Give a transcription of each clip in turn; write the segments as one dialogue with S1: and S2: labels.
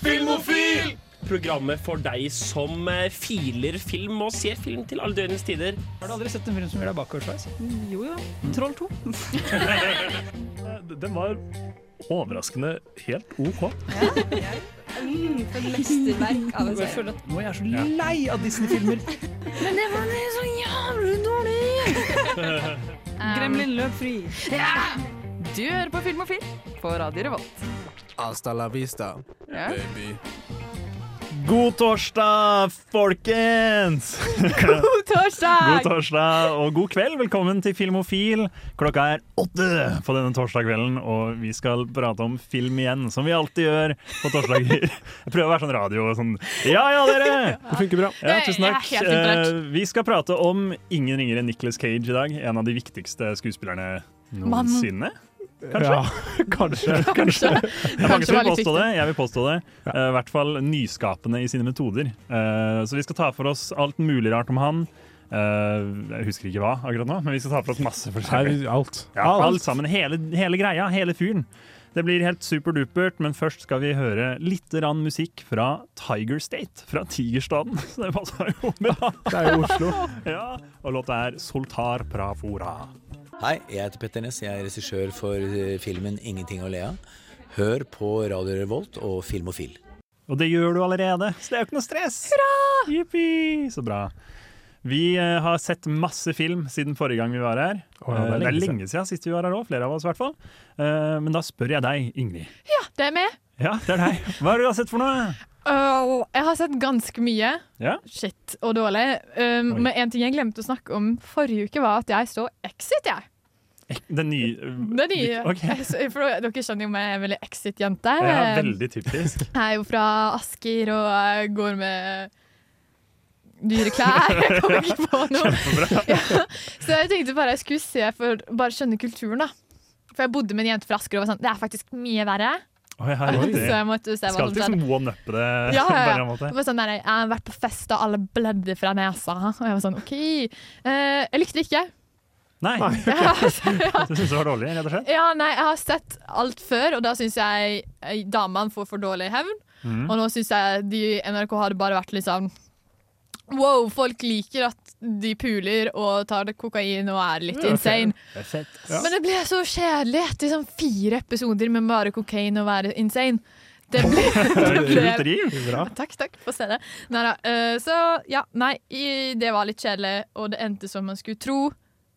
S1: Filmofil! Programmet for deg som eh, filer film og ser film til alle døgnets tider.
S2: Har du aldri sett en film som gjør deg bakoversveis?
S3: Jo jo. Troll 2.
S4: Den var overraskende helt OK.
S3: Mm, for et mesterverk av en
S2: Jeg
S3: serie.
S2: føler at nå er jeg så lei av Disney-filmer.
S5: Men det var så jævlig dårlig!
S3: Gremlin løp fri.
S5: Du hører på Filmofil på Radio Revolt.
S6: Hasta la vista,
S5: Ja.
S6: baby.
S4: God torsdag, folkens!
S5: God
S4: God
S5: torsdag!
S4: torsdag og god kveld. Velkommen til Filmofil. Klokka er åtte på denne torsdag kvelden, og vi skal prate om film igjen, som vi alltid gjør på torsdager. Jeg prøver å være sånn radio og sånn Ja ja, dere!
S6: Det funker bra.
S4: Ja, tusen takk.
S5: Jeg er helt imponert.
S4: Eh, vi skal prate om ingen ringere enn Nicolas Cage i dag. En av de viktigste skuespillerne noensinne. Kanskje.
S6: Kanskje.
S4: Kanskje. Det er mange som
S5: Kanskje det var
S4: vil
S5: litt
S4: påstå det. Jeg vil påstå det. Eh, I hvert fall nyskapende i sine metoder. Eh, så vi skal ta for oss alt mulig rart om han. Eh, jeg husker ikke hva akkurat nå, men vi skal ta for oss masse
S6: Her,
S4: forskjellig.
S6: alt.
S4: Ja, alt sammen. Hele, hele greia. Hele fyren. Det blir helt superdupert, men først skal vi høre litt rann musikk fra Tiger State. Fra Tigerstaden. Så det passer jo med, da.
S6: Det er jo Oslo.
S4: Ja, og låta er 'Soltar Prafora'.
S7: Hei, jeg heter Petter Ness. Jeg er regissør for eh, filmen 'Ingenting å le av'. Hør på Radio Revolt og Filmofil.
S4: Og det gjør du allerede, så det er jo ikke noe stress. Hurra! Jippi! Så bra. Vi eh, har sett masse film siden forrige gang vi var her.
S6: Å ja,
S4: Eh, det er lenge siden sist vi var her òg, flere av oss i hvert fall. Eh, men da spør jeg deg, Ingrid.
S5: Det er med.
S4: Ja, det er deg. Hva er det du har sett for noe?
S5: Øh, jeg har sett ganske mye.
S4: Ja?
S5: Shit og dårlig. Um,
S4: Oi.
S5: men en ting jeg glemte å snakke om forrige uke, var at jeg så Exit, jeg.
S4: Den nye eh,
S5: Det er nye. Eh.
S4: Ok.
S5: Jeg så- For dere skjønner jo meg, jeg er en veldig Exit-jente. Um,
S4: Ja, veldig typisk.
S5: Jeg er jo fra Asker og jeg går med dyre klær. Jeg kommer ikke på noe.
S4: Kjempebra.
S5: Så jeg tenkte bare jeg skulle se for bare skjønne kulturen, da. For jeg bodde med en jente fra Asker og var sånn Det er faktisk mye verre.
S4: Oi, her,
S5: Så
S4: riktig.
S5: jeg eh, måtte se hva
S4: Skal
S5: som
S4: alltid
S5: skjedde.
S4: liksom one-uppe det.
S5: sånn- Ja, ja,
S4: på en eller
S5: ja.
S4: annen måte.
S5: Det var sånn der, jeg har vært på fest, og alle blødde fra nesa. Og jeg var sånn OK. Eh, jeg likte det ikke.
S4: Nei,
S5: Jeg har,
S4: du syns det var dårlig, rett og slett?
S5: ja, nei, jeg har sett alt før, og da syns jeg eh, damene får for dårlig hevn.
S4: Mm.
S5: Og nå syns jeg de i NRK har bare vært litt sånn Wow, folk liker at de puler og tar det kokain og er litt insane. Men det ble så kjedelig etter sånn fire episoder med bare kokain og være insane. Det ble, det ble
S4: Kult driv.
S6: Bra.
S5: Takk, takk. Få se det. Neida, eh, så ja, nei, i, det var litt kjedelig, og det endte som man skulle tro.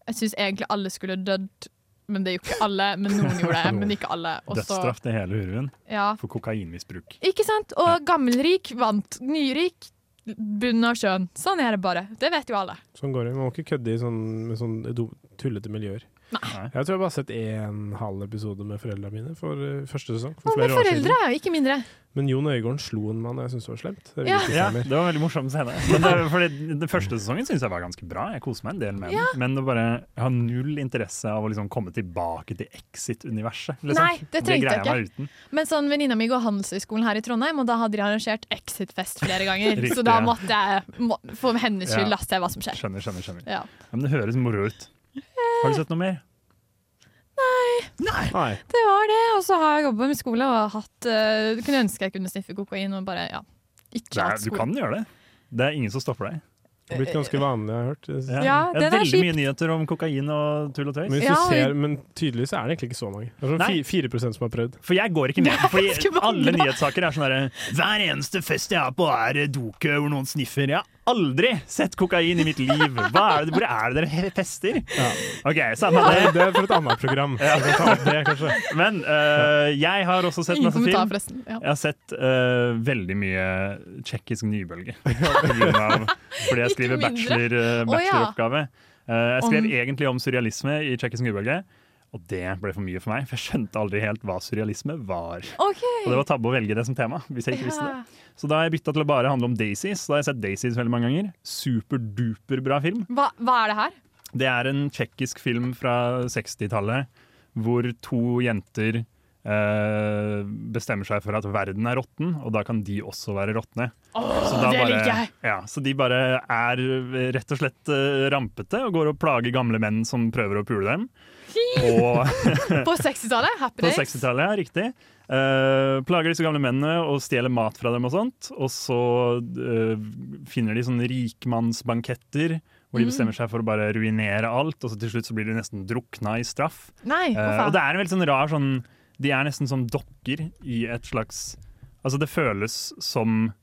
S5: Jeg syns egentlig alle skulle dødd, men det gjorde ikke alle. Men noen gjorde det, men ikke alle. Og så-
S4: Dødsstraff til hele hurven
S5: Ja.
S4: for kokainmisbruk.
S5: Ikke sant? Og gammelrik vant. Nyrik, bunnen av sjøen. Sånn er det bare. Det vet jo alle.
S6: Sånn går det. Man må ikke kødde i sånn, med sånn do- tullete miljøer.
S4: Nei.
S6: Jeg tror jeg bare har sett én halv episode med foreldrene mine for eh, første sesong. For
S5: Hva med
S6: flere år siden.
S5: foreldre? Ikke mindre.
S6: Men Jon Øigarden slo en mann, og jeg syntes det var slemt. Det
S5: Ja.
S6: virker
S4: Ja,
S6: som jeg
S4: det var en veldig morsom scene. Men det, for det, den første sesongen syns jeg var ganske bra. Jeg koser meg en del med den. Men det bare, jeg har null interesse av å liksom komme tilbake til Exit-universet. Liksom.
S5: Nei, det trengte jeg
S4: greier meg uten.
S5: Men sånn, venninna mi går handelshøyskolen her i Trondheim, og da hadde de arrangert Exit-fest flere ganger.
S4: Riktig,
S5: så da
S4: ja.
S5: måtte jeg, må, for hennes skyld, da
S4: Ja.
S5: se hva som skjer.
S4: Skjønner, skjønner. skjønner.
S5: Ja.
S4: Ja, men det høres moro ut. Har du sett noe mer?
S6: Nei.
S5: Det var det, og så har jeg jobba med skole og hatt eh, Kunne ønske jeg kunne sniffe kokain og bare, ja. Ikke
S4: Det er,
S5: hatt
S4: du
S5: skole.
S4: kan gjøre det. Det er ingen som stopper deg.
S6: Det har blitt ganske vanlig, jeg har hørt. Det-
S5: Ja,
S4: det er
S5: den er
S4: veldig mye nyheter om kokain og tull og
S6: Men,
S4: tøys.
S6: hvis
S5: Ja, og-
S6: du ser, men tydeligvis er det egentlig ikke så mange. Det er sånn
S4: Nei.
S6: fi- 4 som har prøvd.
S4: For jeg går ikke med. Fordi
S5: ganske mange, da.
S4: alle nyhetssaker er sånn derre Hver eneste fest jeg er på, er doke hvor noen sniffer. Jeg har aldri sett kokain i mitt liv! Hva er det, hvor er det dere fester? OK, samme det.
S6: Nei, Det er for et annet program. Jeg kan ta opp det, kanskje.
S4: Men eh, jeg har også sett
S5: Ingen
S4: masse
S5: kommentar,
S4: film.
S5: forresten. Ja.
S4: Jeg har sett eh, veldig mye tsjekkisk nybølge. På grunn av, fordi jeg
S5: Ikke
S4: skriver
S5: mindre.
S4: bachelor,
S5: Å,
S4: eh, bacheloroppgave. Eh, jeg skrev
S5: Om-
S4: egentlig om surrealisme i tsjekkisk nybølge. Og det ble for mye for meg, for jeg skjønte aldri helt hva surrealisme var.
S5: OK.
S4: Og det var tabbe å velge det som tema. hvis jeg ikke visste det.
S5: Ja.
S4: Så da har jeg bytta til å bare handle om Daisies. Da har jeg sett Daisies veldig mange ganger. Superduper bra film.
S5: Hva, hva er det her?
S4: Det er en tsjekkisk film fra 60-tallet hvor to jenter eh, bestemmer seg for at verden er råtten, og da kan de også være råtne. Så da
S5: det
S4: bare-
S5: liker jeg!
S4: Ja, så de bare er rett og slett eh, rampete og går og plager gamle menn som prøver å pule dem. Og
S5: På 60-tallet. Happy
S4: på
S5: days.
S4: 60-tallet, ja, riktig. Eh, plager disse gamle mennene og stjeler mat fra dem og sånt. Og så eh, finner de sånne rikmannsbanketter hvor de bestemmer seg for å bare ruinere alt. Og så til slutt så blir de nesten drukna i straff.
S5: Nei,
S4: Eh,
S5: hva
S4: og det
S5: faen.
S4: er en veldig sånn rar sånn De er nesten som dokker i et slags Altså det føles som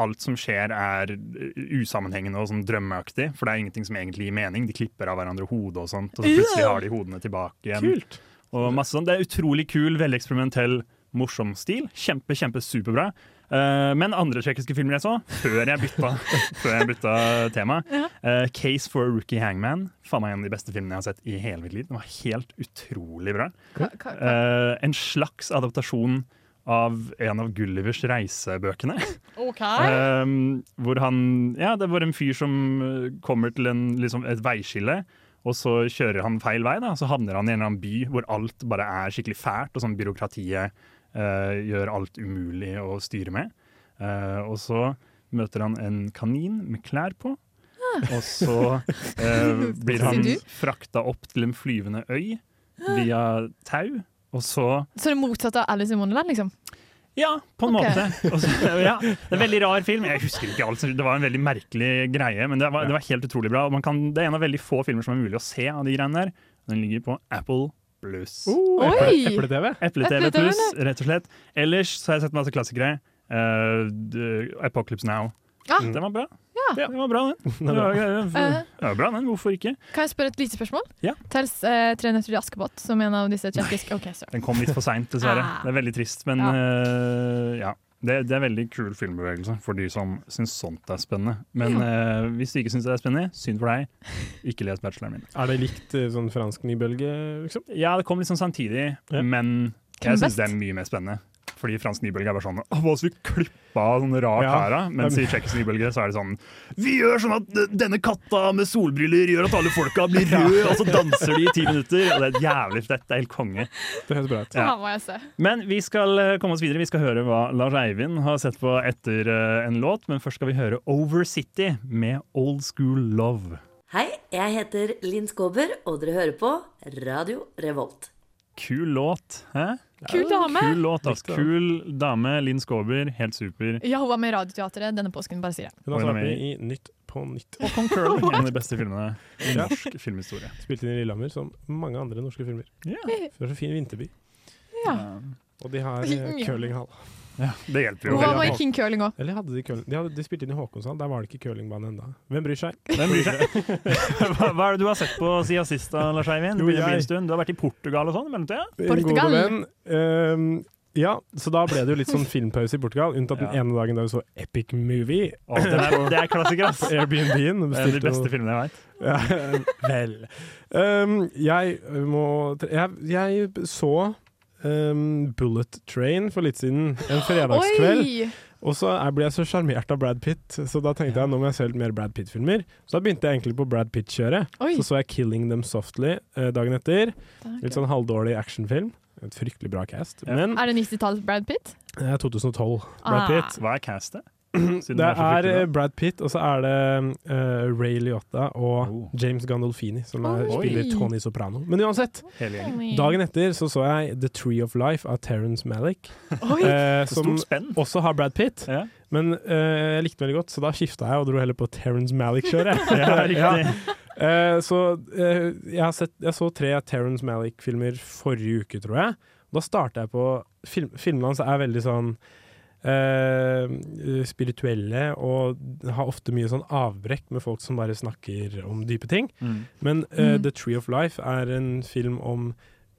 S4: alt som skjer er eh, usammenhengende og sånn drømmeaktig. For det er ingenting som egentlig gir mening. De klipper av hverandre hodet og sånt, og så plutselig har de hodene tilbake igjen.
S6: Kult!
S4: Og masse sånn. Det er utrolig kul, veldig eksperimentell, morsom stil. Kjempe, kjempe superbra. Eh, men andre tsjekkiske filmer jeg så, før jeg bytta, før jeg bytta tema. eh, 'Case for a Rookie Hangman'. Faen meg en av de beste filmene jeg har sett i hele mitt liv. Den var helt utrolig bra.
S5: Hva- hva- hva-
S4: Eh, en slags adaptasjon av en av Gullivers reisebøkene.
S5: OK.
S4: Um, hvor han Ja, det var en fyr som uh, kommer til en, liksom et veiskille, og så kjører han feil vei. da, Så havner han i en eller annen by hvor alt bare er skikkelig fælt, og sånn byråkratiet uh, gjør alt umulig å styre med. Uh, og så møter han en kanin med klær på. Og så uh, blir
S5: Ah.
S4: han
S5: Sier du? Ah.
S4: frakta opp til en flyvende øy via tau. Og så
S5: Så det motsatte av Alice i Wonderland, liksom?
S4: ja, på en
S5: Ok.
S4: måte. Og så- ja, det er en veldig rar film. Jeg husker ikke alt, så Det var en veldig merkelig greie, men det var, det var helt utrolig bra. Og man kan, det er en av veldig få filmer som er mulig å se av de greiene der. Den ligger på Apple Blues.
S6: Oh,
S5: Oi!
S6: eple- Eple-TV.
S4: Eple-TV
S5: Uh, Apple TV,
S4: Pluss, rett og slett. Ellers så har jeg sett masse klassikere. Eh, d- Apocalypse Now.
S5: Ja.
S4: Den var bra.
S5: Ah. Ja.
S4: Den var bra, den. Den var, den
S5: Eh.
S4: var bra, den. Hvorfor ikke?
S5: Kan jeg spørre et lite spørsmål?
S4: Ja.
S5: Tels eh, Tre nøtter i Askepott som en av disse tsjekkiske OK, sorry.
S4: Den kom litt for seint, dessverre.
S5: Ah.
S4: Det er veldig trist, men
S5: Ja.
S4: eh, ja. Det, det er veldig kul filmbevegelse for de som syns sånt er spennende. Men eh, hvis du ikke syns det er spennende, synd for deg. Ikke les bacheloren min.
S6: Er det likt eh, sånn fransk nybølge, liksom?
S4: Ja, det kom liksom samtidig,
S6: Ja.
S4: men
S5: Hvem er
S4: jeg syns
S5: best?
S4: det er mye mer spennende. Fordi fransk nybølge er bare sånn Å, hva skal vi klippe av sånn rart
S6: Ja.
S4: her, da? Mens i tsjekkisk nybølge så er det sånn Vi gjør sånn at d- denne katta med solbriller gjør at alle folka blir røde, og så danser de i ti minutter. Og det er jævlig fett. Det er helt konge.
S6: Det høres bra ut.
S4: Ja.
S5: Ja. må jeg se.
S4: Men vi skal eh, komme oss videre. Vi skal høre hva Lars Eivind har sett på etter eh, en låt. Men først skal vi høre Over City med Old School Love.
S8: Hei, jeg heter Linn Skåber, og dere hører på Radio Revolt.
S4: Kul låt. Hæ?
S5: Kul dame!
S4: Kul låt, altså.
S6: Likte det.
S4: Kul dame. Linn Skåber, helt super.
S5: Ja, hun var med i Radioteatret denne påsken, bare sier jeg.
S6: Hun har
S4: Oi,
S6: vært
S4: nei.
S6: med altså i Nytt på nytt.
S4: Og Kong Curl, en av de beste filmene i
S6: Ja.
S4: norsk filmhistorie.
S6: Spilt inn i Lillehammer, som mange andre norske filmer. For det er så fin vinterby.
S5: Ja.
S6: Og de har eh, curlinghall.
S4: Ja, det hjelper jo.
S5: Hun var
S4: veldig.
S5: med i King Curling òg.
S6: Eller hadde de curling? De, hadde, de spilte inn i Håkonshall, der var det ikke curlingbane ennå. Hvem bryr seg?
S4: Hvem bryr seg? Hva, hva er det du har sett på siden sist, da, Lars Eivind? Det
S6: Jo,
S4: begynner å bli
S6: jeg-
S4: en stund. Du har vært i Portugal og sånn i mellomtida?
S6: Min gode
S5: Portugal.
S6: venn, ehm, ja, så da ble det jo litt sånn filmpause i Portugal, unntatt
S4: Ja.
S6: den ene dagen da vi så Epic Movie
S4: Å, Det er, det er klassiker,
S6: på
S4: ass.
S6: Airbnb-en.
S4: Det er
S6: og
S4: de
S6: bestilte
S4: beste
S6: noe-
S4: filmene jeg veit.
S6: Ja, vel. Ehm, jeg må jeg, jeg så ehm, Bullet Train for litt siden, en fredagskveld.
S5: Oi!
S6: Og så er- ble jeg så sjarmert av Brad Pitt, så da tenkte jeg nå må jeg se litt mer Brad Pitt-filmer. Så da begynte jeg egentlig på Brad Pitt-kjøret.
S5: Oi.
S6: Så så jeg 'Killing Them Softly' eh, dagen etter. Litt
S5: Er
S6: sånn halvdårlig actionfilm. Et fryktelig bra cast.
S4: Ja.
S6: Men
S5: det 90-talls Brad Pitt?
S6: det er 2012.
S5: Ah.
S4: Brad Pitt, hva er castet? Siden
S6: Det
S4: du så
S6: er
S4: fryktelig bra.
S6: eh, Brad Pitt, og så er det eh, Ray Liotta og
S4: Oh.
S6: James Gandolfini, som er,
S5: Oi.
S6: spiller Tony Soprano. Men uansett,
S4: Hele gjengen.
S6: dagen etter så så jeg The Tree of Life av Terence Malick,
S5: Oi!
S6: eh,
S4: Så
S6: som
S4: Stort spenn.
S6: også har Brad Pitt.
S4: Ja.
S6: Men eh, jeg likte den veldig godt, så da skifta jeg og dro heller på Terence Malick-kjøret. Ja. Eh, så eh, jeg, har sett, jeg så tre Terence Malick-filmer forrige uke, tror jeg. Da starta jeg på film, Filmene hans er veldig sånn eh, spirituelle og har ofte mye sånn avbrekk med folk som bare snakker om dype ting.
S4: Mm.
S6: Men eh,
S5: Mm.
S6: The Tree of Life er en film om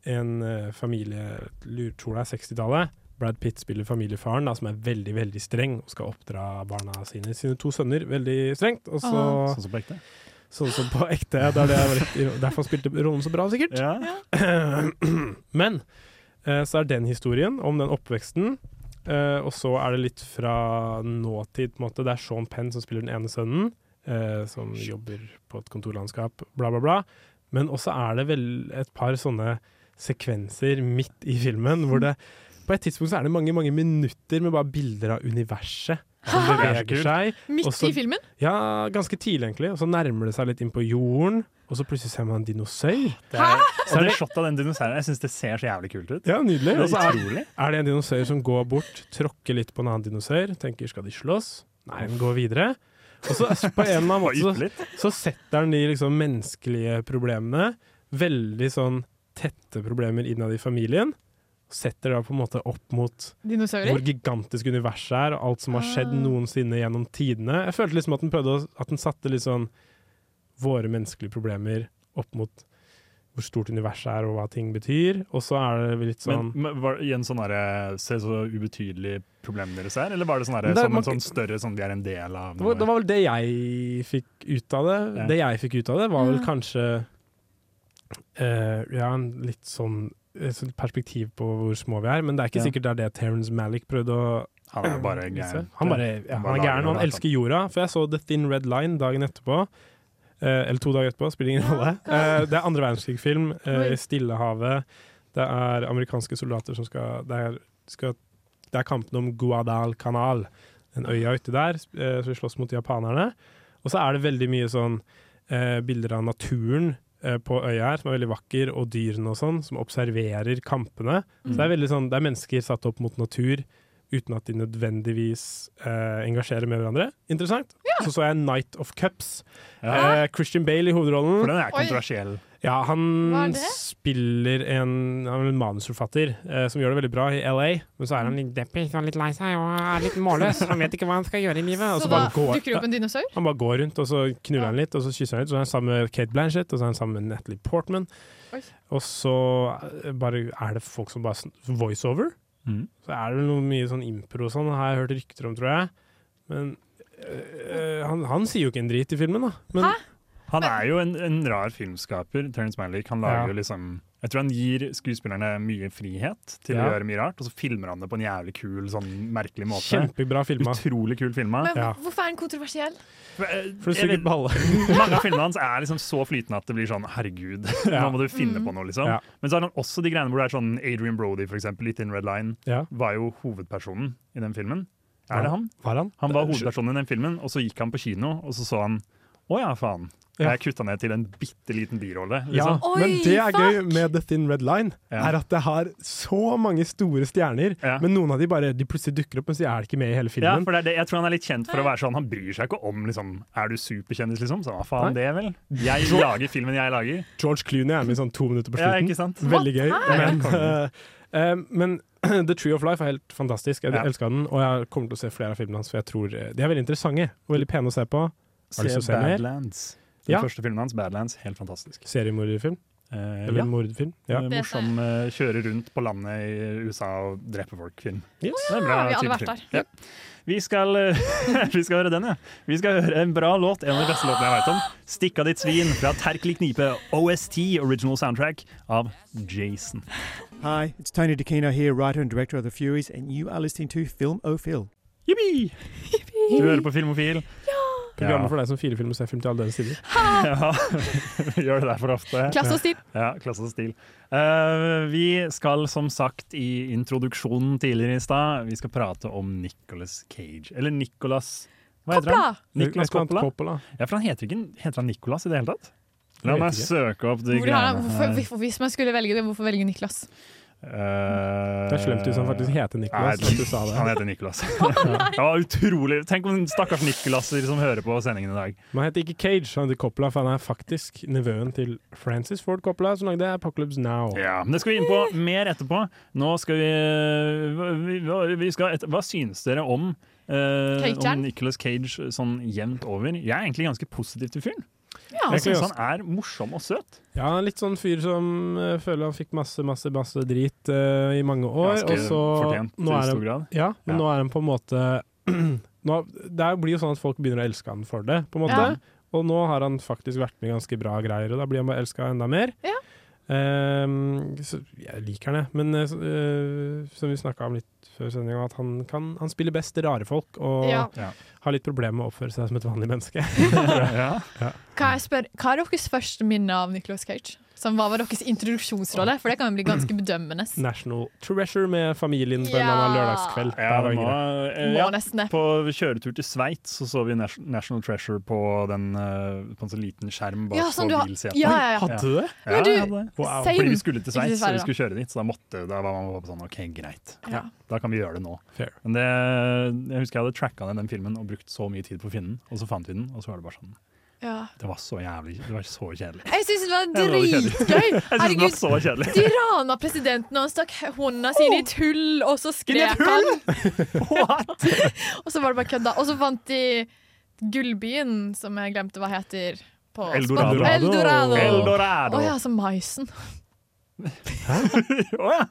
S6: en eh, familie lur- Tror det er 60-tallet. Brad Pitt spiller familiefaren, da, som er veldig veldig streng og skal oppdra barna sine, sine to sønner, veldig strengt. Og så
S5: Ah.
S4: Sånn som på ekte.
S6: Sånn som på ekte. Det er det jeg var litt, derfor han spilte rollen så bra, sikkert.
S4: Ja.
S6: Men eh, så er den historien om den oppveksten. eh, og så er det litt fra nåtid, på en måte. Det er Sean Penn som spiller den ene sønnen, eh, som jobber på et kontorlandskap, bla, bla, bla. Men også er det vel et par sånne sekvenser midt i filmen hvor det på et tidspunkt så er det mange mange minutter med bare bilder av universet som
S4: Hæ?
S6: beveger seg.
S5: Midt
S6: Også-
S5: i filmen?
S6: Ja, Ganske tidlig, egentlig. Og så nærmer det seg litt inn på jorden, og så plutselig ser man en dinosaur.
S4: Det er, og det shot av den dinosauren, jeg syns det ser så jævlig kult ut.
S6: Ja,
S4: Det
S6: nydelig.
S4: er
S6: Og så er,
S4: utrolig.
S6: er det en dinosaur som går bort, tråkker litt på en annen dinosaur, tenker skal de slåss? Nei, den går videre. Og så på en eller annen
S4: Og
S6: måte så,
S4: ytterlig.
S6: så setter han de liksom menneskelige problemene, veldig sånn tette problemer innad i familien, setter det da på en måte opp mot hvor
S5: Dinosaurer?
S6: gigantisk universet er, og alt som har skjedd
S5: Ah.
S6: noensinne gjennom tidene. Jeg følte liksom at den prøvde å, at den satte litt sånn våre menneskelige problemer opp mot hvor stort universet er, og hva ting betyr. Og så er det litt sånn
S4: Men, men var det igjen sånn derre Se så ubetydelig problemet deres er, eller var det sånn derre
S6: Det er
S4: som en
S6: mange-
S4: sånn større sånn vi er en del av
S6: det var, det var vel det jeg fikk ut av det.
S4: Ja.
S6: Det jeg fikk ut av det, var vel
S5: Ja.
S6: kanskje eh, Ja, en litt sånn et sånt perspektiv på hvor små vi er, men det er ikke
S4: Ja.
S6: sikkert det er det Terence Malick prøvde å
S4: Han er bare
S6: vise.
S4: gæren.
S6: Han, bare, ja, han
S4: bare
S6: er
S4: lager
S6: gæren, og
S4: noe,
S6: han
S4: da.
S6: elsker jorda. For jeg så The Thin Red Line dagen etterpå. Eh, eller to dager etterpå, spiller ingen rolle. Eh, det er andre verdenskrig-film. Eh,
S5: Oi.
S6: i Stillehavet. Det er amerikanske soldater som skal Det er, skal, det er kampen om Guadalcanal, den øya uti der, sp- eh, som slåss mot japanerne. Og så er det veldig mye sånn eh, bilder av naturen eh, på øya her, som er veldig vakker, og dyrene og sånn, som observerer kampene. Så det
S5: Mm.
S6: er veldig sånn, det er mennesker satt opp mot natur uten at de nødvendigvis eh, engasjerer med hverandre. Interessant. Så så jeg Night of Cups.
S4: Ja.
S6: Eh, Christian Bale i hovedrollen.
S4: For den er
S5: Oi.
S4: kontroversiell.
S6: Ja,
S5: Hva
S6: han
S5: er det?
S6: spiller en, han er en manusforfatter eh, som gjør det veldig bra i LA, men så er han litt deppig, så han er litt lei seg og er litt målløs. Han vet ikke hva han skal gjøre i livet. Og
S5: Så
S6: så
S5: da
S6: bare
S5: dukker det opp
S6: går,
S5: en dinosaur?
S6: han bare går rundt, og så knuller han litt, og så kysser han litt. Så er han sammen med Kate Blanchett, og så er han sammen med Natalie Portman.
S5: Oi.
S6: Og så eh, bare, er det folk som bare sn- voiceover.
S4: Mhm.
S6: Så er det vel noe mye sånn impro og sånn, har jeg hørt rykter om, tror jeg. Men eh, han, han sier jo ikke en drit i filmen, da. Men,
S5: Hæ?
S4: Han er jo en, en rar filmskaper, Terence Malick. Han lager
S6: Ja.
S4: jo liksom jeg tror han gir skuespillerne mye frihet til å
S6: Ja.
S4: gjøre mye rart, og så filmer han det på en jævlig kul, sånn merkelig måte.
S6: Kjempebra filma.
S4: Utrolig kul filma.
S5: Men
S6: Ja.
S5: hvorfor er den kontroversiell?
S6: For å suge balle.
S4: eh, Mange av filmene hans er liksom så flytende at det blir sånn herregud, nå
S6: Ja.
S4: må du finne på noe, liksom.
S6: Ja.
S4: Men så har han også de greiene hvor det er sånn Adrian Brody, for eksempel, litt in red line,
S6: Ja.
S4: var jo hovedpersonen i den filmen.
S6: Ja.
S4: Er det han?
S6: Var han?
S4: Han var hovedpersonen i den filmen, og så gikk han på kino, og så så han å ja, faen.
S6: Ja.
S4: Jeg kutta ned til en bitte liten birolle.
S6: Ja,
S4: Liksom.
S5: Oi,
S6: men det er
S5: fuck!
S6: gøy med The Thin Red Line,
S4: Ja.
S6: er at det har så mange store stjerner,
S4: Ja.
S6: men noen av de bare de plutselig dukker opp, men så er de ikke med i
S4: Ja,
S6: hele filmen.
S4: for det er det. Jeg tror han er litt kjent for å være sånn Han bryr seg ikke om liksom, Er du superkjendis, liksom. Så hva faen, det, vel? Jeg lager filmen jeg lager.
S6: George Clooney er med i sånn to minutter på
S4: Ja,
S6: slutten.
S4: ikke sant?
S6: Veldig gøy. Men, eh, eh, men The Tree of Life er helt fantastisk. Jeg
S4: Ja.
S6: elsker den, og jeg kommer til å se flere av filmene hans, for jeg tror eh, de er veldig interessante og veldig pene å se på. Har du lyst til å se mer?
S4: Badlands. Den
S6: Ja.
S4: første filmen hans, Badlands, helt fantastisk.
S6: Seriemorderfilm.
S4: Eh,
S6: Eller
S4: ja.
S6: mordfilm. Ja.
S4: Eh, Morsom eh, kjøre rundt på landet i USA og drepe folk-film.
S6: Yes.
S4: Det er
S5: Ja, Ah,
S4: en
S5: vi har alle
S4: type
S5: vært
S4: film. Ja. Vi, skal, eh, vi skal høre den, ja. Vi skal høre en bra låt, en av de beste låtene jeg veit om. 'Stikk av ditt svin' fra Terkelig knipe, OST, original soundtrack, av Jason.
S9: Hi, it's Tony DeCino here, writer and director of The Furies, and you are listening to Film O'Phil.
S4: Jippi! Du hører på Filmofil.
S6: Programmet for deg som firefilm og ser film til alle døgnets tider.
S4: Ja, vi gjør det der for ofte.
S5: Klasse og stil.
S4: Ja, klasse og stil. Eh, vi skal som sagt i introduksjonen tidligere i stad, vi skal prate om Nicholas Cage. Eller Nicholas Hva heter han?
S5: Koppla!
S4: Nicholas Coppola?
S6: Coppola.
S4: Ja, for han heter ikke Heter han Nicholas i det hele tatt? La
S6: Jeg vet
S4: meg
S6: ikke.
S4: søke opp de
S5: Hvor har han,
S4: greiene
S5: hvorfor, hvorfor- hvis man skulle velge det, hvorfor velge Niklas?
S4: Eh,
S6: Det er slemt hvis han faktisk heter Nicholas,
S4: Nei,
S6: at du sa det.
S4: Han heter Nicholas. det var utrolig Tenk om stakkars Nicholaser som hører på sendingen i dag.
S6: Men han heter ikke Cage, han heter Coppola, for han er faktisk nevøen til Francis Ford Coppola, som lagde Apocalypse Now.
S4: Ja, men Det skal vi inn på mer etterpå. Nå skal vi, vi- vi, vi skal et, Hva synes dere om, eh, om
S5: Cageren?
S4: Nicholas Cage sånn jevnt over? Jeg er egentlig ganske positiv til fyren.
S5: Ja.
S4: Jeg synes han er morsom og søt.
S6: Ja, litt sånn fyr som eh, føler han fikk masse, masse, masse drit eh, i mange år,
S4: Ganske
S6: og så
S4: fortjent
S6: nå
S4: i
S6: er
S4: stor
S6: han,
S4: grad.
S6: Ja, men
S4: Ja.
S6: nå er han på en måte nå, Det blir jo sånn at folk begynner å elske han for det, på en måte.
S5: Ja.
S6: Og nå har han faktisk vært med i ganske bra greier, og da blir han bare elska enda mer.
S5: Ja.
S6: Ehm, så jeg liker han, jeg. Men eh, så, eh, som vi snakka om litt før sendinga, at han, kan, han spiller best rare folk, og
S5: Ja.
S6: har litt problemer med å oppføre seg som et vanlig menneske.
S4: ja.
S5: Kan jeg spørre, hva er deres første minne av Nicolas Cage? Som hva var deres introduksjonsrolle? For det kan jo bli ganske bedømmende.
S6: National Treasure med familien på en
S5: Ja.
S6: eller annen lørdagskveld.
S4: Ja,
S6: Det
S4: det
S6: var
S4: må,
S6: greit.
S4: eh,
S5: Må
S4: ja.
S5: nesten det.
S4: På kjøretur til Sveits så, så vi Nas- National Treasure på, den, eh, på en sånn liten skjerm bak
S5: Ja, sånn
S4: på
S5: du har-
S4: bilsetet.
S5: Ja, ja, ja.
S6: Hadde du det?
S5: Men du,
S4: ja, det.
S6: Wow.
S5: same.
S4: Fordi vi skulle
S5: Ikke til
S4: til Sveits, og
S5: Sverige,
S4: vi
S5: da.
S4: skulle kjøre dit, så da måtte da var man bare sånn OK, greit.
S5: Ja.
S4: Da kan vi gjøre det nå.
S6: Fair.
S4: Men det, jeg husker jeg hadde tracka ned den filmen og brukt så mye tid på å finne den, og så fant vi den, og så var det bare sånn
S5: Ja.
S4: Det var så jævlig Det var så kjedelig.
S5: Jeg syns det var
S4: Ja, det var kjedelig.
S5: dritgøy!
S4: Jeg synes den var
S5: Herregud,
S4: så kjedelig.
S5: de rana presidenten, og han stakk hånda si inn i et hull, og så skrek han.
S4: What?
S5: Og så var det bare kødda. Og så fant de gullbyen, som jeg glemte hva heter. På
S4: Eldorado.
S5: Spania. Eldorado.
S4: Eldorado!
S5: Å ja, som maisen.
S4: Å ja.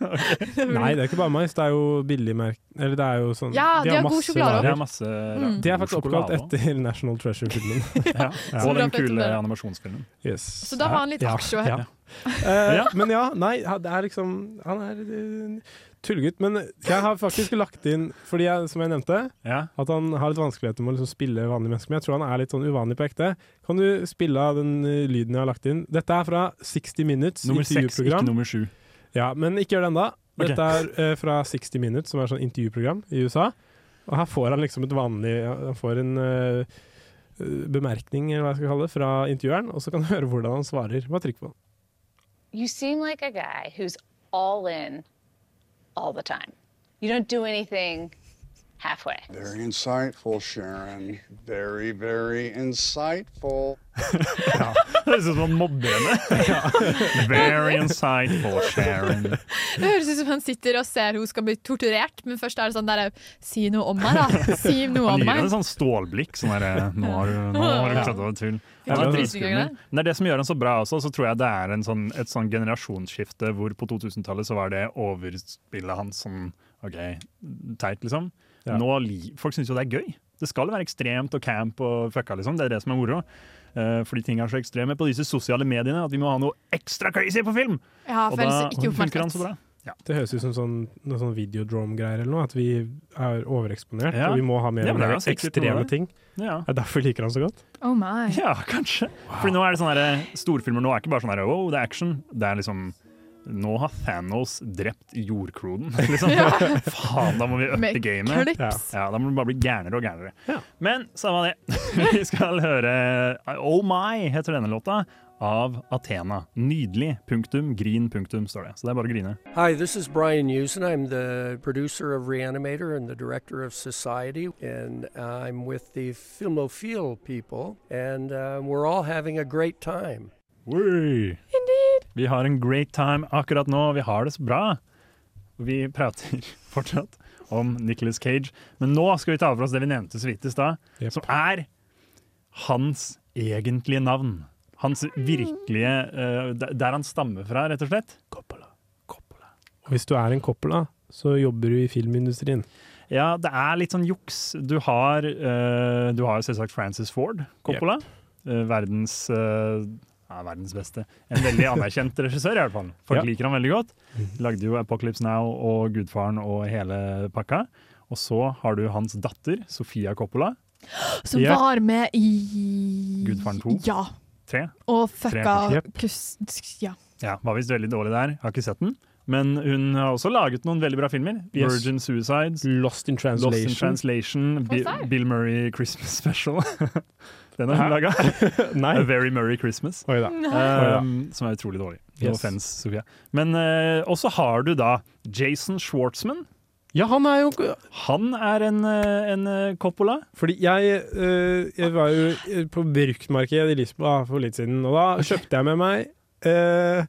S6: Nei, det er ikke bare mais. Det er jo billigmerk... Eller det er jo sånn
S5: Mm. Ja, de har god
S6: masse
S5: sjokolade også.
S4: Det
S6: varer.
S4: er masse
S5: Mm.
S6: De er faktisk
S4: sjokolade
S6: oppkalt etter National Treasure-filmen.
S4: Ja.
S5: Så
S4: Og
S5: bra
S4: den
S5: for å
S4: kule
S5: etablere.
S4: animasjonsfilmen.
S6: Yes.
S5: Så da var han litt
S6: ja,
S5: aksjo her.
S6: Ja. Eh,
S4: Ja.
S6: Men ja, nei, ha- det er liksom Han er eh, tullegutt. Men jeg har faktisk lagt inn, fordi jeg, som jeg nevnte,
S4: Ja.
S6: at han har litt vanskeligheter med å liksom spille vanlige mennesker. Men jeg tror han er litt sånn uvanlig på ekte. Kan du spille av den eh, lyden jeg har lagt inn? Dette er fra 60 Minutes
S4: Nummer seks, ikke
S6: intervjuprogram.
S4: nummer sju.
S6: Ja, men ikke gjør det ennå.
S4: Ok.
S6: Dette er eh, fra 60 Minutes, som er sånn intervjuprogram i USA. Og her får han liksom et vanlig Han får en eh, bemerkning, eller hva jeg skal kalle det, fra intervjueren, og så kan du høre hvordan han svarer. Bare trykk på den.
S10: You seem like a guy who's all in all the time. You don't do anything halfway.
S11: Very insightful, Sharon. Very, very insightful.
S4: Det høres ut som han mobber henne. Very insightful, Sharon.
S5: Det høres ut som han sitter og ser hun skal bli torturert, men først er det sånn der Si noe om meg, da. Si noe
S4: Han
S5: om
S4: gir henne
S5: meg.
S4: et sånn stålblikk. Sånn der, nå har du, nå har du kledd over tull. Ja, det, er dritskummel. Men det er det som gjør han så bra også. Så tror jeg det er en sånn, et sånn generasjonsskifte hvor på 2000-tallet så var det overspillet hans sånn OK, teit, liksom.
S6: Ja.
S4: Nå, li- folk syns jo det er gøy. Det skal være ekstremt og camp og fucka, liksom. Det er det som er moro. Eh, fordi ting er så ekstreme på disse sosiale mediene at vi må ha noe ekstra crazy på film!
S5: Ja,
S4: sånn. Og
S5: for
S4: da
S5: ellers ikke
S4: funker han så
S5: oppmerksomhet.
S4: bra.
S6: Det høres ut som sånn, noe sånn videodrome-greier eller noe. At vi er overeksponert,
S4: Ja.
S6: og vi må ha mer
S4: Ja,
S6: og
S4: men det er
S6: mer
S4: jo sikkert noe
S6: ekstreme
S4: der.
S6: ting.
S4: Ja.
S6: Det er derfor vi liker han så godt.
S5: Oh my.
S4: Ja, kanskje. Fordi nå er det sånne her, eh, storfilmer nå er ikke bare sånn her, wow, det er action. Det er liksom Nå har Thanos drept jordkloden. Liksom. Faen, da må vi
S5: Med
S4: øppe gamet.
S5: klips.
S4: eh. Ja, da må du bare bli gærnere og gærnere.
S6: Ja.
S4: Men samme det. Vi skal høre Oh My, heter denne låta, av Athena. Nydelig. Punktum. Grin. Punktum, står det. Så det er bare å grine.
S11: Hi, this is Brian Usen. I'm the producer of Reanimator and the director of Society, and I'm with the Filmophile people, and uh, we're all having a great time.
S4: Oi. Vi har en great time akkurat nå, vi har det så bra. Vi prater fortsatt om Nicolas Cage, men nå skal vi ta for oss det vi nevnte så vidt i stad,
S6: Jep.
S4: som er hans egentlige navn. Hans virkelige eh, der- Der han stammer fra, rett og slett. Coppola. Coppola.
S6: Og hvis du er en Coppola, så jobber du i filmindustrien.
S4: Ja, det er litt sånn juks. Du har, eh, du har selvsagt Francis Ford Coppola. eh, verdens eh, ja, verdens beste. En veldig anerkjent regissør, i hvert fall. Folk
S6: Ja. Mhm.
S4: liker han veldig godt. Lagde jo 'Apocalypse Now' og 'Gudfaren' og hele pakka. Og så har du hans datter, Sofia Coppola.
S5: Som
S4: Ja.
S5: var med i
S4: Gudfaren 2.
S5: Ja.
S4: Tre.
S5: Og
S4: Tre,
S5: fucka kus... Ja.
S4: Ja, Var visst veldig dårlig der, har ikke sett den. Men hun har også laget noen veldig bra filmer.
S6: Yes.
S4: 'Virgin Suicides',
S6: Lost in translation.
S4: Lost in Translation, Bi
S5: Hvorfor?
S4: Bill Murray Christmas Special. Den har hun
S6: Hæ?
S4: laga.
S6: Nei.
S4: A Very Murray Christmas.
S6: Oi da.
S4: Um, som er utrolig dårlig. No
S6: Yes.
S4: offense, Sofia. Men eh, også har du da Jason Schwartzman.
S6: Ja, han er jo
S4: Han er en, eh, en eh, Coppola.
S6: Fordi jeg, eh, jeg var jo eh, på bruktmarkedet i Lisboa for litt siden, og da kjøpte jeg med meg eh,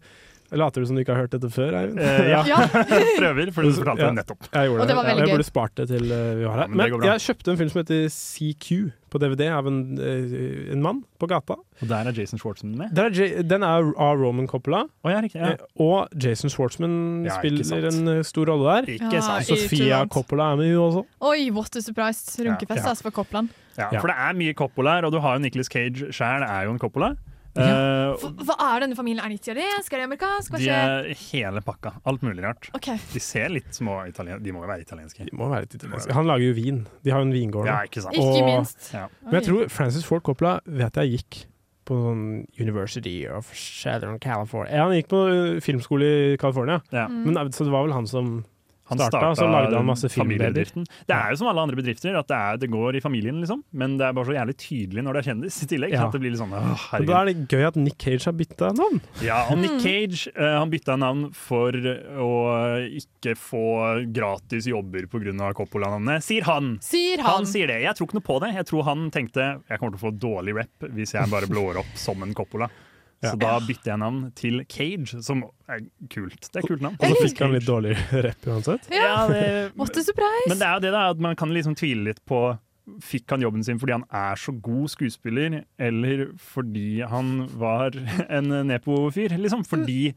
S6: Later du som du ikke har hørt dette før, Eivind?
S4: Eh, ja,
S5: ja.
S4: prøver, for du
S6: Ja.
S4: fortalte det nettopp.
S6: Jeg gjorde
S5: Og det var veldig
S6: Jeg
S5: gøy.
S6: burde spart det til eh, vi
S4: Ja,
S6: var her.
S4: men det
S6: Men,
S4: går bra.
S6: jeg kjøpte en film som heter CQ på DVD av en, eh, en mann på gata.
S4: Og der er Jason Schwartzman med.
S6: Der er J den er av Roman Coppola,
S4: Å, ja, riktig. Ja.
S6: eh, og Jason Schwartzman
S4: Ja, ikke
S6: spiller
S4: sant.
S6: en eh, stor rolle der.
S4: Ikke
S5: Ja,
S4: sant.
S5: i-
S6: Sofia
S5: Ikke sant.
S6: Coppola er med, hun også.
S5: Oi, what a surprise. Runkefest
S4: Ja.
S5: altså, for Koppland.
S4: Ja, for det er mye Coppola her, og du har jo Nicolas Cage sjæl, er jo en Coppola. Eh,
S5: Hva, hva er denne familien? Er de italiensk? Er de amerikansk? Hva
S4: de
S5: skjer?
S4: er hele pakka. Alt mulig rart.
S5: OK.
S4: De ser litt små italienske De må jo være italienske.
S6: De må være litt italienske. Han lager jo vin. De har jo en vingård. nå.
S4: Ja, ikke sant.
S5: Ikke
S6: Og-
S5: minst.
S4: Ja.
S6: Men jeg tror Francis Ford Coppola vet jeg gikk. på sånn University of Southern California Ja, han gikk på ø, filmskole i California,
S4: Ja.
S6: men eh, så det var vel han som
S4: Han
S6: starta, og så
S4: starta
S6: lagde han masse filmbabyer.
S4: familiebedriften. Det er jo som alle andre bedrifter, at det, er, det går i familien, liksom. Men det er bare så jævlig tydelig når det er kjendis i tillegg.
S6: Ja.
S4: Sånn at det blir litt sånn, åh,
S6: Men Da
S4: herregud.
S6: er det gøy at Nick Cage har bytta navn.
S4: Ja, og Nick Cage eh, han bytta navn for eh, å ikke få gratis jobber pga. Coppola-navnet, sier han.
S5: Sier han.
S4: Han sier det. Jeg tror ikke noe på det. Jeg tror han tenkte jeg kommer til å få dårlig rep hvis jeg bare blår opp som en Coppola. Så da bytter jeg navn til Cage, som er kult. Det er kult navn.
S6: Og så fikk han litt dårligere rep uansett.
S5: Ja.
S4: Ja, det-
S5: What a surprise!
S4: Men det er jo det da, at man kan liksom tvile litt på Fikk han jobben sin fordi han er så god skuespiller, eller fordi han var en nepo-fyr? Liksom, fordi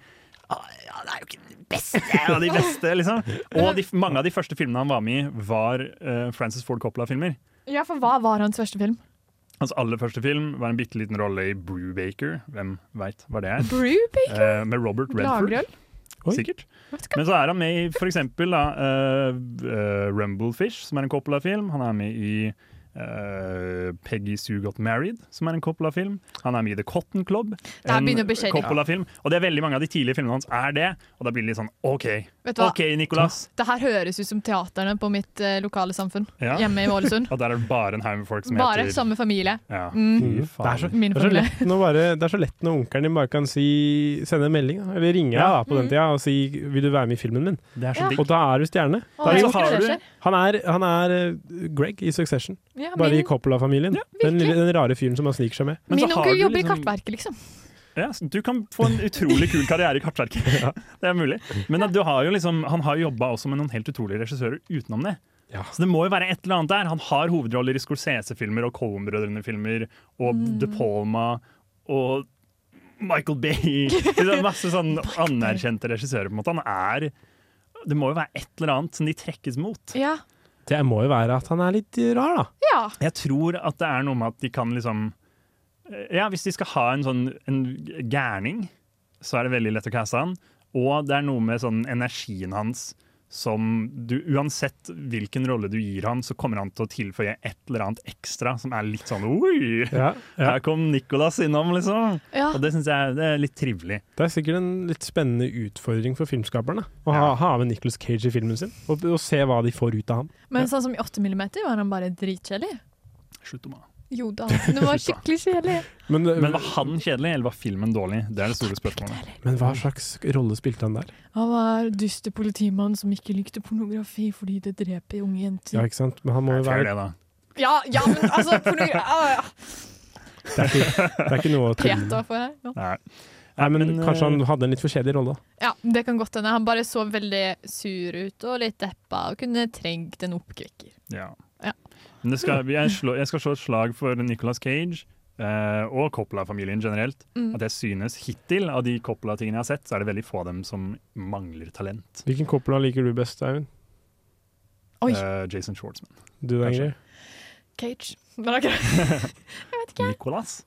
S4: ah, ja, Det er jo ikke den beste av de beste, liksom. Og de, mange av de første filmene han var med i, var eh, Francis Ford Coppola-filmer.
S5: Ja, for hva var hans første film?
S4: Hans aller første film var en bitte liten rolle i Brubaker, hvem veit hva det er,
S5: Brewbaker?
S4: eh, med Robert Redford.
S5: Lagerøl?
S6: Oi.
S4: Sikkert. Men så er han med i for eksempel da, eh, eh, Rumblefish, som er en Coppola-film. Han er med i eh, Peggy Sue Got Married, som er en Coppola-film. Han er med i The Cotton Club,
S5: Der
S4: en
S5: begynner beskjeden.
S4: Coppola-film. Og det er veldig mange av de tidlige filmene hans er det. Og da blir det litt sånn OK,
S5: Vet du hva?
S4: OK, Nicolas.
S5: Det her høres ut som teaterne på mitt eh, lokale samfunn
S4: Ja.
S5: hjemme i Ålesund.
S4: Og der er det bare en haug med folk som
S5: Bare
S4: heter
S5: samme familie.
S4: ja.
S5: Mm.
S4: Fy
S6: Det er
S4: faen.
S6: så,
S5: Min
S6: det er så,
S5: familie.
S6: lett, når bare, det er så lett når onkelen din bare kan si, sende en melding, da, eller ringe
S4: Ja. Mm.
S6: da, på den tida og si 'vil du være med i filmen min'?
S4: Det er så
S5: Ja.
S4: digg.
S6: Og da er du stjerne.
S5: Og
S4: Da er det
S5: jeg
S4: så har
S5: elsker
S4: du-
S5: det skjer.
S6: Han er, han er eh, Greg i Succession,
S5: Ja,
S6: bare i
S5: min,
S6: Coppola-familien. den,
S5: virkelig.
S6: lille- den rare fyren som han sniker seg med.
S4: Men så
S5: min
S4: har
S5: onkel
S4: du
S5: jobber i
S4: liksom-
S5: Kartverket, liksom.
S4: Ja, så du kan få en utrolig kul karriere i kartverket. Det er mulig. Men at du har jo liksom, han har jobba også med noen helt utrolige regissører utenom det.
S6: Ja.
S4: Så det må jo være et eller annet der. Han har hovedroller i Scorsese-filmer og Coen-brødrene-filmer og De Palma og Michael Bay. Det er masse sånn anerkjente regissører. på en måte. Han er Det må jo være et eller annet som de trekkes mot.
S5: Ja.
S6: Det må jo være at han er litt rar, da.
S5: ja.
S4: Jeg tror at det er noe med at de kan liksom Ja, hvis de skal ha en sånn en gærning, så er det veldig lett å caste han. Og det er noe med sånn energien hans som du Uansett hvilken rolle du gir han, så kommer han til å tilføye et eller annet ekstra som er litt sånn Oi!
S6: Ja, ja.
S4: Her kom Nicolas innom, liksom.
S5: ja.
S4: Og det syns jeg det er litt trivelig.
S6: Det er sikkert en litt spennende utfordring for filmskaperne. Å ha, ha med Nicholas Cage i filmen sin, og, og se hva de får ut av ham.
S5: Men sånn som i 8 mm var han bare dritkjedelig.
S4: Slutt å mane.
S5: Jo da, det var skikkelig kjedelig.
S6: Men, eh,
S4: Men
S6: men,
S4: var han kjedelig, eller var filmen dårlig? Det er det store spørsmålet.
S6: hva slags rolle spilte han der?
S5: Han var dyster politimann som ikke likte pornografi fordi det dreper unge
S6: Ja,
S5: jenter.
S6: ikke sant? Men han må jo
S4: Fair
S6: være
S4: det, da.
S5: Ja, ja, men altså pornografi ah, ja.
S6: Det er ikke, det er ikke noe å tulle med.
S5: Peter for her. Ja.
S4: Nei.
S6: Nei, men
S4: Men,
S6: kanskje han
S4: eh,
S6: hadde en litt for kjedelig rolle.
S5: ja, det kan godt hende. Han bare så veldig sur ut og litt deppa og kunne trengt en oppkvikker.
S4: Ja.
S5: Ja.
S4: Men det skal, jeg, slå, jeg skal slå et slag for Nicolas Cage eh, og Coppola-familien generelt.
S5: Mm.
S4: At jeg synes hittil av de Coppola-tingene jeg har sett, så er det veldig få av dem som mangler talent.
S6: Hvilken Coppola liker du best, Eivind?
S5: Oi.
S4: Eh, Jason Schwartzman.
S6: Du da, Ingrid?
S5: Cage. Men ok.
S4: Nicolas.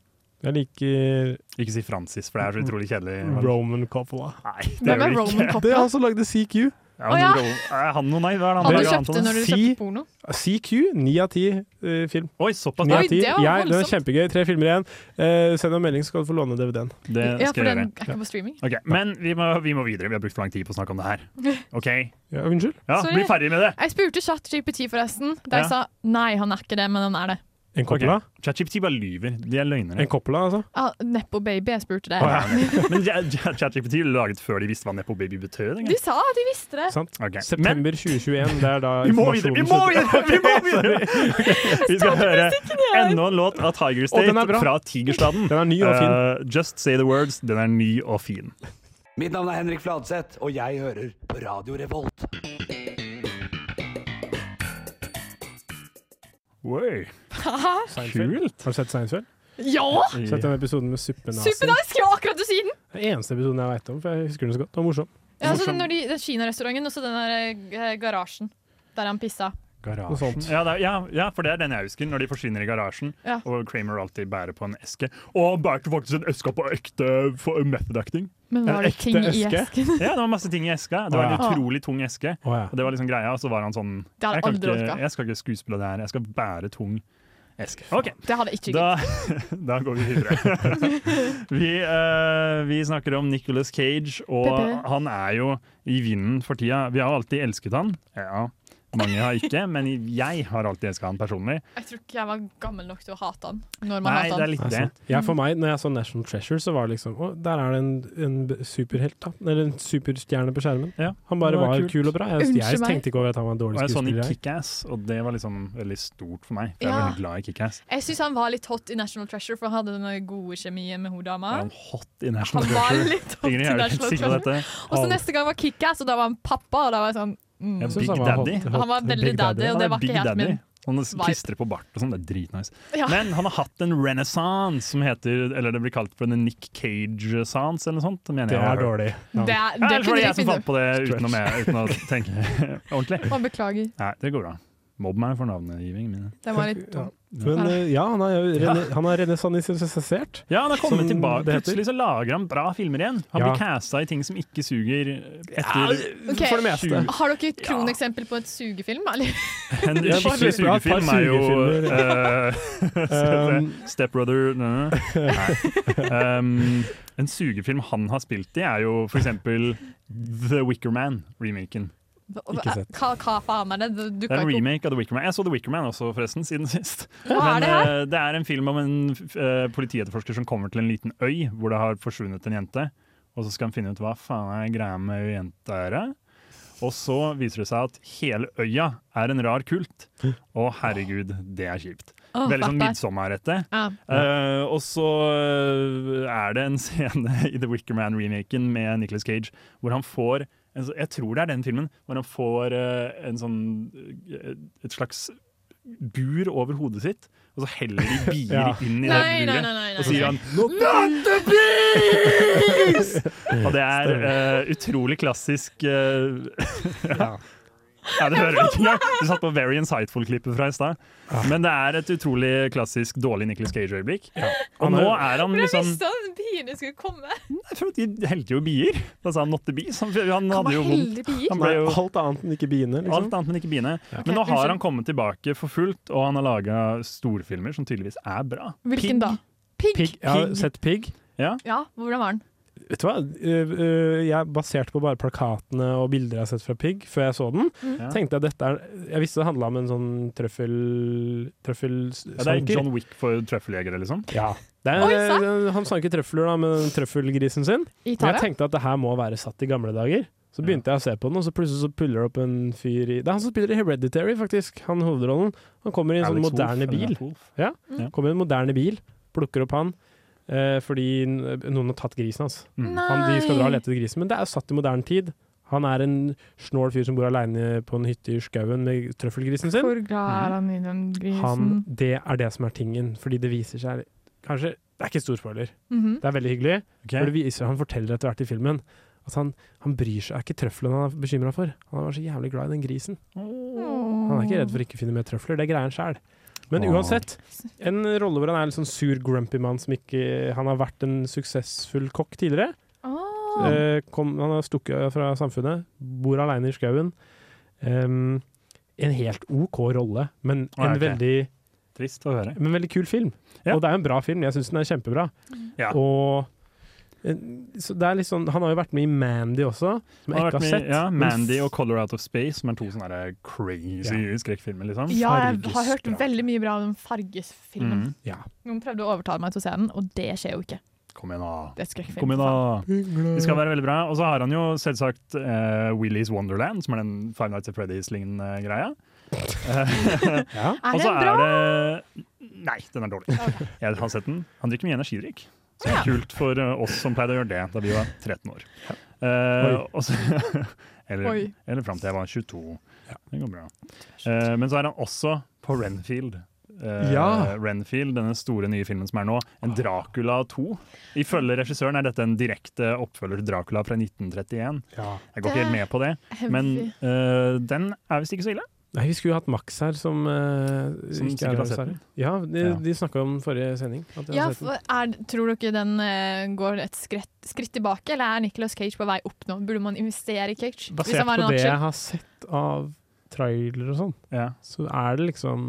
S6: Jeg liker
S4: Ikke si Francis, for det er så utrolig kjedelig.
S6: Mm. Roman Coppola.
S4: Nei, det altså
S5: Hvem
S4: gjør
S5: er
S4: vi
S5: Roman
S4: ikke.
S6: Det er
S5: Coppola?
S6: han som lagde CQ.
S4: Ja,
S5: Å,
S4: men
S5: ja.
S4: Ro- Er han noe, nei? Hva er det
S5: Han du
S4: gjør annet
S5: kjøpte
S4: enn-
S5: når du
S6: Si-
S5: kjøpte porno?
S6: CQ, ni av ti eh, film.
S4: Oi, såpass.
S6: Ni
S4: Ja,
S5: Oi,
S6: av ti.
S5: det var
S6: Jeg- Den er
S5: voldsomt.
S6: kjempegøy. Tre filmer igjen. Eh, send en melding, så skal du få låne DVD-en.
S4: det
S5: Ja, for
S4: skal jeg
S5: den
S4: gjøre.
S5: er ikke på streaming.
S4: Ok, Men vi må, vi må videre. Vi har brukt for lang tid på å snakke om det her. Ok,
S6: Ja, unnskyld?
S4: ja,
S5: Sorry.
S4: Bli ferdig med det.
S5: Jeg spurte ChatGPT forresten, da jeg
S4: Ja.
S5: sa nei, han er ikke det, men han er det.
S6: En Coppola?
S4: ChatGPT bare lyver. De er løgnere.
S6: En Coppola, altså?
S5: Ah, Neppo baby, jeg spurte det.
S4: Å, ja. Men Ja- Ja- ChatGPT laget før de visste hva Nepo Baby betød.
S5: De
S4: egentlig.
S5: sa at de visste det!
S6: Sant?
S4: Ok, Men
S6: September 2021, det er da
S4: vi må videre! Vi må videre! Vi, må videre. Ok, vi skal høre enda en låt av Tiger
S6: Å,
S4: State
S6: den er bra.
S4: fra Tigerstaden.
S6: Den er ny og fin.
S4: Eh, Just Say The Words. Den er ny og fin.
S7: Mitt navn er Henrik Fladseth, og jeg hører Radio Revolt.
S4: Oi, kult!
S6: Har du sett Seinfeld?
S5: Ja!
S6: Ah, Sett den episoden med suppenazi.
S5: Supernaz skulle akkurat til siden!
S6: Den eneste episoden jeg veit om, for jeg husker den så godt. Det var morsom.
S5: Ja, altså, når de, den Kina-restauranten og så den der eh, garasjen der han pissa.
S6: Noe sånt.
S4: Ja, det er, ja, ja, for det er den jeg husker. Når de forsvinner i garasjen,
S5: Ja.
S4: og Kramer alltid bærer på en eske. Og han bærte faktisk en eske på ekte for method acting.
S5: Men var det
S6: ekte
S5: ting i
S6: eske?
S5: esken?
S4: Ja, det var masse ting i eska. Det var en
S5: Å, ja.
S4: utrolig tung eske.
S6: Å ja.
S4: Og det var liksom greia, og så var han sånn
S5: Det hadde
S4: jeg, kan
S5: aldri
S4: ikke,
S5: orka.
S4: jeg skal ikke skuespille det her, jeg skal bære tung Esk. Ok.
S5: Det hadde jeg ikke
S4: Da, da går vi videre. vi, eh, vi snakker om Nicolas Cage, og
S5: Pepe.
S4: han er jo i vinden for tida. Vi har alltid elsket han. Ja, mange har ikke, men jeg har alltid elsket han personlig.
S5: Jeg tror ikke jeg var gammel nok til å hate han. Når man
S4: Nei,
S5: hater
S4: det er
S5: han.
S4: litt
S6: Det er
S4: det.
S6: sant. Ja, for meg, når jeg så National Treasure, så var det liksom Å, der er det en, en b- superhelt, da. Eller en superstjerne på skjermen.
S4: Ja.
S6: Han bare
S4: Det var
S6: var,
S4: kult.
S6: kul og bra. Jeg, jeg
S5: Unnskyld meg.
S6: tenkte ikke over at han var en
S4: Og
S6: dårlig
S4: jeg så han i
S6: skuespiller. jeg.
S4: Kick-Ass, og det var liksom veldig stort for meg. For
S5: Ja.
S4: jeg var veldig glad i Kick-Ass.
S5: Jeg syns han var litt hot i National Treasure, for han hadde den gode kjemien med hun dama.
S4: Er han hot i National
S5: Han var
S4: Treasure?
S5: litt hot i
S4: Ingrid, jeg er jo helt
S5: National
S4: sikker på
S5: Treasure.
S4: dette.
S5: Og så neste gang var Kickass, og da var han pappa, og da var jeg sånn
S4: Ja,
S5: mm.
S6: synes
S4: Big
S6: han var hot-
S4: Daddy.
S6: hot-
S5: Han var veldig
S6: Big
S5: daddy, og det var
S4: Big
S5: ikke helt
S4: Daddy.
S5: min.
S4: Han
S5: vibe.
S4: klistrer på bart og sånn, det er dritnice.
S5: Ja.
S4: Men han har hatt en renaissance som heter, eller det blir kalt for en Nick Cage-sans eller noe sånt. mener
S6: Det
S4: jeg har
S6: er
S4: hørt.
S6: dårlig. Ja.
S5: Det, er,
S4: Ja,
S5: det
S4: Ellers
S5: kunne
S4: var det
S5: jeg
S4: jeg som
S5: finne
S4: fant på det uten å,
S6: Stretch.
S4: med, uten å tenke ordentlig.
S5: Å, beklager.
S4: Nei, det går bra. Mobb meg for navnegiving. Mine.
S5: Den var litt dum.
S6: Men eh, ja, han er, jo rene- han er renessannisert.
S4: Ja, han har kommet
S6: Som
S4: tilbake.
S6: det heter.
S4: Plutselig så lager han bra filmer igjen. Han
S6: Ja.
S4: blir casta i ting som ikke suger etter
S5: Ok.
S6: For det meste.
S5: Har dere et kroneksempel på et sugefilm? Eller?
S4: En
S6: Ja, bare
S4: skikkelig
S6: et par
S4: sugefilm er jo
S6: sugefilmer.
S4: eh,
S6: Um,
S4: Stepbrother Nei. nei. Um, en sugefilm han har spilt i, er jo for eksempel The Wicker Man, remaken.
S6: Ikke sett.
S5: Hva, hva faen er det? Det
S4: Det er
S5: dukka
S4: en
S5: ikke opp.
S4: remake av The Wicker Man. Jeg så The Wicker Man også, forresten, siden sist.
S5: Hva er det her?
S4: eh, det er en film om en eh, politietterforsker som kommer til en liten øy hvor det har forsvunnet en jente. Og så skal han finne ut hva faen er greia med hun jenta her. eh? Og så viser det seg at hele øya er en rar kult. Å herregud, det er kjipt.
S5: Å, fuck
S4: Veldig sånn
S5: that.
S4: midsommerete.
S5: Ja.
S4: Eh, og så eh, er det en scene i The Wicker Man-remaken med Nicolas Cage hvor han får en, så- Jeg tror det er den filmen hvor han får eh, en sånn, eh, et slags bur over hodet sitt, og så heller de bier
S6: Ja.
S4: inn i
S5: Nei,
S4: det
S5: nei,
S4: buret.
S5: nei, nei,
S4: Og sier
S5: nei.
S4: han Not the bees! og det er eh, utrolig klassisk eh,
S6: ja.
S4: Nei, det hører vi ikke engang. Du satt på Very Insightful-klippet fra i stad.
S6: Ah.
S4: Men det er et utrolig klassisk dårlig Nicolas Cage-øyeblikk. Og
S6: Han er-
S4: nå er han
S5: Men jeg
S4: liksom
S5: visste at biene skulle komme.
S4: Jeg tror at De helte jo bier. Da sa han 'not the bees'. Han, han
S5: Kan
S4: hadde jo
S5: man
S4: vondt.
S5: helle bier?
S4: Han
S6: Nei,
S4: ble jo
S6: alt annet enn ikke biene, liksom.
S4: alt annet, men ikke biene.
S5: Ok,
S4: Men nå har
S5: unnskyld.
S4: han kommet tilbake for fullt, og han har laga storfilmer som tydeligvis er bra.
S5: Hvilken da? Pigg.
S6: Pig. Jeg har sett pigg.
S5: Ja, hvordan var den?
S6: Vet du hva, Eh, eh, jeg baserte på bare plakatene og bilder jeg har sett fra Pigg før jeg så den,
S5: Mm.
S4: Ja.
S6: tenkte jeg dette er Jeg visste det handla om en sånn trøffel... Trøffel...
S4: Ja, det er John Wick for trøffeljegere, liksom.
S6: Ja. Det er,
S5: Oi, sant?
S6: eh, han sanker trøfler da med den trøffelgrisen sin.
S5: I
S6: Og jeg
S5: Italia?
S6: tenkte at det her må være satt i gamle dager. Så begynte jeg å se på den, og så plutselig så puller det opp en fyr i Det er han som spiller i Hereditary, faktisk. Han hovedrollen. Han kommer i en sånn
S4: Alex Wolff,
S6: moderne
S4: eller
S6: bil.
S4: Wolff.
S6: Kommer i en moderne bil, plukker opp han. Eh, fordi n- noen har tatt grisen hans.
S4: Mm.
S6: Han, de skal dra og lete etter grisen, men det er jo satt i moderne tid. Han er en snål fyr som bor aleine på en hytte i skauen med trøffelgrisen sin.
S5: Hvor glad er han i den grisen?
S6: Han, det er det som er tingen, fordi det viser seg Kanskje Det er ikke stor spoiler.
S5: Mhm.
S6: Det er veldig hyggelig.
S4: Ok.
S6: For det viser Han forteller etter hvert i filmen at han, han bryr seg er ikke trøflene han er bekymra for. Han var så jævlig glad i den grisen. Han er ikke redd for ikke å finne mer trøfler, det greier han sjæl. Men
S4: Åh.
S6: uansett, en rolle hvor han er litt sånn sur, grumpy mann som ikke Han har vært en suksessfull kokk tidligere.
S5: Åh.
S6: Eh, kom, han har stukket fra samfunnet, bor aleine i skauen. Em, en helt OK rolle, men en,
S4: Ah, ok.
S6: veldig,
S4: Trist å høre.
S6: men en veldig kul film.
S4: Ja.
S6: Og det er jo en bra film, jeg syns den er kjempebra.
S4: Ja.
S6: Og eh, så det er litt sånn, Han har jo vært med i Mandy også, som
S4: Han
S6: jeg
S4: har vært
S6: ikke har
S4: med
S6: sett.
S4: i- Ja,
S6: men
S4: Mandy og Color Out of Space, som er to sånne der crazy skrekkfilmer. liksom.
S5: Ja, jeg har hørt
S4: Fargesdrama.
S5: veldig mye bra om den fargesfilmen.
S4: Mhm.
S6: ja.
S5: Noen prøvde å overtale meg til å se den, og det skjer jo ikke.
S4: Kom igjen, da.
S5: Det er skrekkfilm.
S4: Kom igjen da.
S6: Vi
S4: Det skal være veldig bra. Og så har han jo selvsagt eh, Willy's Wonderland, som er den Five Nights at Freddy's-lignende greia. Eh,
S6: ja.
S5: Er
S4: og
S5: den
S4: så
S5: bra?
S4: er det Nei, den er dårlig. Jeg har sett den. Han drikker mye energidrikk. Så det er kult for eh, oss som pleide å gjøre det da vi var 13 år. Eh,
S6: Oi.
S4: og så, eller
S5: Oi.
S4: eller fram til jeg var 22. Det går bra. Eh, men så er han også på Renfield. Eh,
S6: Ja. Ah.
S4: Renfield, denne store nye filmen som er nå. En Dracula 2. Ifølge regissøren er dette en direkte oppfølger til Dracula fra 1931.
S6: Ja.
S4: Jeg går ikke helt med på det, men eh, den er visst ikke så ille.
S6: Nei, vi skulle jo hatt Max her, som, eh,
S4: Som
S6: ikke
S4: sikkert
S6: er
S4: har
S6: her,
S4: sett
S6: dessverre.
S4: den.
S6: Ja, de,
S4: Ja.
S6: de snakka om forrige sending. At de
S5: Ja,
S6: har sett
S5: for
S6: den.
S5: er, tror dere den eh, går et skritt, skritt tilbake, eller er Nicolas Cage på vei opp nå? Burde man investere i Cage? Hvis
S6: Basert
S5: han var
S6: på
S5: en
S6: det
S5: aksje?
S6: jeg har sett av trailer og sånn, så er det liksom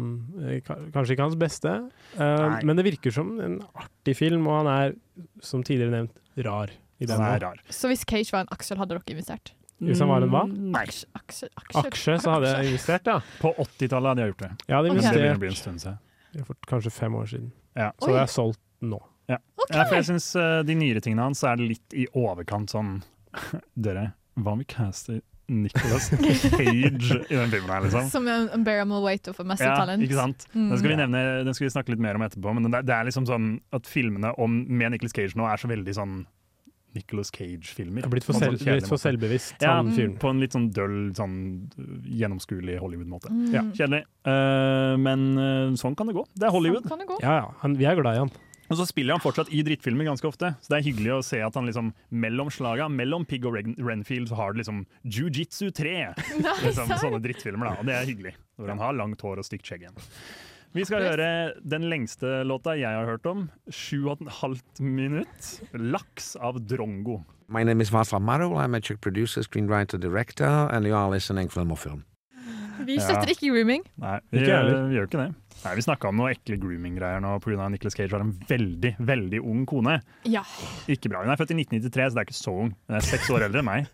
S6: eh, ka- Kanskje ikke hans beste, eh,
S4: Nei.
S6: men det virker som en artig film, og han er, som tidligere nevnt, rar. I den
S4: Han er
S6: nå.
S4: rar.
S5: Så hvis Cage var en Aksel, hadde dere investert?
S6: Hvis han var en hva?
S5: Aksje, aksje, aksje.
S6: Aksje, så hadde jeg investert, ja.
S4: På 80-tallet hadde jeg gjort det.
S6: Jeg hadde
S5: Ok.
S4: Men Det begynner å
S6: investert
S4: bli en stund siden.
S6: for kanskje fem år siden.
S4: Ja.
S6: Så det er solgt nå.
S4: Ja. Ja, for jeg syns eh, de nyere tingene hans er litt i overkant sånn Dere, hva om vi caster Nicholas Cage i den filmen her, liksom?
S5: Som en unbearable weight of a massive
S4: Ja,
S5: talent.
S4: ikke sant?
S5: Mm.
S4: Den skal, vi nevne, den skal vi snakke litt mer om etterpå, men det er, det er liksom sånn at filmene om, med Nicolas Cage nå er så veldig sånn Nicolas Cage-filmer.
S6: Det er blitt for
S4: På en
S6: selv-
S4: sånn kjedelig
S6: litt for
S4: måte.
S6: selvbevisst,
S4: Ja,
S6: han fyren.
S4: på en litt sånn døll, sånn øh, gjennomskuelig Hollywood-måte.
S5: Mm. Ja.
S4: Kjedelig. Eh, men øh, sånn kan det gå. Det er Hollywood.
S5: Sånn kan det gå.
S6: Ja, ja. Han, vi er glad i han.
S4: Og så spiller han fortsatt i drittfilmer ganske ofte, så det er hyggelig å se at han liksom mellom slaga, mellom Pig og Ren Renfield, så har han liksom Jiu-Jitsu 3! liksom,
S5: sant?
S4: sånne drittfilmer, da. Og det er hyggelig, når han har langt hår og stygt skjegg igjen. Vi skal høre den lengste låta jeg har hørt om. Sju og et halvt minutt. 'Laks' av Drongo.
S12: My name is Václav Marol. I'm a Czech producer, screenwriter, director, and you are listening to Filmofilm.
S5: Vi støtter ikke grooming.
S4: Nei, vi, eh,
S6: Ikke jeg heller.
S4: vi gjør ikke det. Nei, Vi snakka om noe ekle grooming-greier nå pga. Nicholas Cage var en veldig, veldig ung kone.
S5: Ja,
S4: Ikke bra. Hun er født i 1993, så det er ikke så ung. Hun er seks år eldre enn meg.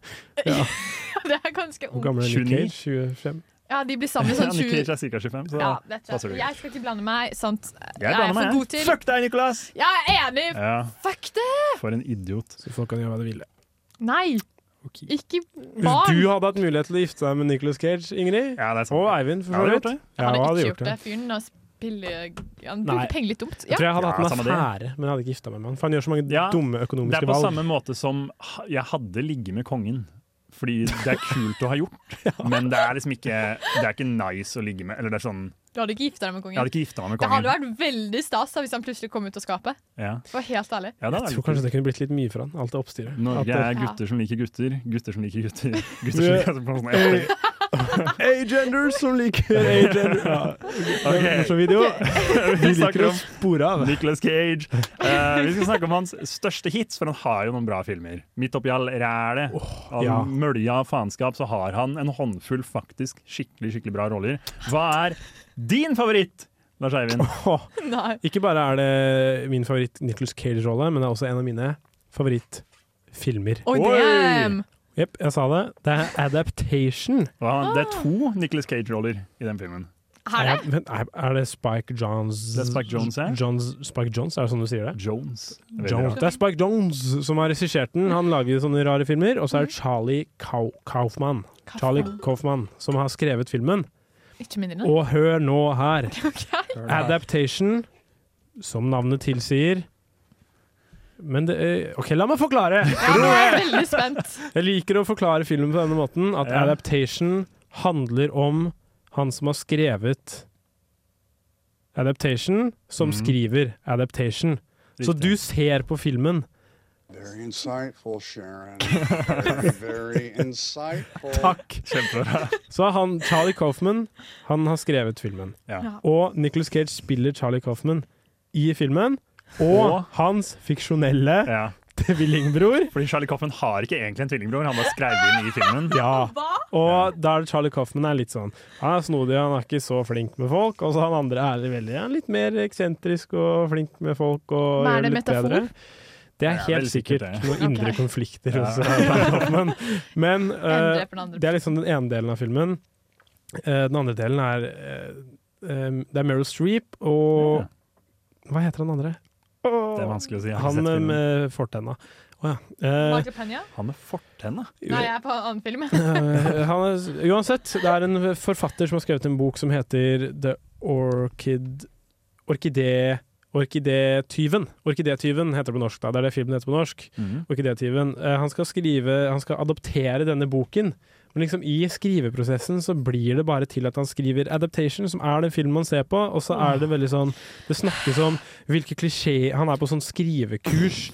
S5: det er ganske
S6: Hvor
S5: ungt.
S6: gammel er
S4: 29?
S6: Nick Cage? 25?
S5: Ja, de blir sammen i sånn
S4: Ja,
S5: 20
S4: Nick Cage er ca. 25, så
S5: ja, vet du.
S4: passer det
S5: Jeg skal ikke blande meg, sant.
S4: Jeg blander meg,
S5: for
S4: jeg.
S5: god til.
S4: Fuck deg, Nicolas!
S5: Jeg er enig!
S4: Ja,
S5: Fuck det!
S4: for en idiot.
S6: Så folk kan gjøre hva de ville.
S5: Nei! Ikke
S6: Hvis
S5: barn.
S6: du hadde hatt mulighet til å gifte deg med Nicolas Cage, Ingrid,
S4: Ja, det er sant.
S6: og Eivind, for
S4: Ja, hadde
S6: så vidt
S4: gjort det.
S6: Ja,
S5: Han
S6: jeg
S5: hadde
S6: hadde
S5: ikke
S6: gjort
S5: gjort det.
S6: det.
S5: Fyren da spiller Han
S6: Nei.
S5: bruker penger litt dumt.
S6: Jeg
S5: Ja.
S6: tror jeg hadde
S4: Ja,
S6: hatt en
S4: samme det.
S6: affære, men jeg hadde ikke gifta meg med han. For han gjør så mange
S4: Ja,
S6: dumme
S4: Det er
S6: økonomiske
S4: på
S6: valg.
S4: samme måte som ha- jeg hadde ligget med kongen. Fordi det er kult å ha gjort, men det er liksom ikke Det er ikke nice å ligge med. Eller det er sånn
S5: Du hadde ikke gifta deg med
S4: Jeg
S5: kongen.
S4: hadde ikke gifta meg med
S5: Det hadde
S4: kongen.
S5: vært veldig stas da, hvis han plutselig kom ut av skapet.
S4: Ja.
S5: For helt ærlig.
S4: Ja, det hadde
S6: Jeg
S4: vært
S6: tror
S4: kult.
S6: kanskje det kunne blitt litt mye for han, alt det oppstyret. At
S4: Norge
S6: det-
S4: er gutter som liker gutter, gutter som liker gutter. Gutter som liker på sånn
S6: Eh, A-genders som liker A-genders.
S4: Ok.
S6: Morsom video. Vi liker
S4: snakker
S6: å
S4: om-
S6: spore av.
S4: Nicolas Cage. Eh, vi skal snakke om hans største hits, for han har jo noen bra filmer. Midt oppi all rælet, all
S6: ja.
S4: mølja av faenskap, så har han en håndfull faktisk skikkelig skikkelig bra roller. Hva er din favoritt, Lars Eivind?
S6: Åh,
S5: Nei.
S6: Ikke bare er det min favoritt Nicolas Cage-rolle, men det er også en av mine favorittfilmer.
S5: Oi,
S4: Oi!
S5: damn!
S6: Jepp, jeg sa det. Det er Adaptation.
S4: Hva- Det er to Nicolas Cage-roller i den filmen.
S5: Er det?
S6: Men er, er det Spike Johns
S4: Det er Spike Jonze, ja.
S6: Johns, Spike Johns, er det sånn du sier det?
S4: Jones. Det er veldig
S6: Jones.
S4: rart.
S6: Det er Spike Jones som har regissert den. Han lager sånne rare filmer. Og så er det
S5: Mhm.
S6: Charlie Kau Kaufman. Charlie Kaufman som har skrevet filmen.
S5: Ikke mindre nå.
S6: Og hør nå her.
S5: Ok.
S6: Adaptation, som navnet tilsier Men det eh, OK, la meg forklare!
S5: Ja, nå er jeg veldig spent.
S6: Jeg liker å forklare filmen på denne måten. At
S4: Ja.
S6: adaptation handler om han som har skrevet adaptation, som
S4: Mhm.
S6: skriver adaptation. Så
S4: Riktig.
S6: du ser på filmen.
S13: Very insightful, Sharon. Very, very insightful.
S6: Takk!
S4: Kjempebra.
S6: Så han, Charlie Coffman han har skrevet filmen.
S4: Ja.
S6: Og Nicholas Cage spiller Charlie Coffman i filmen. Og
S4: Og-
S6: hans fiksjonelle
S4: Ja.
S6: tvillingbror.
S4: Fordi Charlie Coffin har ikke egentlig en tvillingbror, han bare skrev inn i filmen.
S6: Ja. Og da er det Charlie Coffman er litt sånn Han er snodig, han er ikke så flink med folk. Og så han andre er veldig han er litt mer eksentrisk og flink med folk. Og
S5: Men er
S6: gjør
S5: det
S6: litt
S5: metafor?
S6: bedre. Det er
S4: Det er vel
S6: helt
S4: sikkert
S6: sikkert
S4: det.
S6: noen indre
S5: Ok.
S6: konflikter
S4: Ja.
S6: hos Charlie Coffman. Men
S5: En
S6: eh,
S5: dreper den andre.
S6: det er liksom den ene delen av filmen. Eh, den andre delen er eh, eh, Det er Meryl Streep og
S4: Ja.
S6: Hva heter han andre?
S4: Det er vanskelig å si. Jeg har ikke
S6: Han
S4: sett
S6: eh,
S4: filmen.
S6: med fortenna. Å ja. Eh,
S5: Michael Pena?
S4: Han med fortenna?
S5: Nei, jeg er på en annen film.
S6: Eh, han er, uansett, det er en forfatter som har skrevet en bok som heter The Orchid Orkidé... Orkidétyven. Orkidétyven heter det på norsk, da. Det er det filmen heter på norsk.
S4: Mhm.
S6: Orkidétyven. Eh, han skal skrive Han skal adoptere denne boken. Men liksom i skriveprosessen så blir det bare til at han skriver 'Adaptation', som er den filmen man ser på, og så er det veldig sånn Det snakkes om hvilke klisjeer Han er på sånn skrivekurs.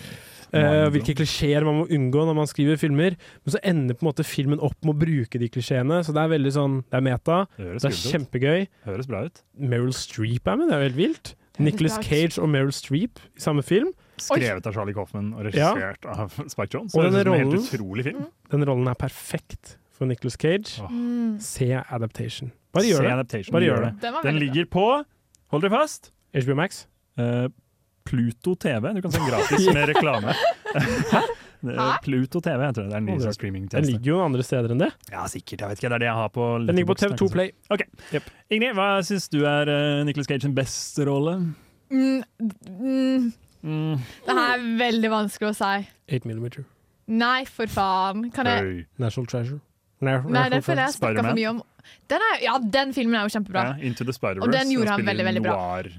S6: eh, hvilke klisjeer man må unngå når man skriver filmer. Men så ender på en måte filmen opp med å bruke de klisjeene. Så det er veldig sånn Det er meta.
S4: Det høres
S6: Det er
S4: skummelt ut.
S6: kjempegøy.
S4: Høres bra ut.
S6: Meryl Streep er med, det er jo helt vilt. Nicholas Cage og Meryl Streep i samme film.
S4: Skrevet av Charlie Kaufman og regissert av Spike Jones.
S6: Og
S4: Det høres ut som en
S6: denne rollen-
S4: helt utrolig film.
S6: Den rollen er perfekt for Nicolas Cage.
S5: Mm.
S6: Se Adaptation. Bare gjør
S4: Se
S6: det.
S4: Adaptation.
S6: Bare
S4: Gjør
S6: gjør det.
S4: det. Den var
S6: Den
S4: veldig
S6: ligger
S4: på Hold dere fast. eh,
S6: HBO Max.
S4: Pluto TV. Du kan se den gratis med reklame. Det er Pluto TV heter det. Det er en ny sånn
S6: Den
S4: streamingtjeneste.
S6: ligger jo andre steder enn det.
S4: Ja, sikkert. Jeg vet ikke. Det er det jeg har på
S6: Den ligger på
S4: Letterboxd, ikke
S6: TV2
S4: sant?
S6: Play.
S4: Ok. Ingrid, hva syns du er uh, Nicholas Cage sin beste rolle?
S5: Mm, mm. Det her er veldig vanskelig å si.
S6: 8 millimeter.
S5: Nei, for faen. Kan jeg
S6: National Treasure.
S5: Nei, den føler jeg snakka for mye om. Den er, ja, den filmen er jo kjempebra.
S4: Ja, Into the Spider-Verse.
S5: Og den gjorde han
S4: spiller
S5: veldig, veldig bra.
S4: Noir,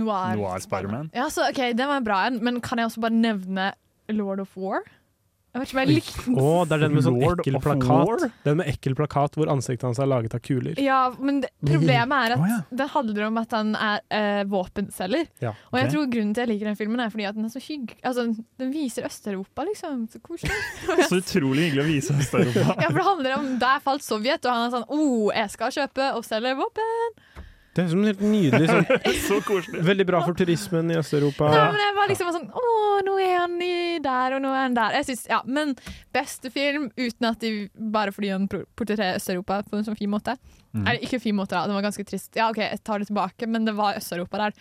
S5: Noir.
S4: noir Spider-Man.
S5: Ja, så, ok, Den var en bra en, men kan jeg også bare nevne Lord of War? Jeg vet ikke om jeg likte den.
S6: Å, det er den med sånn
S4: Lord
S6: ekkel
S4: of
S6: plakat.
S4: War?
S6: Den med ekkel plakat hvor ansiktet hans er laget av kuler.
S5: Ja, men det, problemet er at den handler om at han er eh, våpenselger.
S6: Ja,
S5: Og jeg
S6: ok.
S5: tror grunnen til jeg liker den filmen, er fordi at den er så hygg... Altså, den viser Øst-Europa, liksom. Så koselig.
S4: Så utrolig hyggelig å vise oss der oppe.
S5: ja, for det handler om Der falt Sovjet, og han er sånn oh, jeg skal kjøpe og selge våpen!
S6: Det er som en helt nydelig sånn.
S4: Så koselig.
S6: Veldig bra for turismen i Øst-Europa.
S5: Nei, men jeg var liksom sånn Å, nå er han i der, og nå er han der. Jeg synes, ja, Men beste film, uten at de bare fordi han pro- portretterer Øst-Europa på en sånn fin måte.
S4: Mm.
S14: Mhm.
S5: Eller ikke fin måte, da. Den var ganske trist. Ja, OK, jeg tar det tilbake, men det var Øst-Europa der.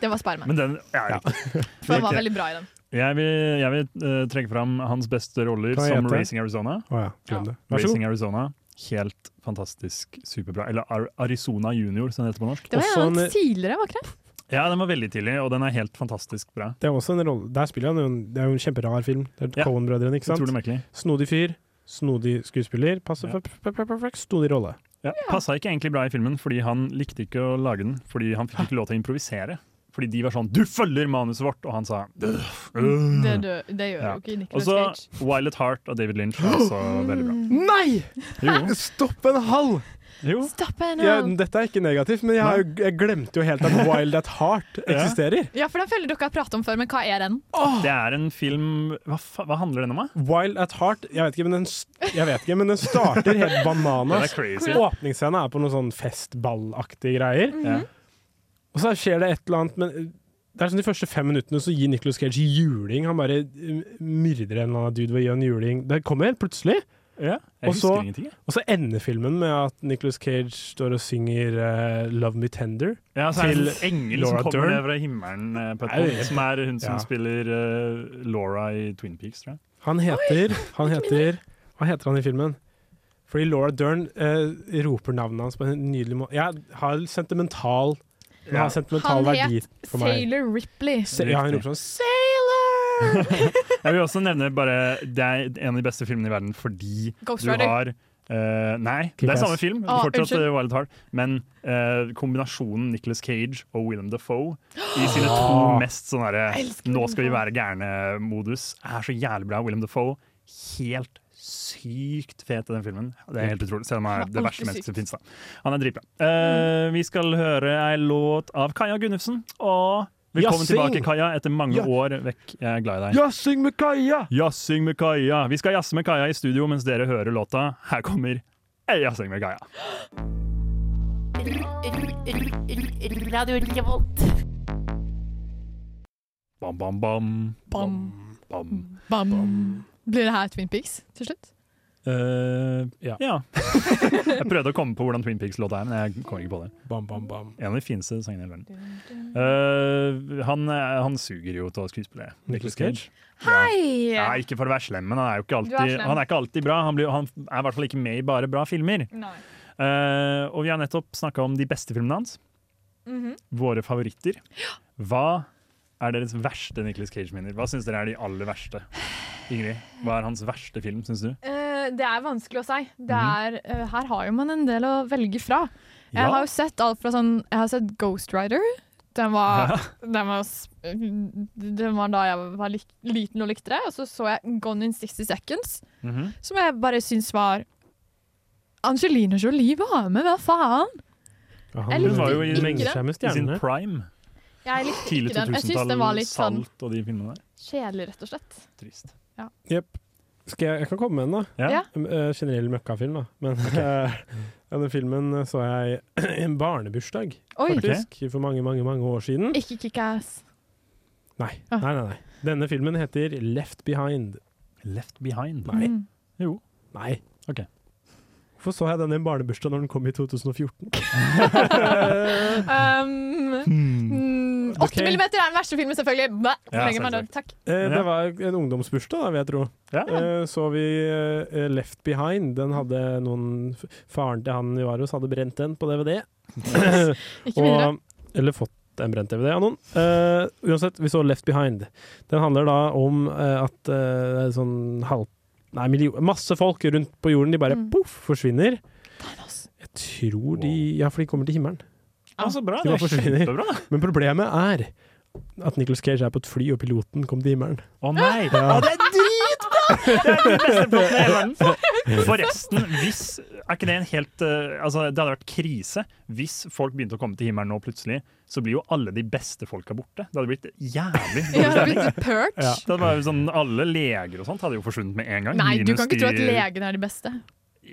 S5: det var Sparman.
S4: Men den ja, riktig.
S5: For han var
S4: Ok.
S5: veldig bra i den.
S4: Jeg vil, jeg vil eh, trekke fram hans beste roller
S6: Kan jeg
S4: som
S6: gjette?
S4: Racing Arizona.
S6: Å ja, glem det. Vær så
S4: Racing Arizona, Helt fantastisk superbra. Eller Ar Arizona Junior, som det heter på norsk.
S5: Det var
S4: Også
S5: en av
S4: en-
S5: hans tidligere, var ikke det?
S4: Ja, den var veldig tidlig, og den er helt fantastisk bra.
S6: Det er også en rolle Der spiller han jo en, Det er jo en kjemperar film. Det er
S4: Ja.
S6: Coen-brødrene, ikke
S4: Utrolig merkelig.
S6: sant? Snodig fyr. Snodig skuespiller. Passer
S4: Ja.
S6: for per- per- perfekt snodig rolle.
S4: Ja. Passa ikke egentlig bra i filmen, fordi han likte ikke å lage den. Fordi han fikk ikke lov til å improvisere. Fordi de var sånn 'du følger manuset vårt', og han sa «Ugh, ugh».
S5: Det, dø- det gjør
S4: Mm. Ja.
S5: jo ikke
S4: Og
S5: Nicolas
S4: så
S5: Cage.
S4: Violet Heart av David Lynch, er også veldig bra.
S6: Nei!
S4: Jo.
S6: Stopp en hall!
S4: Jo.
S5: Stopp en
S6: Ja,
S5: hal.
S6: dette er ikke negativt, men jeg, har jo, jeg glemte jo helt at Wild at Heart eksisterer.
S5: Ja, for den føler dere har pratet om før, men hva er den?
S4: Det er en film Hva, fa hva handler den om, da?
S6: Wild at Heart Jeg vet ikke, men den, s- jeg vet ikke, men den starter helt bananas.
S4: Den er crazy.
S6: Åpningsscenen er på noen sånn festballaktige greier.
S4: Mhm.
S6: Og så skjer det et eller annet men det er sånn De første fem minuttene så gir Nicolas Cage juling. Han bare eh, myrder en eller annen dude ved å gi en juling. Det kommer helt plutselig.
S4: jeg
S6: og, så,
S4: husker ingenting, jeg.
S6: og så ender filmen med at Nicolas Cage står og synger eh, 'Love Me Tender'
S4: Ja, så er det en engel
S6: Laura
S4: som kommer
S6: Dern.
S4: ned fra himmelen, eh, på et
S6: Nei, det er
S4: punkt, som er hun som
S6: Ja.
S4: spiller eh, Laura i Twin Peaks, tror jeg.
S6: Han heter, han heter Hva heter han i filmen? Fordi Laura Dern eh, roper navnet hans på en nydelig måte. Jeg har sentimental Den har
S5: Han
S6: sentimental verdi
S5: het
S6: for meg.
S5: Sailor Ripley.
S6: Se- ja, hun roper sånn
S4: Jeg vil også nevne bare Det er en av de beste filmene i verden fordi
S5: Ghost
S4: du
S5: Rider.
S4: har eh, nei, det er
S6: Kick-Ass.
S4: samme film,
S5: Å,
S4: fortsatt
S5: unnskyld.
S4: eh, Wild Heart, men eh, kombinasjonen Nicolas Cage og Willem Dafoe i sine to
S6: Ah.
S4: mest sånn derre
S6: Jeg elsker
S4: 'nå
S6: Willem
S4: skal vi være gærne'-modus er så jævlig bra. Willem Dafoe, helt sykt fet i den filmen. Det er
S6: Mm.
S4: helt utrolig, selv om han er
S6: Han er
S4: det
S6: alltid
S4: verste mennesket
S6: sykt.
S4: som fins. Han er dritbra. Eh, vi skal høre ei låt av Kaja Gunnufsen. Og velkommen
S6: Jassing.
S4: tilbake, Kaja, etter mange
S6: Ja.
S4: år vekk. Jeg er glad i deg.
S6: Jassing med Kaja!
S4: Jazzing med Kaja. Vi skal jazze med Kaja i studio mens dere hører låta. Her kommer Jazzing med Kaja.
S15: Radio Revolt.
S4: Bam, bam, bam.
S5: Bam.
S4: bam.
S5: Bam. Blir det her Twin Peaks til slutt?
S4: Eh, ja. jeg prøvde å komme på hvordan Twin Peaks-låta er, men jeg kommer ikke på det.
S6: Bam, bam, bam.
S4: En av de fineste sangene i hele verden. Eh, han, eh, han suger jo til å skuespille. Nicolas Cage.
S5: Hei!
S4: Ja, ikke for å være slem, men han er jo ikke
S5: Du er
S4: alltid,
S5: slem.
S4: han er ikke alltid bra. Han, blir, han er i hvert fall ikke med i bare bra filmer.
S5: Nei.
S4: Eh, og vi har nettopp snakka om de beste filmene hans.
S5: Mhm.
S4: Våre favoritter. Hva er deres verste Nicolas Cage-minner? Hva syns dere er de aller verste? Ingrid, hva er hans verste film, syns du?
S5: Eh, det er vanskelig å si. Det er, eh, her har jo man en del å velge fra. Jeg
S4: Mhm. Ja.
S5: har jo sett alt fra sånn Jeg har sett Ghost Rider. Den var, den var, s- den var da jeg var lik, liten og likte det. Og så så jeg Gone in 60 Seconds,
S4: Mhm.
S5: som jeg bare syns var Angelina Jolie var med, hva faen? Jeg
S4: Hun
S5: likte
S4: var jo i,
S5: ikke den.
S4: i sin prime.
S5: Jeg likte
S4: Tidlig
S5: ikke den. Jeg syns
S4: 2000-tall,
S5: den var litt sånn
S4: Salt og de filmene der.
S5: kjedelig, rett og slett.
S4: Trist.
S5: Ja.
S6: Jep. Skal jeg, jeg kan komme med en, da.
S5: Ja. Ja.
S6: En, eh, generell møkkafilm, da. Men eh, denne filmen eh, så jeg i en barnebursdag,
S5: Oi.
S6: faktisk. For mange, mange, mange år siden.
S5: Ikke Kick-Ass.
S6: Nei.
S5: Ah.
S6: nei, nei, nei. Denne filmen heter Left Behind.
S4: Left Behind?
S6: Nei.
S5: Mm.
S4: Jo.
S6: Nei.
S4: Ok.
S6: Hvorfor så jeg den i en barnebursdag når den kom i 2014?
S5: Um, mm, 8
S6: Ok.
S5: millimeter er den verste filmen, selvfølgelig. Bæ,
S6: Ja,
S5: trenger meg den. Takk.
S6: Eh, det var en ungdomsbursdag, da, vil jeg tro. Eh, så vi eh, Left Behind. Den hadde noen f- Faren til han Joaros hadde brent den på DVD.
S5: Ikke mindre.
S6: eller fått en brent DVD av noen. Eh, uansett, vi så Left Behind. Den handler da om eh, at eh, det er sånn halv... Nei, million, masse folk rundt på jorden, de bare poff, forsvinner. Jeg tror de Ja, for de kommer til himmelen.
S4: Ja, så bra.
S6: De
S4: Det
S6: bare
S4: var
S6: forsvinner.
S4: kjempebra.
S6: Men problemet er at Nicolas Cage er på et fly, og piloten kom til himmelen.
S4: Å nei!
S6: Ja.
S4: Å, det er dritbra! Det er den beste plotten i hele verden.
S6: Fuck.
S4: Forresten, hvis Er ikke det en helt eh, Altså, det hadde vært krise hvis folk begynte å komme til himmelen nå plutselig. Så blir jo alle de beste folka borte. Det hadde blitt jævlig
S5: Ja,
S4: dårlig
S5: det hadde
S4: stemning.
S5: blitt purge.
S4: Ja. Det hadde vært sånn, alle leger og sånt hadde jo forsvunnet med en gang.
S5: Nei, du
S4: minus
S5: kan ikke tro at
S4: de-
S5: legene er de beste.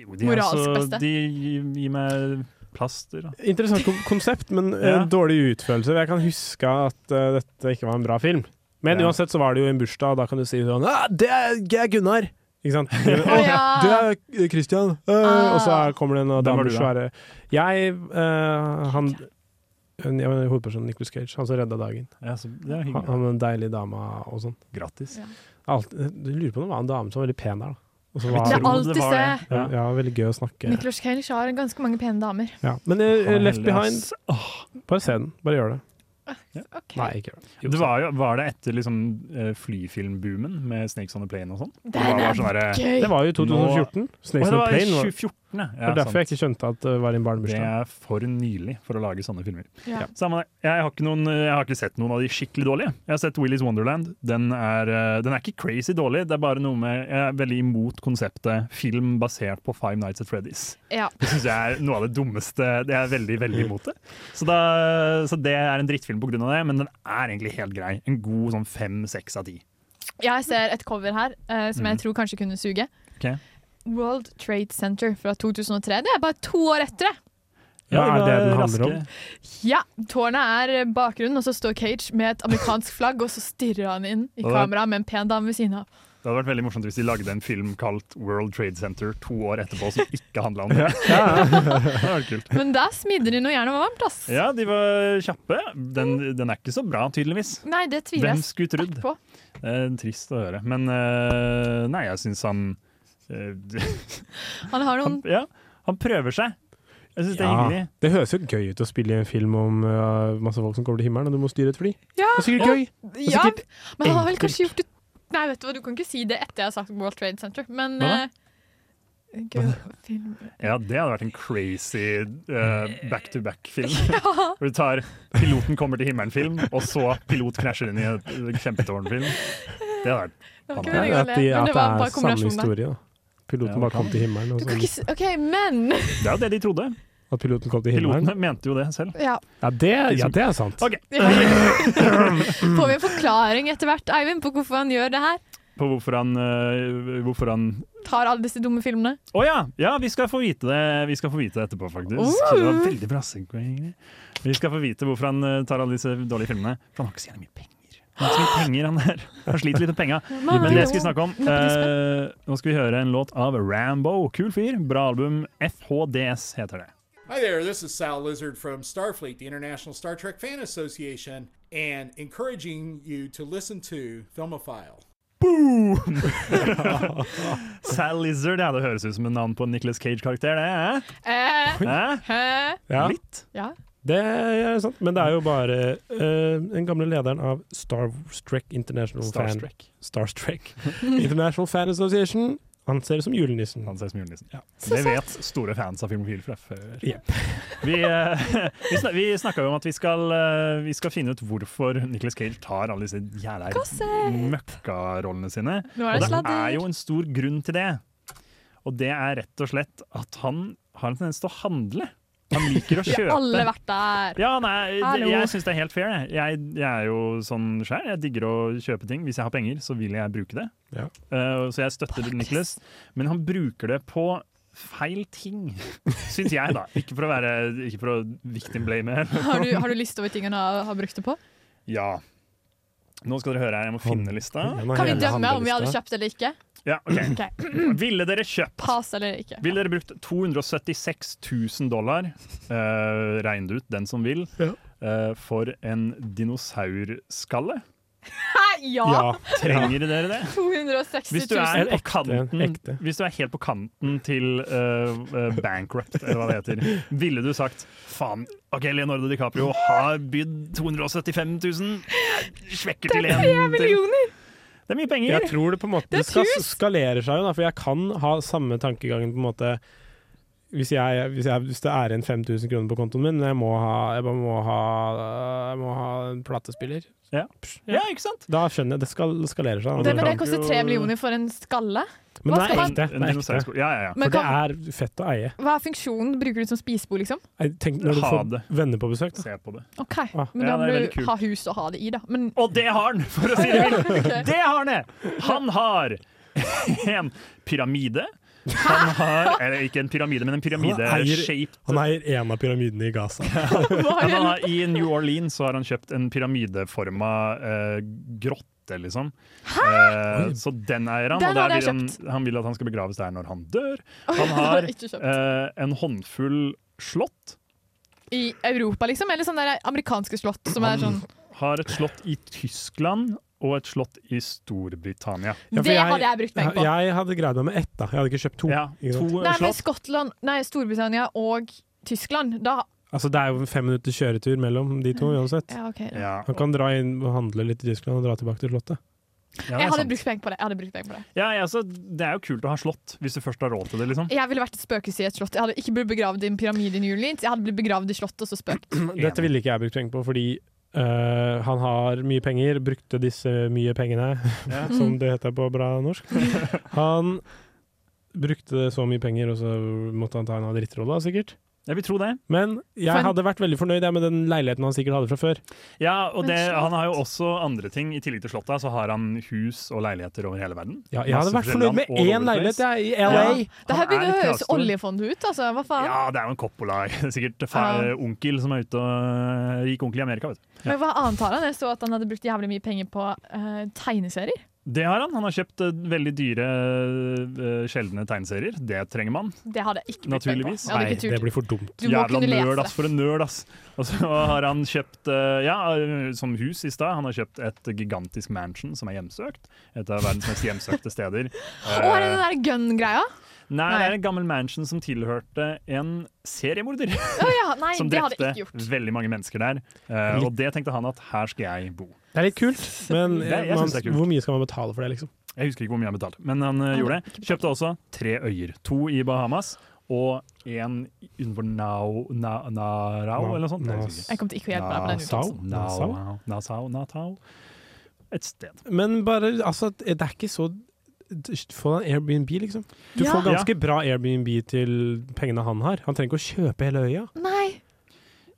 S4: Jo, de er
S5: Moralsk
S4: så-
S5: beste.
S4: De gir gir meg plaster. da.
S6: Interessant kom- konsept, men eh,
S4: Ja.
S6: dårlig utførelse. Jeg kan huske at eh, dette ikke var en bra film. Men
S4: Ja.
S6: uansett så var det jo en bursdag, og da kan du si sånn «Ah, Det er det er Gunnar! Ikke sant? «Å,
S5: ja.
S6: Det er Christian! Eh,
S5: Ah.
S6: Og så er- kommer det en og
S4: Hvem var
S6: damer
S4: du da?
S6: svære Jeg eh, Han jeg var Hovedpersonen Nicholas Cage, han som redda dagen.
S4: Ja, så det er
S6: Han
S4: hyggelig.
S6: han med den deilige dama og sånn.
S4: Gratis. Ja.
S6: Alt, du lurer på om det var en dame som var veldig pen der, da. Og så
S5: Jeg tror
S6: var-
S5: Det er alltid det var det. det.
S6: Ja, ja, veldig gøy å snakke.
S5: Nicolas Cage har ganske mange pene damer.
S6: Ja. Men eh,
S4: Han er
S6: Left
S4: heldig,
S6: Behind
S4: ass.
S6: Bare se den. Bare gjør det. Nei, ikke gjør det.
S4: Det var, jo, var det etter liksom, eh, flyfilmboomen med 'Snakes on a Plane' og sånn? Det
S5: Den
S4: var
S5: er
S4: sånn derre-
S5: gøy!
S6: Det var jo i 2014.
S4: Nå- Å,
S6: Snakes
S4: det
S6: on a
S4: var i
S6: Plane var-
S4: 2014, ja.
S6: Det er derfor jeg ikke skjønte at det var en
S4: Det
S6: barnebursdag.
S4: er for nylig for å lage sånne filmer.
S5: Ja. Ja.
S4: Samme det. jeg, har ikke noen, jeg har ikke sett noen av de skikkelig dårlige. Jeg har sett Willy's Wonderland. Den er, eh, den er ikke crazy dårlig, det er bare noe med Jeg er veldig imot konseptet film basert på Five Nights at Freddy's.
S5: Ja.
S4: Det syns jeg er noe av det dummeste. Det er veldig, veldig imot det. Så, da, så det er en drittfilm pga. det, men den er egentlig helt grei. En god sånn fem-seks av ti.
S5: Jeg ser et cover her eh, som
S4: Mm.
S5: jeg tror kanskje kunne suge.
S4: Ok.
S5: World Trade Center fra 2003. Det er bare to år etter det!
S6: Hva
S4: Ja,
S6: er det den
S4: raske-
S6: handler om?
S5: Ja, Tårnet er bakgrunnen, og så står Cage med et amerikansk flagg, og så stirrer han inn i
S4: Og det-
S5: kamera med en pen dame ved siden av.
S4: Det hadde vært veldig morsomt hvis de lagde en film kalt World Trade Center to år etterpå som ikke handla om det. det hadde vært kult.
S5: Men der smidde de noe jern og varmt, ass.
S4: Ja, de var kjappe. Den, den er ikke så bra, tydeligvis.
S5: Nei, det tviler
S4: Hvem
S5: jeg
S4: skulle trodd?
S5: på.
S4: Eh, trist å høre. Men eh, nei, jeg syns han eh,
S5: Han har noen
S4: han, ja, han prøver seg. Jeg syns det er
S6: Ja.
S4: hyggelig.
S6: Det høres jo gøy ut å spille i en film om øh, masse folk som kommer til himmelen, og du må styre et fly.
S5: Ja,
S6: Det er sikkert gøy. Det er
S5: Ja,
S6: sikkert
S5: men han har vel
S6: enkelt.
S5: kanskje gjort det Nei, vet du hva, du kan ikke si det etter jeg har sagt World Trade Center, men
S4: Hva da?
S5: eh, gøy film.
S4: Ja, det hadde vært en crazy eh, back-to-back-film. Hvor du tar 'Piloten kommer til himmelen'-film, og så 'Pilot krasjer inn i et kjempetårn'-film. Det hadde vært
S5: Det var ikke
S4: kanon.
S5: veldig
S6: At,
S5: Men
S6: de, at
S5: det
S6: det
S5: var bare
S6: er samme
S5: kombinasjonen der.
S6: historie. da. Piloten
S4: Ja,
S6: bare kom
S4: kan.
S6: til himmelen. Og
S5: Du kan ikke
S6: så,
S5: si OK, men
S4: Det er jo det de trodde.
S6: at piloten kom til himmelen.
S4: Pilotene mente jo det selv.
S5: Ja.
S6: Ja, det, ja, det er sant.
S4: Ok,
S5: Får vi en forklaring etter hvert, Eivind, på hvorfor han gjør det her?
S4: På hvorfor han øh, Hvorfor han
S5: Tar alle disse dumme filmene?
S4: Å ja! ja vi, skal få vite det, vi skal få vite det etterpå, faktisk. Så det var veldig bra synk, Ingrid. Vi skal få vite hvorfor han øh, tar alle disse dårlige filmene. For han har ikke så gjerne mye penger. Han har ikke så mye penger, han der. Han sliter litt med penga. Men det jeg skulle snakke om øh, Nå skal vi høre en låt av Rambo. Kul fyr. Bra album. FHDS heter det.
S14: Hi there, this is Sal Lizard from Starfleet, the International Star Trek Fan Association, and encouraging you to listen to Filmophile.
S4: Boom! Sal Lizard, ja, det høres ut som et navn på en Nicholas Cage-karakter, det.
S5: Eh,
S4: Hæ? Hæ?
S5: hæ?
S6: Ja.
S4: Litt.
S5: Ja.
S6: Det er sant, men det er jo bare øh, den gamle lederen av Star Trek International
S4: Starstrek.
S6: Fan Star Trek International Fan Association. Han ser ut som julenissen.
S4: Han ser ut som julenissen.
S6: Ja.
S4: Det vet store fans av Filmofil fra før.
S6: Jep.
S4: Vi, eh, vi, snak, vi snakka jo om at vi skal, eh, vi skal finne ut hvorfor Nicholas Cage tar alle disse jævla møkkarollene sine.
S5: Nå er det
S4: og det
S5: sladder.
S4: er jo en stor grunn til det. Og det er rett og slett at han har en tendens til å handle. Han liker å
S5: Vi har
S4: kjøpe.
S5: alle vært der.
S4: Ja, nei, det,
S5: Hallo.
S4: jeg syns det er helt fair. jeg. Jeg, jeg er jo sånn sjæl. Jeg digger å kjøpe ting. Hvis jeg har penger, så vil jeg bruke det.
S6: Ja.
S4: Eh, så jeg støtter Nicholas. Men han bruker det på feil ting, syns jeg, da. Ikke for å være Ikke for å victim blame her.
S5: Har du, har du liste over ting han har, har brukt det på?
S4: Ja. Nå skal dere høre her, jeg må finne lista.
S5: Kan vi dømme om vi hadde kjøpt eller ikke?
S4: Ja, ok. Ville dere kjøpt?
S5: Pass eller ikke?
S4: Ville dere brukt 276 000 dollar, uh, regn det ut, den som vil, eh, for en dinosaurskalle?
S5: Hæ, ja!
S4: Trenger dere det?
S5: 260 000.
S4: Hvis du er på kanten,
S6: ekte.
S4: Hvis du er helt på kanten til eh, eh, bankrupt, eller hva det heter, ville du sagt faen, OK, Leonardo DiCaprio har bydd 275 000, jeg svekker til en til. Det er mye penger.
S6: Jeg tror det på en måte
S4: Det er
S6: det
S4: et
S6: skal
S4: hus.
S6: skalerer seg jo, da, for jeg kan ha samme tankegangen på en måte hvis, jeg, hvis, jeg, hvis det er igjen 5000 kroner på kontoen min, men jeg må ha, jeg bare må ha, jeg må ha en platespiller.
S4: Ja. ja, ikke sant?
S6: Da skjønner jeg. Det skal, skalerer seg. da.
S5: Det, men det koster tre millioner for en skalle.
S6: Men
S5: Hva
S6: det
S5: skal
S6: er
S5: man-
S6: ekte.
S4: En
S6: Det er ekte.
S4: dinosaursko- ja, ja, ja.
S5: Men
S6: For det er fett å eie.
S5: Hva er funksjonen? Bruker du det som spisebord, liksom?
S6: Jeg tenker når du
S4: Ha
S6: får venner på besøk, da.
S4: Se på det.
S5: OK, men
S4: Ah, Ja,
S5: da må
S4: det er
S5: du
S4: veldig kult.
S5: ha hus å ha det i, da. Men
S4: Og det har han, for å si det mildt! Det har han! jeg. Han har en pyramide. Han har, eller ikke en pyramide, men en pyramide-shaped
S6: han eier en av pyramidene i Gaza.
S4: Men han har, I New Orleans så har han kjøpt en pyramideforma eh, grotte, liksom. Eh, så den eier han,
S5: Den
S4: og der
S5: hadde jeg
S4: vil han, han vil at han skal begraves der når han dør. Han
S5: har
S4: har
S5: jeg ikke kjøpt.
S4: eh, en håndfull slott.
S5: i Europa, liksom? Eller sånn der amerikanske slott som er sånn
S4: Har et slott i Tyskland og et slott i Storbritannia.
S5: Ja, for Det jeg- hadde jeg brukt penger på.
S6: Jeg hadde greid meg med ett, da. Jeg hadde ikke kjøpt to. ikke sant?
S4: eh,
S5: Nei, men Skottland, nei, Storbritannia og Tyskland, da
S6: Altså, det er jo fem minutter kjøretur mellom de to uansett.
S5: Ja, ok. da.
S6: Han kan dra inn og handle litt i Tyskland og dra tilbake til Slottet.
S5: Jeg hadde brukt penger på det. Jeg hadde brukt penger på det.
S4: Ja, jeg også- det er jo kult å ha slott, hvis du først har råd til det, liksom.
S5: Jeg ville vært et spøkelse i et slott. Jeg hadde ikke blitt begravd i en pyramide i New Orleans. Jeg hadde blitt begravd i slottet og så spøkt.
S6: Dette ville ikke jeg brukt penger på, fordi øh, han har mye penger, brukte disse mye pengene,
S4: Ja.
S6: som det heter på bra norsk. Han brukte så mye penger, og så måtte han ta en av drittrolla, sikkert.
S4: Jeg vil tro det.
S6: Men jeg
S4: For en-
S6: hadde vært veldig fornøyd jeg, med den leiligheten han sikkert hadde fra før.
S4: Ja, og det,
S6: Men slott.
S4: han har jo også andre ting. I tillegg til slottet så har han hus og leiligheter over hele verden.
S6: Ja, jeg hadde
S4: Masse
S6: vært fornøyd med
S4: forskjellige land all over the
S6: én leilighet
S4: place.
S6: jeg, i
S4: Ja.
S6: LA.
S5: Det her
S4: Han er
S5: begynner å
S4: litt
S5: høres
S4: kravstor.
S5: oljefond ut, altså. Hva faen?
S4: Ja, det er jo en Coppola. Sikkert far,
S5: Ja.
S4: onkel som er ute og eh, rik onkel i Amerika, vet du.
S5: Men hva annet har han? Jeg så at han hadde brukt jævlig mye penger på eh, tegneserier.
S4: Det har han. Han har kjøpt eh, veldig dyre, eh, sjeldne tegneserier. Det trenger man.
S5: Det hadde jeg ikke brukt penger på.
S4: Naturligvis.
S5: Jeg hadde ikke turt. Du må
S4: Jævla
S5: kunne lese
S4: nerd,
S5: det.
S4: ass. For en nerd, ass. Og så har han kjøpt, eh, ja, som hus i stad, han har kjøpt et gigantisk mansion som er hjemsøkt. Et av verdens mest hjemsøkte steder. Eh,
S5: Å, er det den der gun-greia?
S4: Nei, det er en gammel mansion som tilhørte en seriemorder.
S5: Å ja, nei,
S4: som
S5: det hadde
S4: drepte
S5: jeg ikke gjort.
S4: veldig mange mennesker der. Eh, og det tenkte han at her skal jeg bo.
S6: Det er litt kult, men eh,
S4: Det- jeg
S6: man,
S4: synes det er kult.
S6: hvor mye skal man betale for det, liksom?
S4: Jeg husker ikke hvor mye han betalte, men han eh,
S6: Han
S4: gjorde det. Kjøpte også tre øyer. To i Bahamas og en utenfor Nau, na, Narau,
S6: Na-
S4: eller noe sånt.
S6: Nas-
S4: husker
S5: Jeg kommer til ikke å hjelpe deg med den
S4: Nassau?
S5: uttalelsen.
S4: Nassau? Nassau? Nassau? Et sted.
S6: Men bare, altså, det er ikke så Få deg en Airbnb, liksom. Du
S4: Ja.
S6: får ganske bra Airbnb til pengene han har. Han trenger ikke å kjøpe hele øya.
S5: Nei!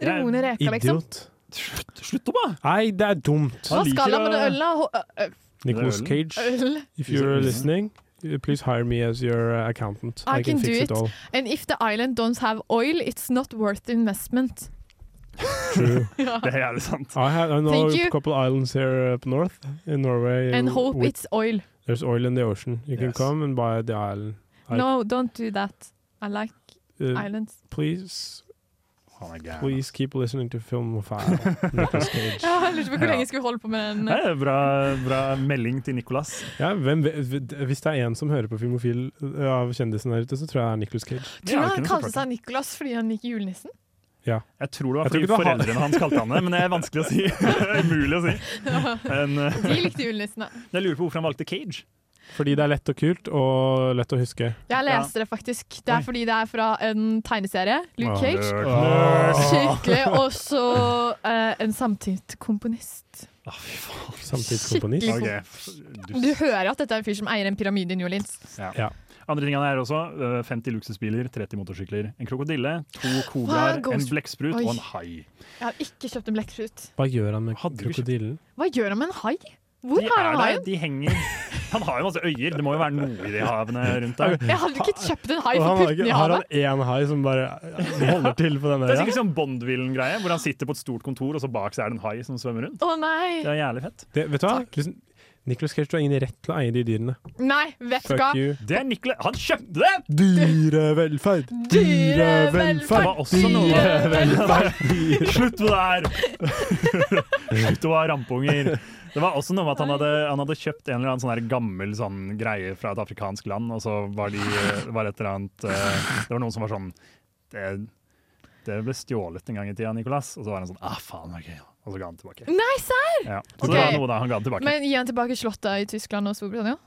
S5: Rone Reka, liksom.
S6: Idiot.
S4: Slutt, slutt opp, da!
S6: Nei, det er dumt.
S5: Hva skal han med det ølet? Ho- ø- ø-
S6: Nicolas Cage,
S5: Øl.
S6: if you're listening, please hire me as your uh, accountant.
S5: I can do
S6: fix
S5: it.
S6: all.
S5: And if the island don't have oil, it's not worth the investment.
S6: True.
S5: Ja.
S4: Det er jævlig sant.
S6: I, have, I know
S5: Thank
S6: a
S5: you.
S6: couple islands here up north in Norway.
S5: And hope
S6: with-
S5: it's oil.
S6: There's oil in the ocean. You can
S4: Yes.
S6: come and buy the island. I-
S5: No, don't do that. I like
S6: Uh,
S5: islands.
S6: Please,
S4: Han er gæren.
S6: please keep listening to film file. Nicolas Cage.
S5: Ja, jeg lurte på hvor
S4: Ja.
S5: lenge jeg skulle holde på med den. eh,
S4: Nei, det er bra, bra melding til Nicolas.
S6: Ja, hvem, ve- hvis det er en som hører på Filmofil eh, av kjendisene der ute, så tror jeg det er Nicolas Cage.
S5: Tror du han kalte seg Nicolas fordi han liker julenissen?
S6: Ja.
S4: Jeg tror det
S6: Jeg
S4: var
S6: tror
S4: fordi
S6: ikke det var han.
S4: foreldrene hans kalte han det, men det er vanskelig å si. Umulig å si. Men, eh,
S5: De likte julenissen, da.
S4: jeg lurer på hvorfor han valgte Cage.
S6: Fordi det er lett og kult, og lett å huske.
S5: Jeg leste det faktisk. Det er fordi det er fra en tegneserie. Luke
S6: Åh,
S5: Cage.
S6: nerd, nerd.
S5: Skikkelig. Og så eh, en samtidskomponist.
S4: Samtidskomponist.
S5: Skikkelig Du hører at dette er en fyr som eier en pyramide i New Orleans.
S4: Ja. Andre tingene er også eh, 50 luksusbiler, 30 motorsykler, en krokodille, to
S5: Hva
S4: kobraer,
S5: går-
S4: en blekksprut
S5: Oi.
S4: og en hai.
S5: Jeg har ikke kjøpt en blekksprut.
S6: Hva gjør han med
S4: vi ikke-
S6: krokodillen?
S5: Hva gjør han med en hai? Hvor har
S4: er
S5: han
S4: der,
S5: haien?
S4: De henger Han har jo masse øyer, det må jo være noe i de havene rundt der.
S5: Jeg hadde ikke kjøpt en hai
S4: Og han
S5: for
S4: har
S5: putten
S4: ikke-
S5: i
S4: har
S5: havet.
S4: han-
S6: Har han én hai som bare eh, holder til på denne
S4: Det er
S6: øya?
S4: sikkert sånn Bondvillen-greie, hvor han sitter på et stort kontor, og så bak seg er det en hai som svømmer rundt.
S5: Å nei.
S4: Det er jævlig fett.
S6: Det, vet du hva? Liksom, Nicholas Cage, du har ingen rett til å eie de dyrene.
S5: Nei, vet du
S6: Fuck
S5: hva.
S6: you.
S4: Det er Nicola Han kjøpte det!
S6: Dyrevelferd! Dyrevelferd!
S4: Det var også noe
S6: Dyrevelferd!
S4: Slutt med det her! Slutt å være rampunger. Det var også noe med at han hadde, han hadde kjøpt en eller annen sånn her gammel sånn greie fra et afrikansk land, og så var de eh, var et eller annet eh, Det var noen som var sånn Det, det ble stjålet en gang i tida, Nicolas. Og så var han sånn Ah, faen, ok. Og så ga han tilbake.
S5: Nei, serr?
S4: Ja. Så det var noe da han ga den tilbake.
S5: Men gir han tilbake slottet i Tyskland og Storbritannia?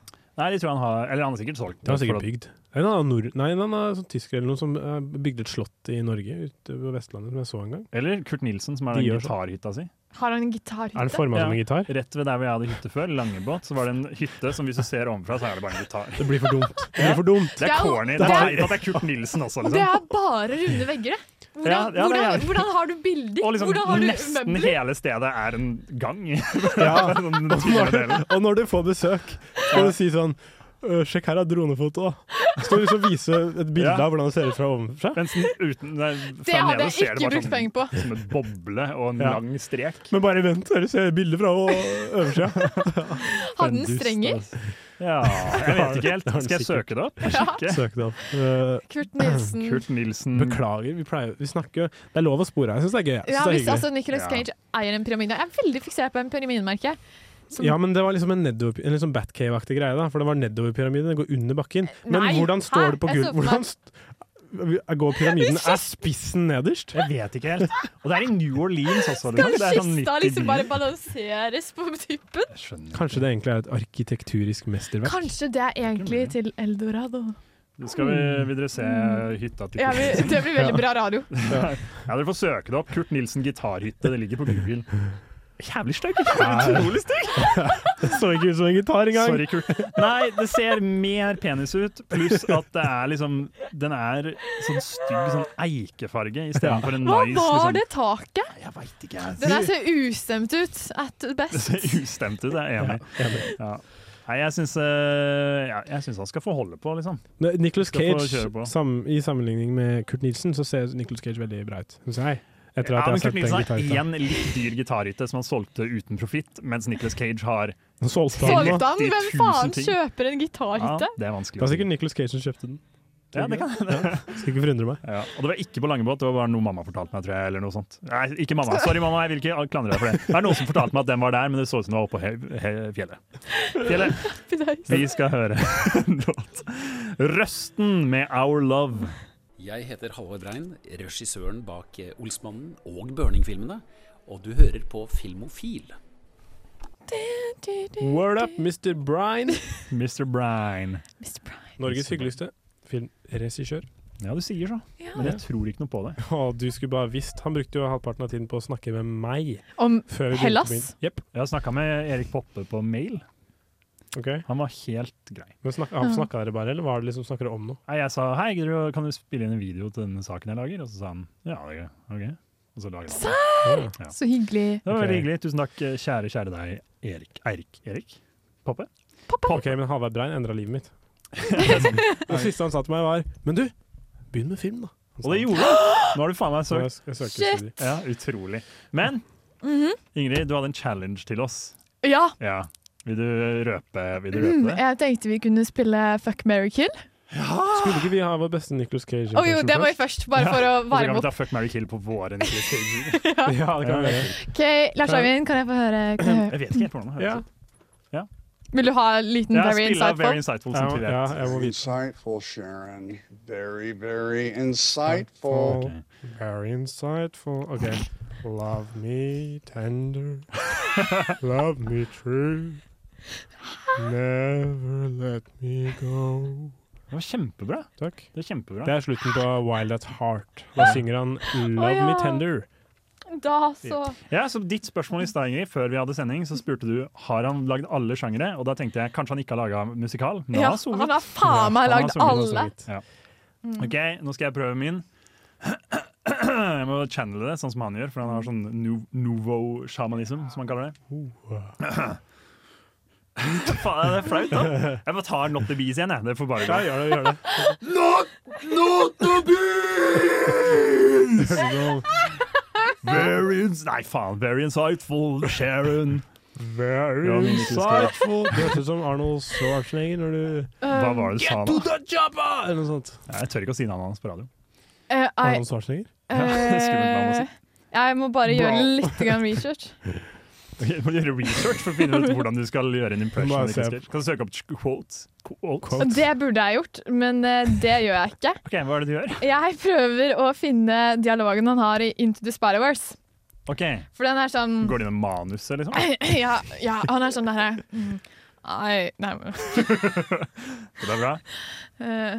S4: Nei, de tror han har Eller han har sikkert solgt
S6: Det var sikkert
S4: for at-
S6: bygd. Nei, han er, nord, nei, han er sånn tysker eller noe som eh, bygde et slott i Norge, ute på Vestlandet, som jeg så en gang.
S4: Eller Kurt Nilsen, som har
S6: De
S4: den
S6: gjør sånn.
S4: gitarhytta si.
S5: Har han en gitarhytte?
S6: Er det formet som en gitar?
S4: Rett ved der hvor jeg hadde hytte før, Langebåt, så var det en hytte som hvis du ser ovenfra, så er det bare en gitar.
S6: Det blir for dumt. Det blir for dumt.
S4: Det er corny. Det er teit at det er Kurt Nilsen også,
S5: Det er
S4: liksom.
S5: bare runde vegger, det. Hvordan,
S4: Ja, ja, det er
S5: hvordan,
S4: jævlig.
S5: hvordan har du bilder?
S4: Og liksom
S5: hvordan har du
S4: nesten
S5: møbler?
S4: hele stedet er en gang.
S6: Ja.
S4: Sånn
S6: Og når,
S4: tiendedelen.
S6: og når du får besøk, skal du si sånn «Øh, Sjekk, her er dronefoto. Så skal du liksom vise et bilde
S4: Ja.
S6: av hvordan det ser ut fra ovenfra.
S4: Mens den uten, nei,
S5: Det
S4: fra
S5: hadde
S4: nede
S5: jeg
S4: ser det
S5: ikke
S4: bare sånn
S5: brukt penger på.
S4: Som en boble og en
S6: Ja.
S4: lang strek.
S6: Men bare vent, dere ser bildet fra o- øversida.
S5: Hadde den strenger?
S4: altså.
S6: altså.
S4: Ja, jeg vet ikke helt. Skal jeg søke det opp? Sjekke?
S6: Søk det opp. Eh,
S5: Kurt Nilsen.
S4: Kurt Nilsen.
S6: Beklager, vi, pleier, vi snakker jo Det er lov å spore her, jeg syns det er gøy. Jeg
S5: Ja,
S6: synes det er
S5: hvis
S6: hyggelig.
S5: altså Nicolas Cage eier en pyramide Jeg er veldig fiksert på en pyramidemerke. Som-
S6: Ja, men det var liksom en, nedover, en liksom Batcave-aktig greie, da, for det var nedoverpyramiden. Det går under bakken. Men
S5: Eh, Nei,
S6: hvordan
S5: hæ?
S6: står det på
S5: Jeg så
S6: gulvet?
S5: for meg-
S6: Hvordan st går pyramiden?
S5: Vi
S6: Er spissen nederst?
S4: Jeg vet ikke helt. Og det er i New Orleans også.
S5: Skal
S4: sånn
S5: kista liksom bare balanseres på tuppen?
S6: Kanskje det egentlig er et arkitekturisk mesterverk?
S5: Kanskje det er egentlig til Eldorado.
S4: Nå skal vi, vil dere se hytta
S5: Mm.
S4: til
S5: Ja,
S4: Kurt
S5: vi-
S4: Nilsen?
S5: det blir veldig bra radio.
S4: Ja. ja, Dere får søke det opp. Kurt Nilsen gitarhytte. Det ligger på Google. Jævlig stygg! Utrolig stygg!
S6: Det så ikke ut som en gitar engang.
S4: Sorry, Kurt. Nei, det ser mer penis ut, pluss at det er liksom Den er sånn stygg sånn eikefarge istedenfor en
S5: Hva
S4: nice
S5: var
S4: liksom,
S5: det taket? Jeg altså.
S4: veit ikke.
S5: Den der ser ustemt ut at
S4: Det
S5: best.
S4: ser ustemt ut, jeg er enig. Ja. Nei, jeg syns eh, ja, jeg syns han skal få holde på, liksom.
S6: Ne- Nicolas
S4: Skal få
S6: Cage,
S4: kjøre på.
S6: sam, i sammenligning med Kurt Nilsen, så ser Nicolas Cage veldig bra ut, synes jeg. Etter
S4: Ja,
S6: at
S4: men
S6: jeg har
S4: Kurt
S6: sett den
S4: Nilsen har
S6: gitarhytta.
S4: én litt dyr gitarhytte som han solgte uten profitt, mens Nicolas Cage har
S6: Nå solgte han den.
S5: Solgte han? Hvem
S4: 30 000
S5: faen
S4: ting.
S5: kjøper en gitarhytte?
S4: Ja, det er vanskelig.
S6: Det var sikkert Nicolas Cage som kjøpte den.
S4: Ja, det kan
S6: Ja. Skal ikke forundre meg.
S4: Ja, og det var ikke på Langebåt, det var bare noe mamma fortalte meg, tror jeg. eller noe sånt. Nei, ikke mamma. Sorry, mamma, jeg vil ikke klandre deg for det. Det er noen som fortalte meg at den var der, men det så ut som det var oppå he- he- fjellet. Fjellet, vi skal høre en låt. Røsten med Our Love.
S16: Jeg heter Halvor Brein, regissøren bak eh, Olsmannen og Burning-filmene. Og du hører på Filmofil.
S6: Word up, Mr. Brine.
S4: Mr. Brine.
S6: Norges hyggeligste filmregissør.
S4: Ja, du sier så. Men jeg tror ikke noe på det.
S6: Å, du skulle bare visst. Han brukte jo halvparten av tiden på å snakke med meg.
S5: Om
S6: før vi begynte
S5: Hellas?
S6: på min- Jepp.
S4: Jeg har snakka med Erik Poppe på mail.
S6: Ok.
S4: Han var helt grei.
S6: Men snak, han snakka dere bare, eller var det liksom snakker dere om noe?
S4: Nei, jeg sa hei, gidder du, kan du spille inn en video til denne saken jeg lager? Og så sa han ja, det er greit. ok. Og så lager han den. Ja.
S5: Så hyggelig.
S4: Det var veldig hyggelig. Tusen takk, eh, kjære, kjære deg, Erik. Eirik? Erik? Poppe?
S6: Ok, men Halvard Brein endra livet mitt. det siste han sa til meg, var Men du, begynn med film, da.
S4: Og det gjorde han! Nå har du faen meg søkt.
S6: Jeg- jeg søkte Shit! studier.
S4: Ja, utrolig. Men
S5: Mhm.
S4: Ingrid, du hadde en challenge til oss.
S5: Ja.
S4: Ja. Vil du eh, røpe, vil du
S5: Mm,
S4: røpe det?
S5: jeg tenkte vi kunne spille Fuck, marry, kill.
S6: Skulle ikke vi ha vår beste Nicolas Cage?
S5: Å jo, det må vi først, bare for å
S4: Og så
S5: varme
S4: kan vi ta
S5: opp.
S4: Fuck, marry, kill på våre Nicolas Cage.
S6: Ja, det kan vi gjøre.
S5: OK, Lars Eivind, kan jeg få høre? Kan jeg
S4: Jeg vet ikke helt hvordan det høres
S6: Ja.
S4: ut.
S5: høre? Vil du ha en liten
S4: Ja,
S5: Very
S4: spill av Very
S5: Insightful?
S4: Insightful som Tibet.
S13: Very insightful, Sharon. Very, very insightful.
S6: Insightful. Very insightful. Ok. Love me tender. Love me true. Never let me go.
S4: Det var kjempebra.
S6: Takk.
S4: Det er kjempebra.
S6: Det er slutten på Wild at Heart. Da synger han Love
S5: Å, ja.
S6: me tender.
S5: Da så.
S4: Ja, så ditt spørsmål i stad, Ingrid, før vi hadde sending, så spurte du har han lagd alle sjangere, og da tenkte jeg kanskje han ikke har laga musikal. Men
S5: Ja,
S4: han har sunget.
S5: han har faen meg
S4: Ja, altså, han
S5: lagd
S4: har sunget,
S5: alle.
S4: han har sunget. Ja. OK, nå skal jeg prøve min. Jeg må channele det sånn som han gjør, for han har sånn nu- nouveau shamanism, som han kaller det. Faen, det er flaut, da. Jeg bare tar Not the Bees igjen, jeg. Det får bare gå.
S6: Ja, gjør det, gjør det.
S4: Not, not the bees! Very ins- Nei, faen. Very insightful, Sharon.
S6: Very
S4: Ja, min
S6: insightful. Du høres ut som Arnold Schwarzenegger når du
S4: Hva var det du sa
S6: Øh, Get
S4: nå?
S6: to the chopper! Eller noe sånt.
S4: Jeg tør ikke å si navnet hans på radio.
S5: Eh, I-
S6: Arnold Schwarzenegger?
S4: Skummelt navn å si.
S5: eh, jeg må bare gjøre
S4: Bra.
S5: litt grann research.
S4: Du må gjøre research for å finne ut hvordan du skal gjøre en impression.
S6: Må
S4: av
S6: jeg
S4: Nicolas
S6: se.
S4: Cage. Kan du søke opp quotes?
S5: Og
S4: quotes?
S5: det burde jeg gjort, men eh, det gjør jeg ikke.
S4: Ok, Hva er det du gjør?
S5: Jeg prøver å finne dialogen han har i Into the Spider-Wars.
S4: Ok,
S5: For den er sånn
S4: Går det inn i manuset, liksom?
S5: ja, ja, han er sånn derre mm, I, nei, men,
S4: Det er bra.
S5: eh,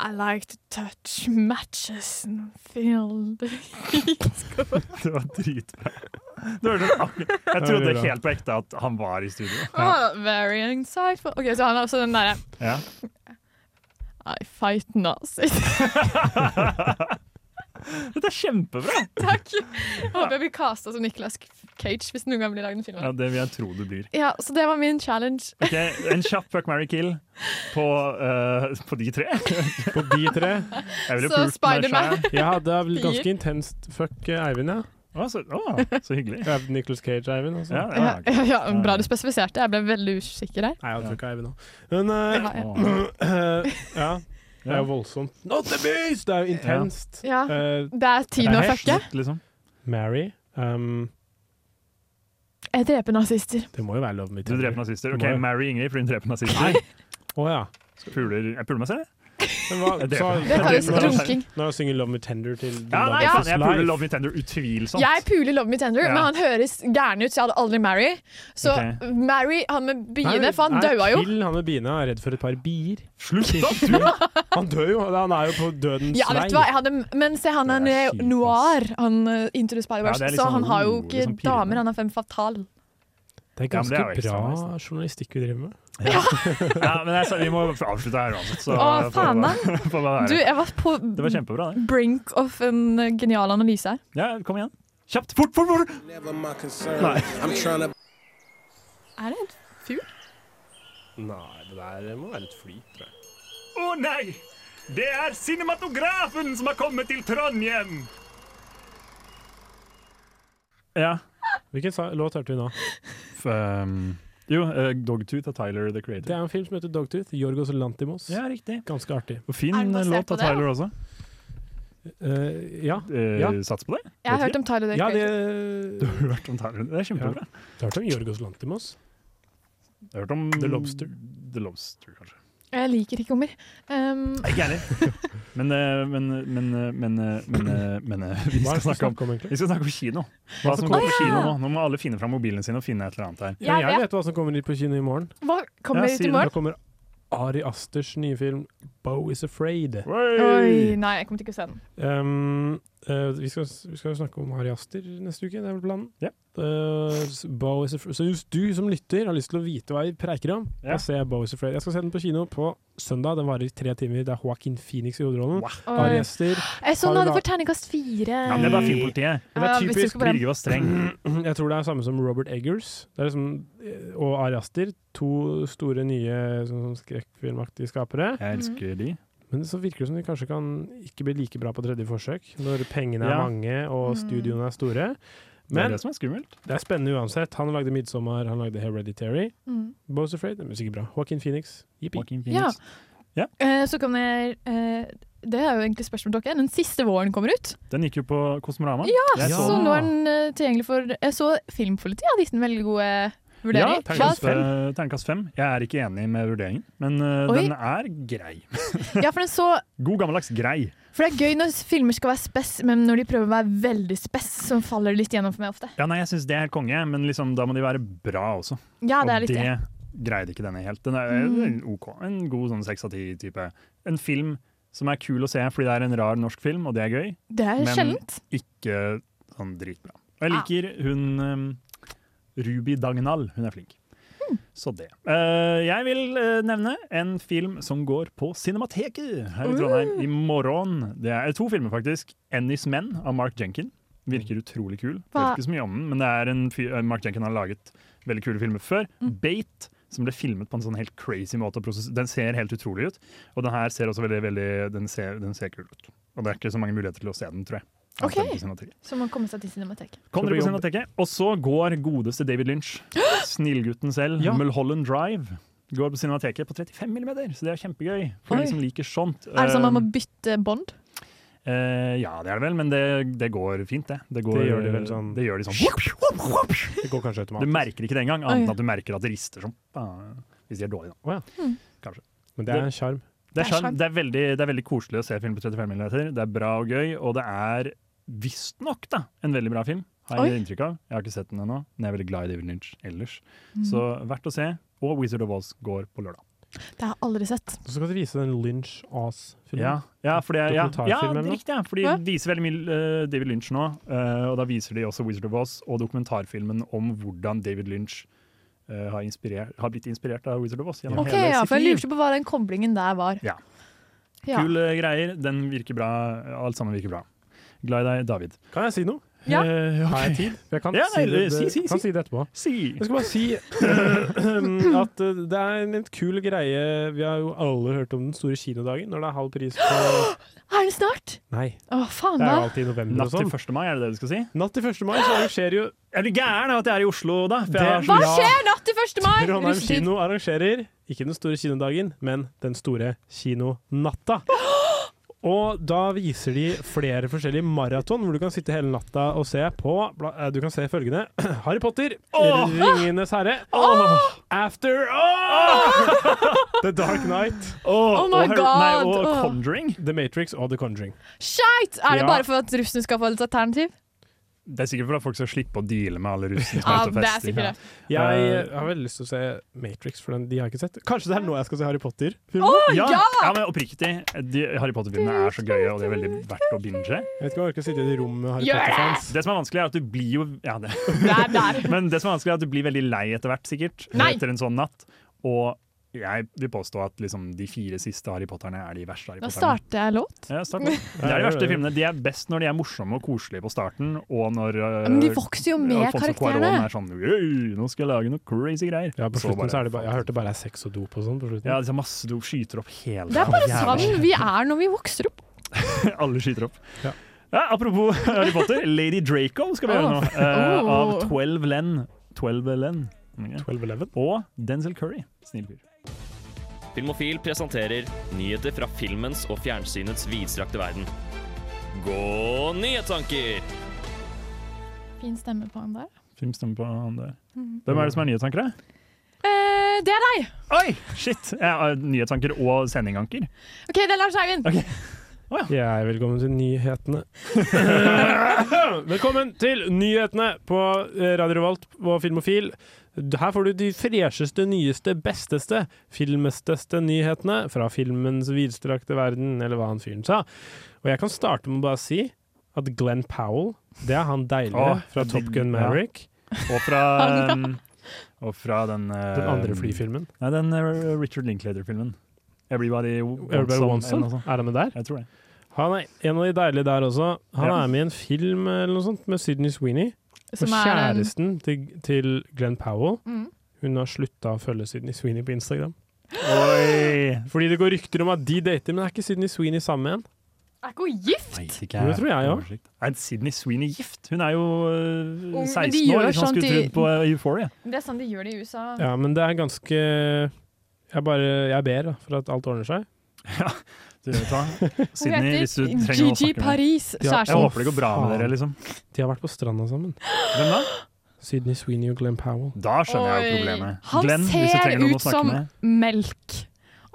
S5: I like to touch matches and feel the
S4: Det var dritbra. Det hørte jeg akkurat- jeg
S6: Det var
S4: trodde
S6: bra.
S4: helt på ekte at han var i studio.
S5: oh, Very insightful. Ok, Så han er også den derre
S4: Ja.
S5: I fight nazis.
S4: Dette er kjempebra!
S5: Takk. Jeg håper jeg blir casta som Nicolas Cage hvis det noen gang blir lagd en film.
S4: Ja,
S5: av det.
S4: det vil jeg tro det blir.
S5: Ja, så det var min challenge.
S4: Ok, En kjapp fuck, marry, kill på, eh, på de tre.
S6: På de tre.
S4: Jeg ville
S5: Så
S4: pult meg
S5: Spider-Man.
S4: selv.
S6: Jeg hadde vel
S5: Fire.
S6: ganske intenst fuck eh, Eivind, ja.
S4: Å, så, å, så hyggelig.
S6: Jeg er Nicolas Cage Eivind, altså.
S5: Ja,
S4: Ja, ja, Ah, ok.
S5: ja, bra du spesifiserte. Jeg ble veldig usikker der.
S6: Nei, jeg hadde fucka Eivind òg. Men eh, ja. Det er jo voldsomt. Not the beast! Det er jo intenst.
S5: Ja.
S6: Eh,
S5: Det er tiden å fucke.
S4: liksom.
S6: Mary um,
S5: Jeg dreper nazister.
S6: Det må jo være Love Me
S4: Du dreper nazister. Ok,
S6: Må jeg?
S4: Marry Ingrid, for hun dreper nazister.
S6: Å ja.
S4: Puler Jeg puler meg selv, jeg.
S6: Men hva,
S4: Jeg dreper.
S6: så-
S4: Det kalles
S6: Når jeg-
S5: runking.
S6: Når jeg synger Love Me Tender til
S4: Ja,
S6: Love
S4: nei,
S6: Me
S4: faen,
S6: First
S4: jeg
S6: Life.
S4: puler Love Me Tender utvilsomt.
S5: Jeg puler Love Me Tender,
S4: Ja.
S5: men han høres gæren ut, så jeg hadde aldri marry. Så
S4: Ok.
S5: marry han med biene,
S6: Nei,
S5: for han
S6: nei,
S5: daua jo.
S6: Kill han med biene og er redd for et par bier.
S4: Slutt
S6: da, du! Han dør jo. Han er jo på dødens
S5: Ja, vet du hva? Jeg hadde, men se, han er,
S6: Det er kjipt,
S5: noir, han uh, Into the Spider-Wars,
S6: Ja, det er litt
S5: så
S6: sånn,
S5: han har jo
S6: oh,
S5: ikke
S6: litt sånn pirrende.
S5: damer, han har fem fatal.
S6: Det er
S4: Ja, men
S6: ganske
S4: det er jo ekstra
S6: bra
S4: nice,
S6: journalistikk vi driver med.
S4: Ja, men jeg, sa- vi må avslutte her uansett. så
S5: Å,
S4: får
S5: faen da!
S4: det bare- får det bare være.
S5: Du, jeg var på
S4: Det var kjempebra, det.
S5: brink of en uh, genial analyse her.
S4: Ja, kom igjen. Kjapt! Fort, fort, fort! Nei.
S5: Er det en fugl?
S6: Nei, det der må være et fly, tror jeg.
S4: Å nei! Det er cinematografen som har kommet til Trondheim! Ja.
S6: Hvilken sa- låt hørte vi nå?
S4: F, um, jo, eh, Dogtooth av Tyler the
S6: Det
S4: Creator.
S6: er en film som heter Dogtooth. Jorgos Lantimos.
S4: Ja, riktig.
S6: Ganske artig.
S4: Og fin
S5: Er den
S4: eh,
S5: basert
S4: låt
S5: på
S4: av
S5: det,
S4: Tyler
S5: da?
S4: også.
S6: Eh, ja.
S4: Eh,
S6: ja.
S4: Sats på det?
S5: Jeg har hørt om Tyler the
S6: Ja,
S5: Creator.
S6: det
S4: Du har hørt om Tyler, det er kjempebra.
S6: Du hørte om Jorgos Lantimos?
S4: Jeg har hørt om
S6: The Lobster.
S4: The Lobster, kanskje.
S5: Jeg liker ikke hummer. Um,
S4: Ikke jeg heller. Men, eh, men, men, eh, men, eh, men, eh, men eh, vi
S6: Hva
S4: skal
S6: er det vi
S4: snakke om
S6: snakker om, egentlig?
S4: vi skal snakke om kino. Hva som går
S5: Å,
S4: på
S5: ja.
S4: kino nå. Nå må alle finne fram mobilene sine og finne et eller annet her.
S5: Jeg
S6: Ja, jeg
S5: vet.
S6: vet hva som kommer ut på kino i morgen.
S5: hva kommer
S4: Ja,
S5: ut i
S4: siden
S6: Da
S5: morgen?
S6: kommer Ari Asters nye film 'Bo Is Afraid'.
S5: Oi, nei, jeg kommer ikke til å se den.
S6: Um, eh, vi, skal, vi skal snakke om Ari Aster neste uke, det er vel planen?
S4: Ja.
S6: Eh, s- Bo is Afraid. Så hvis du som lytter har lyst til å vite hva vi preiker om,
S4: Ja.
S6: da ser jeg Bo is Afraid. Jeg skal se den på kino på søndag. Den varer i tre timer. Det er Joaquin Phoenix i hovedrollen. Ari
S5: Oi.
S6: Aster.
S5: Jeg så den
S6: Har du
S5: hadde
S6: da-
S5: fått terningkast fire.
S4: Ja, men det er bare filmpolitiet.
S6: Men det
S5: Ja, hvis
S6: er
S5: du
S6: typisk
S5: skal på den.
S4: Birger var streng.
S6: Jeg tror det er samme som Robert Eggers det er liksom, eh, og Ari Aster. To store nye sånn, sånn skrekkfilmaktige skapere.
S4: Jeg elsker de.
S6: Men så virker det som de kanskje kan ikke bli like bra på tredje forsøk, når pengene er
S4: Ja.
S6: mange og studioene er store.
S4: det er
S6: Men
S4: det som er skummelt.
S6: det er spennende uansett. Han lagde 'Midtsommer', han lagde 'Hereditary'.
S5: Mm.
S6: Bows Afraid, det er sikkert bra. Joaquin Phoenix, jippi.
S4: Joaquin
S5: Ja.
S4: Phoenix. Ja.
S5: Eh, så kan jeg eh, Det er jo egentlig spørsmål til dere. Den siste våren kommer ut.
S4: Den gikk jo på Kosmorama.
S5: Ja,
S4: Jeg
S5: så
S4: den.
S5: nå er den eh, tilgjengelig for Jeg så Filmpolitiet hadde gitt en veldig god eh, vurdering.
S4: Ja,
S5: Hva-
S4: terningkast fem. Terningkast fem. Jeg er ikke enig med vurderingen, men eh,
S5: Oi.
S4: den er grei.
S5: ja, for den så
S4: God gammeldags grei.
S5: For det er gøy når filmer skal være spess, men når de prøver å være veldig spess, så faller det litt gjennom for meg ofte.
S4: Ja, nei, jeg syns det er konge, men liksom, da må de være bra også.
S5: Ja, det er litt
S4: Og
S5: det.
S4: det greide ikke denne helt. Den er
S5: Mm.
S4: en OK. En god sånn seks av ti-type. En film som er kul å se fordi det er en rar norsk film, og det er gøy,
S5: Det er
S4: men-
S5: sjeldent.
S4: ikke sånn dritbra. Og jeg liker hun eh, Ruby Dagnall. Hun er flink. Så det. Eh, jeg vil eh, nevne en film som går på Cinemateket her i Trondheim i morgen. Det er eh, to filmer, faktisk. 'Ennis Menn' av Mark Jenkin. Virker utrolig kul. Vet
S5: Hva-
S4: ikke så mye om den, men det er en fyr, eh, Mark Jenkin har laget veldig kule filmer før. 'Bait' som ble filmet på en sånn helt crazy måte. å prosess- Den ser helt utrolig ut, og den her ser også veldig, veldig den ser, den ser kul ut. Og det er ikke så mange muligheter til å se den, tror jeg. Jeg har
S5: OK,
S4: sett den på Cinemateket.
S5: så man kommer seg til Cinemateket.
S4: Kom dere på Cinemateket. Og så går godeste David Lynch, snillgutten selv, Mulholland Drive, går på Cinemateket på 35 millimeter. Så det er kjempegøy for
S5: Oi.
S4: de som liker sånt.
S5: Er det sånn man må bytte bånd?
S4: Eh, eh, ja, det er det vel, men det, det går fint, det. Det, går,
S6: Det gjør de vel sånn-
S4: Det gjør de sånn.
S6: Det går kanskje
S4: Du
S6: automatisk.
S4: merker ikke det engang,
S5: Oi.
S4: annet enn at du merker at det rister som faen, hvis de er dårlige. Da.
S5: Mm.
S4: Kanskje.
S6: Men det er en sjarm.
S4: Det
S6: Det
S4: er,
S6: er
S4: sjarm. det, er veldig, det er veldig koselig å se film på 35 mm. Det er bra og gøy, og det er visstnok da, en veldig bra film. Har jeg
S6: Oi.
S4: inntrykk av. Jeg har ikke sett den ennå, men jeg er veldig glad i David Lynch ellers.
S5: Mm.
S4: Så verdt å se. Og Wizard of Oz går på lørdag.
S5: Det har jeg aldri sett.
S6: Så skal de vise den Lynch Ass-filmen.
S4: Ja, ja, for det er, ja, ja,
S6: Dokumentarfilm
S4: det
S6: eller
S4: er
S6: noe?
S4: riktig. Ja, for de
S5: Ja.
S4: viser veldig mye eh, David Lynch nå, eh, og da viser de også Wizard of Oz og dokumentarfilmen om hvordan David Lynch eh, har, inspirert, har blitt inspirert av Wizard of Oz. gjennom
S5: Ok,
S4: hele
S5: ja,
S4: sitt
S5: for Jeg
S4: liv.
S5: lurte på hva den koblingen der var.
S4: Ja.
S5: Ja.
S4: Kule greier. Den virker bra. Alt sammen virker bra. Glad i deg, David.
S6: Kan jeg si noe?
S5: Ja.
S4: Eh, ok.
S6: Har jeg tid? For jeg kan,
S4: Ja,
S6: si,
S4: nei,
S6: det,
S4: si, si,
S6: kan
S4: si.
S6: si det etterpå.
S4: Si.
S6: Jeg skal bare si eh, at eh, det er en litt kul greie Vi har jo alle hørt om den store kinodagen, når det er halv pris på
S5: Er det snart?
S6: Nei.
S5: Å, faen
S6: Det er jo
S5: da!
S6: alltid i november
S4: Natt
S6: og sånn.
S4: til 1. mai, er det det du skal si?
S6: Natt til 1. mai så arrangerer jo
S4: Er du gæren av at jeg er i Oslo da? For jeg har
S5: Hva
S6: Ja.
S5: skjer natt til 1. mai?
S6: Trondheim
S5: Russetid.
S6: kino arrangerer ikke den store kinodagen, men den store kinonatta. Og da viser de flere forskjellige maraton hvor du kan sitte hele natta og se på bla- eh, Du kan se følgende Harry Potter,
S4: Åh!
S6: Ringenes herre, After The Dark Night,
S5: my
S4: Oh,
S5: og Har- nei, og God, åh.
S4: Conjuring.
S6: The Matrix og The Conjuring.
S5: Skeit! Er det
S6: Ja.
S5: bare for at russen skal få et alternativ?
S4: Det er sikkert for at folk skal slippe å deale med alle russene som
S5: Ja,
S4: er ute og
S5: det er
S4: fester.
S5: sikkert det.
S6: Jeg eh, har veldig lyst til å se Matrix, for den de har jeg ikke sett. Kanskje det er nå jeg skal se Harry Potter-filmen?
S5: Å,
S4: Ja,
S5: ja!
S4: ja, men oppriktig. De Harry Potter-filmene er så gøye, og de er veldig verdt å binge.
S6: Jeg vet ikke om jeg orker å sitte i et rom med Harry
S5: Gjør det!
S6: Potter-fans.
S4: Det som er vanskelig, er at du blir jo ja, det.
S5: Der, der.
S4: Men det som er vanskelig, er at du blir veldig lei etter hvert, sikkert.
S5: Nei.
S4: Etter en sånn natt. Og jeg vil påstå at liksom, de fire siste Harry Potterne er de verste Harry
S5: Nå
S4: Potterne.
S5: starter jeg
S6: Eh,
S5: låt.
S4: Ja, start med. Det er de verste filmene. De er best når de er morsomme og koselige på starten, og når eh,
S5: Ja, Men de vokser jo med
S4: Alfonso Cuarón
S5: karakterene.
S4: er sånn «Øy, Nå skal jeg lage noe crazy greier.
S6: Ja, på slutten så er det bare Jeg hørte bare det er sex og dop og sånn på slutten.
S4: Ja, liksom masse dop skyter opp hele
S5: Det er bare
S4: Jævla
S5: sånn vi er når vi vokser opp.
S4: Alle skyter opp.
S6: Ja.
S4: apropos Harry Potter, Lady Draco skal vi gjøre nå.
S5: Oh.
S4: eh, av
S5: Oh.
S4: 12 Len. 12 Len. Ok.
S6: 12-11.
S4: Og Denzil Curry. Snill fyr.
S17: Filmofil presenterer nyheter fra filmens og fjernsynets vidstrakte verden. Gå nyhetstanker!
S5: Fin stemme på han der.
S4: Film stemmer på han der.
S5: Mhm.
S4: Hvem er det som er nyhetsankere?
S5: Eh, det er deg!
S4: Oi, shit! Jeg er nyhetsanker og sendinganker.
S5: OK, det er Lars Eivind.
S6: Jeg er velkommen til nyhetene. velkommen til nyhetene på eh, Radio Revolt og Filmofil. Her får du de fresheste, nyeste, besteste, filmesteste nyhetene fra filmens vidstrakte verden, eller hva han fyren sa. Og jeg kan starte med å bare si at Glenn Powell, det er han deilige
S4: Åh,
S6: fra Top Gun
S4: ja.
S6: Maverick.
S4: Og fra, um, og fra den eh,
S6: Den andre flyfilmen.
S4: Nei, den eh, Richard Linklater-filmen. 'Everybody Wants
S6: Everybody
S4: Some'.
S6: Wants
S4: eller
S6: Some.
S4: noe sånt.
S6: Er han med der?
S4: Jeg tror det.
S6: Han er en av de deilige der også. Han
S4: Ja.
S6: er med i en film eller noe sånt med Sydney Sweeney.
S5: Som er
S6: og
S5: en-
S6: kjæresten til, til Glenn Powell.
S5: Mm.
S6: Hun har slutta å følge Sydney Sweeney på Instagram.
S4: Oi!
S6: Fordi det går rykter om at de dater, men er ikke Sydney Sweeney sammen med en?
S5: Er ikke hun gift?
S4: Vet ikke
S6: Jo, det tror jeg òg.
S4: Oversikt. Er Sydney Sweeney gift? Hun er jo
S5: Ung,
S4: eh,
S5: men de
S4: 16
S5: gjør
S4: år,
S5: jo
S4: hvis man
S5: sånt
S4: skulle
S5: i-
S4: trodd på eh, Euphoria.
S5: Det er sånn de gjør det i USA.
S6: Ja, men det er ganske Jeg bare Jeg ber da, for at alt ordner seg.
S4: Du vet hva?
S5: Hun
S4: Sydney, hvis du
S5: heter
S4: trenger noe å
S5: Gigi
S4: snakke med.
S5: Paris. Så
S6: Ja,
S5: er
S4: Jeg
S5: sånn.
S4: håper det går bra med dere, liksom.
S6: De har vært på stranda sammen.
S4: Hvem da?
S6: Sydney Sweeney og Glenn Powell.
S4: Da skjønner jeg jo problemet.
S5: Han
S4: Glenn, hvis jeg
S5: ser
S4: trenger noen å
S5: ut
S4: snakke
S5: som
S4: med.
S5: melk.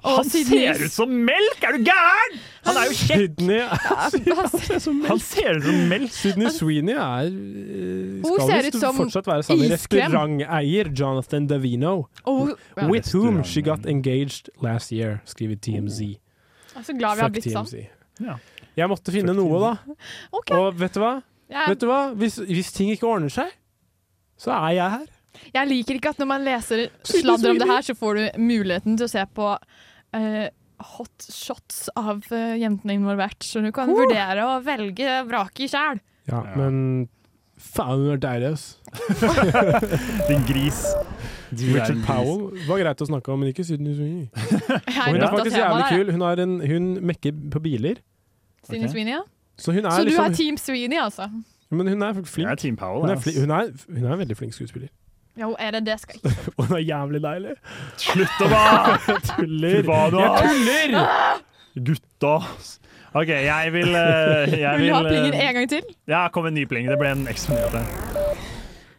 S5: Og
S4: Han
S5: Sydney-
S4: ser ut som melk! Er du gæren?! Han er jo kjekk!
S6: Sydney,
S5: Han ser-
S4: Han ser ut som melk!
S6: Sydney Sweeney er eh,
S5: Altså- Hun
S6: Skal
S5: ser ut
S6: visst
S5: som
S6: fortsatt være sammen med
S5: iskrem.
S6: restauranteier Jonathan Davino.
S5: og, ja.
S6: With whom she got engaged last year, skriver TMZ.
S5: Jeg er så glad vi har blitt sånn.
S4: Ja.
S6: Jeg måtte finne noe, da.
S5: Ok.
S6: Og vet du hva?
S5: Jeg,
S6: Vet du hva? Hvis, hvis ting ikke ordner seg, så er jeg her.
S5: jeg liker ikke at når man leser sladder om det her, så får du muligheten til å se på eh, hot shots av eh, jentene involvert. Så du kan vurdere å velge vraket sjæl.
S6: Ja, men faen, hun er deilig, ass.
S4: Din gris. Du er
S6: Richard
S4: en
S6: Powell var greit å snakke om, men ikke Sydney Sweeney. Hun er
S5: bytta
S6: faktisk
S5: tema
S6: jævlig
S5: der,
S6: kul. Hun, har en, hun mekker på biler.
S5: Sydney Sweeney, ja.
S6: Så hun er
S5: Så du
S6: liksom
S5: er Team Sweeney, altså?
S6: Men hun er flink.
S4: Jeg er Team Powell.
S6: Hun er,
S4: ass.
S6: fli, hun, er, hun er en veldig flink skuespiller.
S5: Jo, er det det skal jeg ikke
S6: Og hun er jævlig deilig.
S4: Slutt å ba!
S6: Jeg tuller!
S4: Fy faen, du, ass.
S6: Jeg tuller!
S4: Gutta! ass. OK, jeg vil eh, jeg
S5: Vil du ha
S4: eh,
S5: plingen en gang til?
S4: Ja, kom en ny pling. Det ble en ekstra nyhet. her.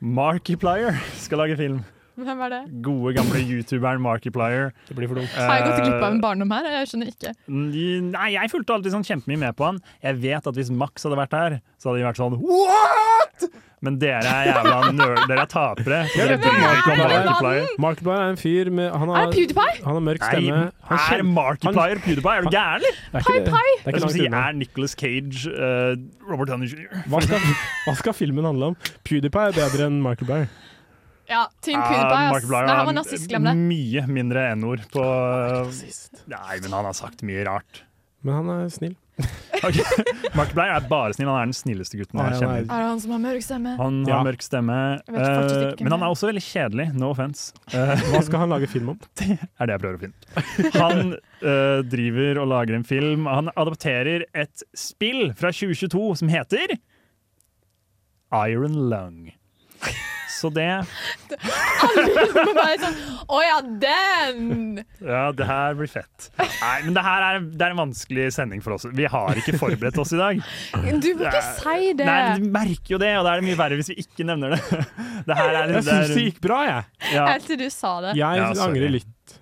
S4: Markiplier skal lage film.
S5: Hvem er det?
S4: Gode, gamle youtuberen Markiplier. Det blir for dumt.
S5: Har jeg gått glipp av
S4: eh,
S5: en barndom her? Jeg skjønner ikke.
S4: Nei, jeg fulgte alltid sånn kjempemye med på han. Jeg vet at hvis Max hadde vært her, så hadde de vært sånn What?! Men dere er jævla nerd, dere er tapere. så
S6: Jeg
S4: Dere
S6: vet hvem
S4: bryr dere ikke om
S6: Markiplier er.
S4: Markiplier.
S6: Markiplier er en fyr med han har,
S5: Er det PewDiePie?
S6: Han har mørk
S4: Nei,
S6: stemme. Han
S4: er
S6: kjem-
S4: Markiplier
S6: han-
S4: PewDiePie? Er du
S6: han-
S4: gæren, eller?
S6: Det er ikke det.
S5: Pie?
S6: Det er ikke
S4: som
S6: langt
S4: sier
S6: unna.
S4: er Nicolas Cage, eh, Robert Downey Jr.
S6: Hva skal, hva skal filmen handle om? PewDiePie er bedre enn Markiplier.
S5: Ja, Team
S6: Eh,
S4: Ja,
S5: PewDiePie. ass.
S4: Markiplier
S5: Nei, han
S4: har
S5: var nazist, glem det.
S6: Mm,
S4: Mye mindre n-ord på eh,
S6: eh,
S4: Nei, men han har sagt mye rart.
S6: Men han er snill.
S4: Markiplier er bare snill. Han er den snilleste gutten
S6: Nei,
S4: jeg
S6: han er-
S4: kjenner.
S5: Er det han som har mørk stemme?
S4: Han
S6: Ja.
S4: har mørk stemme,
S5: Jeg vet fortsatt
S4: eh,
S5: ikke hvem
S4: men han
S5: det
S4: er
S5: er.
S4: også veldig kjedelig. No offence. Eh,
S6: Hva skal han lage film om?
S4: er det jeg prøver å finne. Han eh, driver og lager en film. Han adapterer et spill fra 2022 som heter Iron Lung. Så det
S5: Alle bare sånn Å ja, den!
S4: Ja, det her blir fett. Nei, men det her er, det er en vanskelig sending for oss. Vi har ikke forberedt oss i dag.
S5: Du må ikke si det.
S4: Nei, men Du merker jo det, og da er det mye verre hvis vi ikke nevner det. det her er,
S6: Jeg syns det
S4: er-
S6: gikk bra, jeg.
S4: Ja.
S5: Helt til du sa det.
S6: Jeg
S4: Ja, sorry.
S6: angrer litt.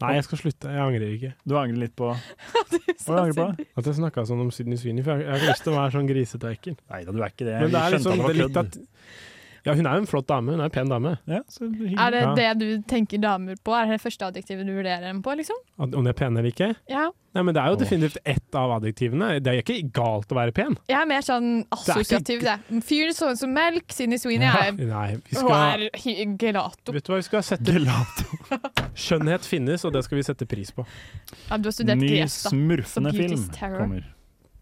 S6: Nei, jeg skal slutte. Jeg angrer ikke.
S4: Du angrer litt på
S5: Hva
S4: angrer du på?
S6: At jeg snakka sånn om Sydney Sweeney, for jeg, jeg har ikke lyst til å være sånn grisete og ekkel.
S4: Nei da, du er ikke det.
S6: Men det er
S4: Vi skjønte
S6: liksom det
S4: at
S6: er litt
S4: det var
S6: at Ja, hun er jo en flott dame. Hun er en pen dame.
S4: Ja, så hyggelig.
S5: Er det
S6: Ja.
S5: det du tenker damer på? Er det det første adjektivet du vurderer dem på, liksom?
S6: At- Om de er pene eller ikke?
S5: Ja.
S6: Nei, men det er jo definitivt ett av adjektivene. Det er ikke galt å være pen.
S5: Jeg er mer sånn
S6: er ikke-
S5: assosiativ, det. Fyren så ut som melk, Sydney Sweeney
S6: Ja,
S5: er
S6: Nei, vi
S5: Hun er
S6: skal
S5: hy- gelato.
S6: Vet du hva, vi skal sette Skjønnhet finnes, og det skal vi sette pris på.
S5: Ja, du har studert
S4: Ny
S5: gresk, da. Så
S4: smurfende
S5: beauty's
S4: film
S5: terror.
S4: kommer.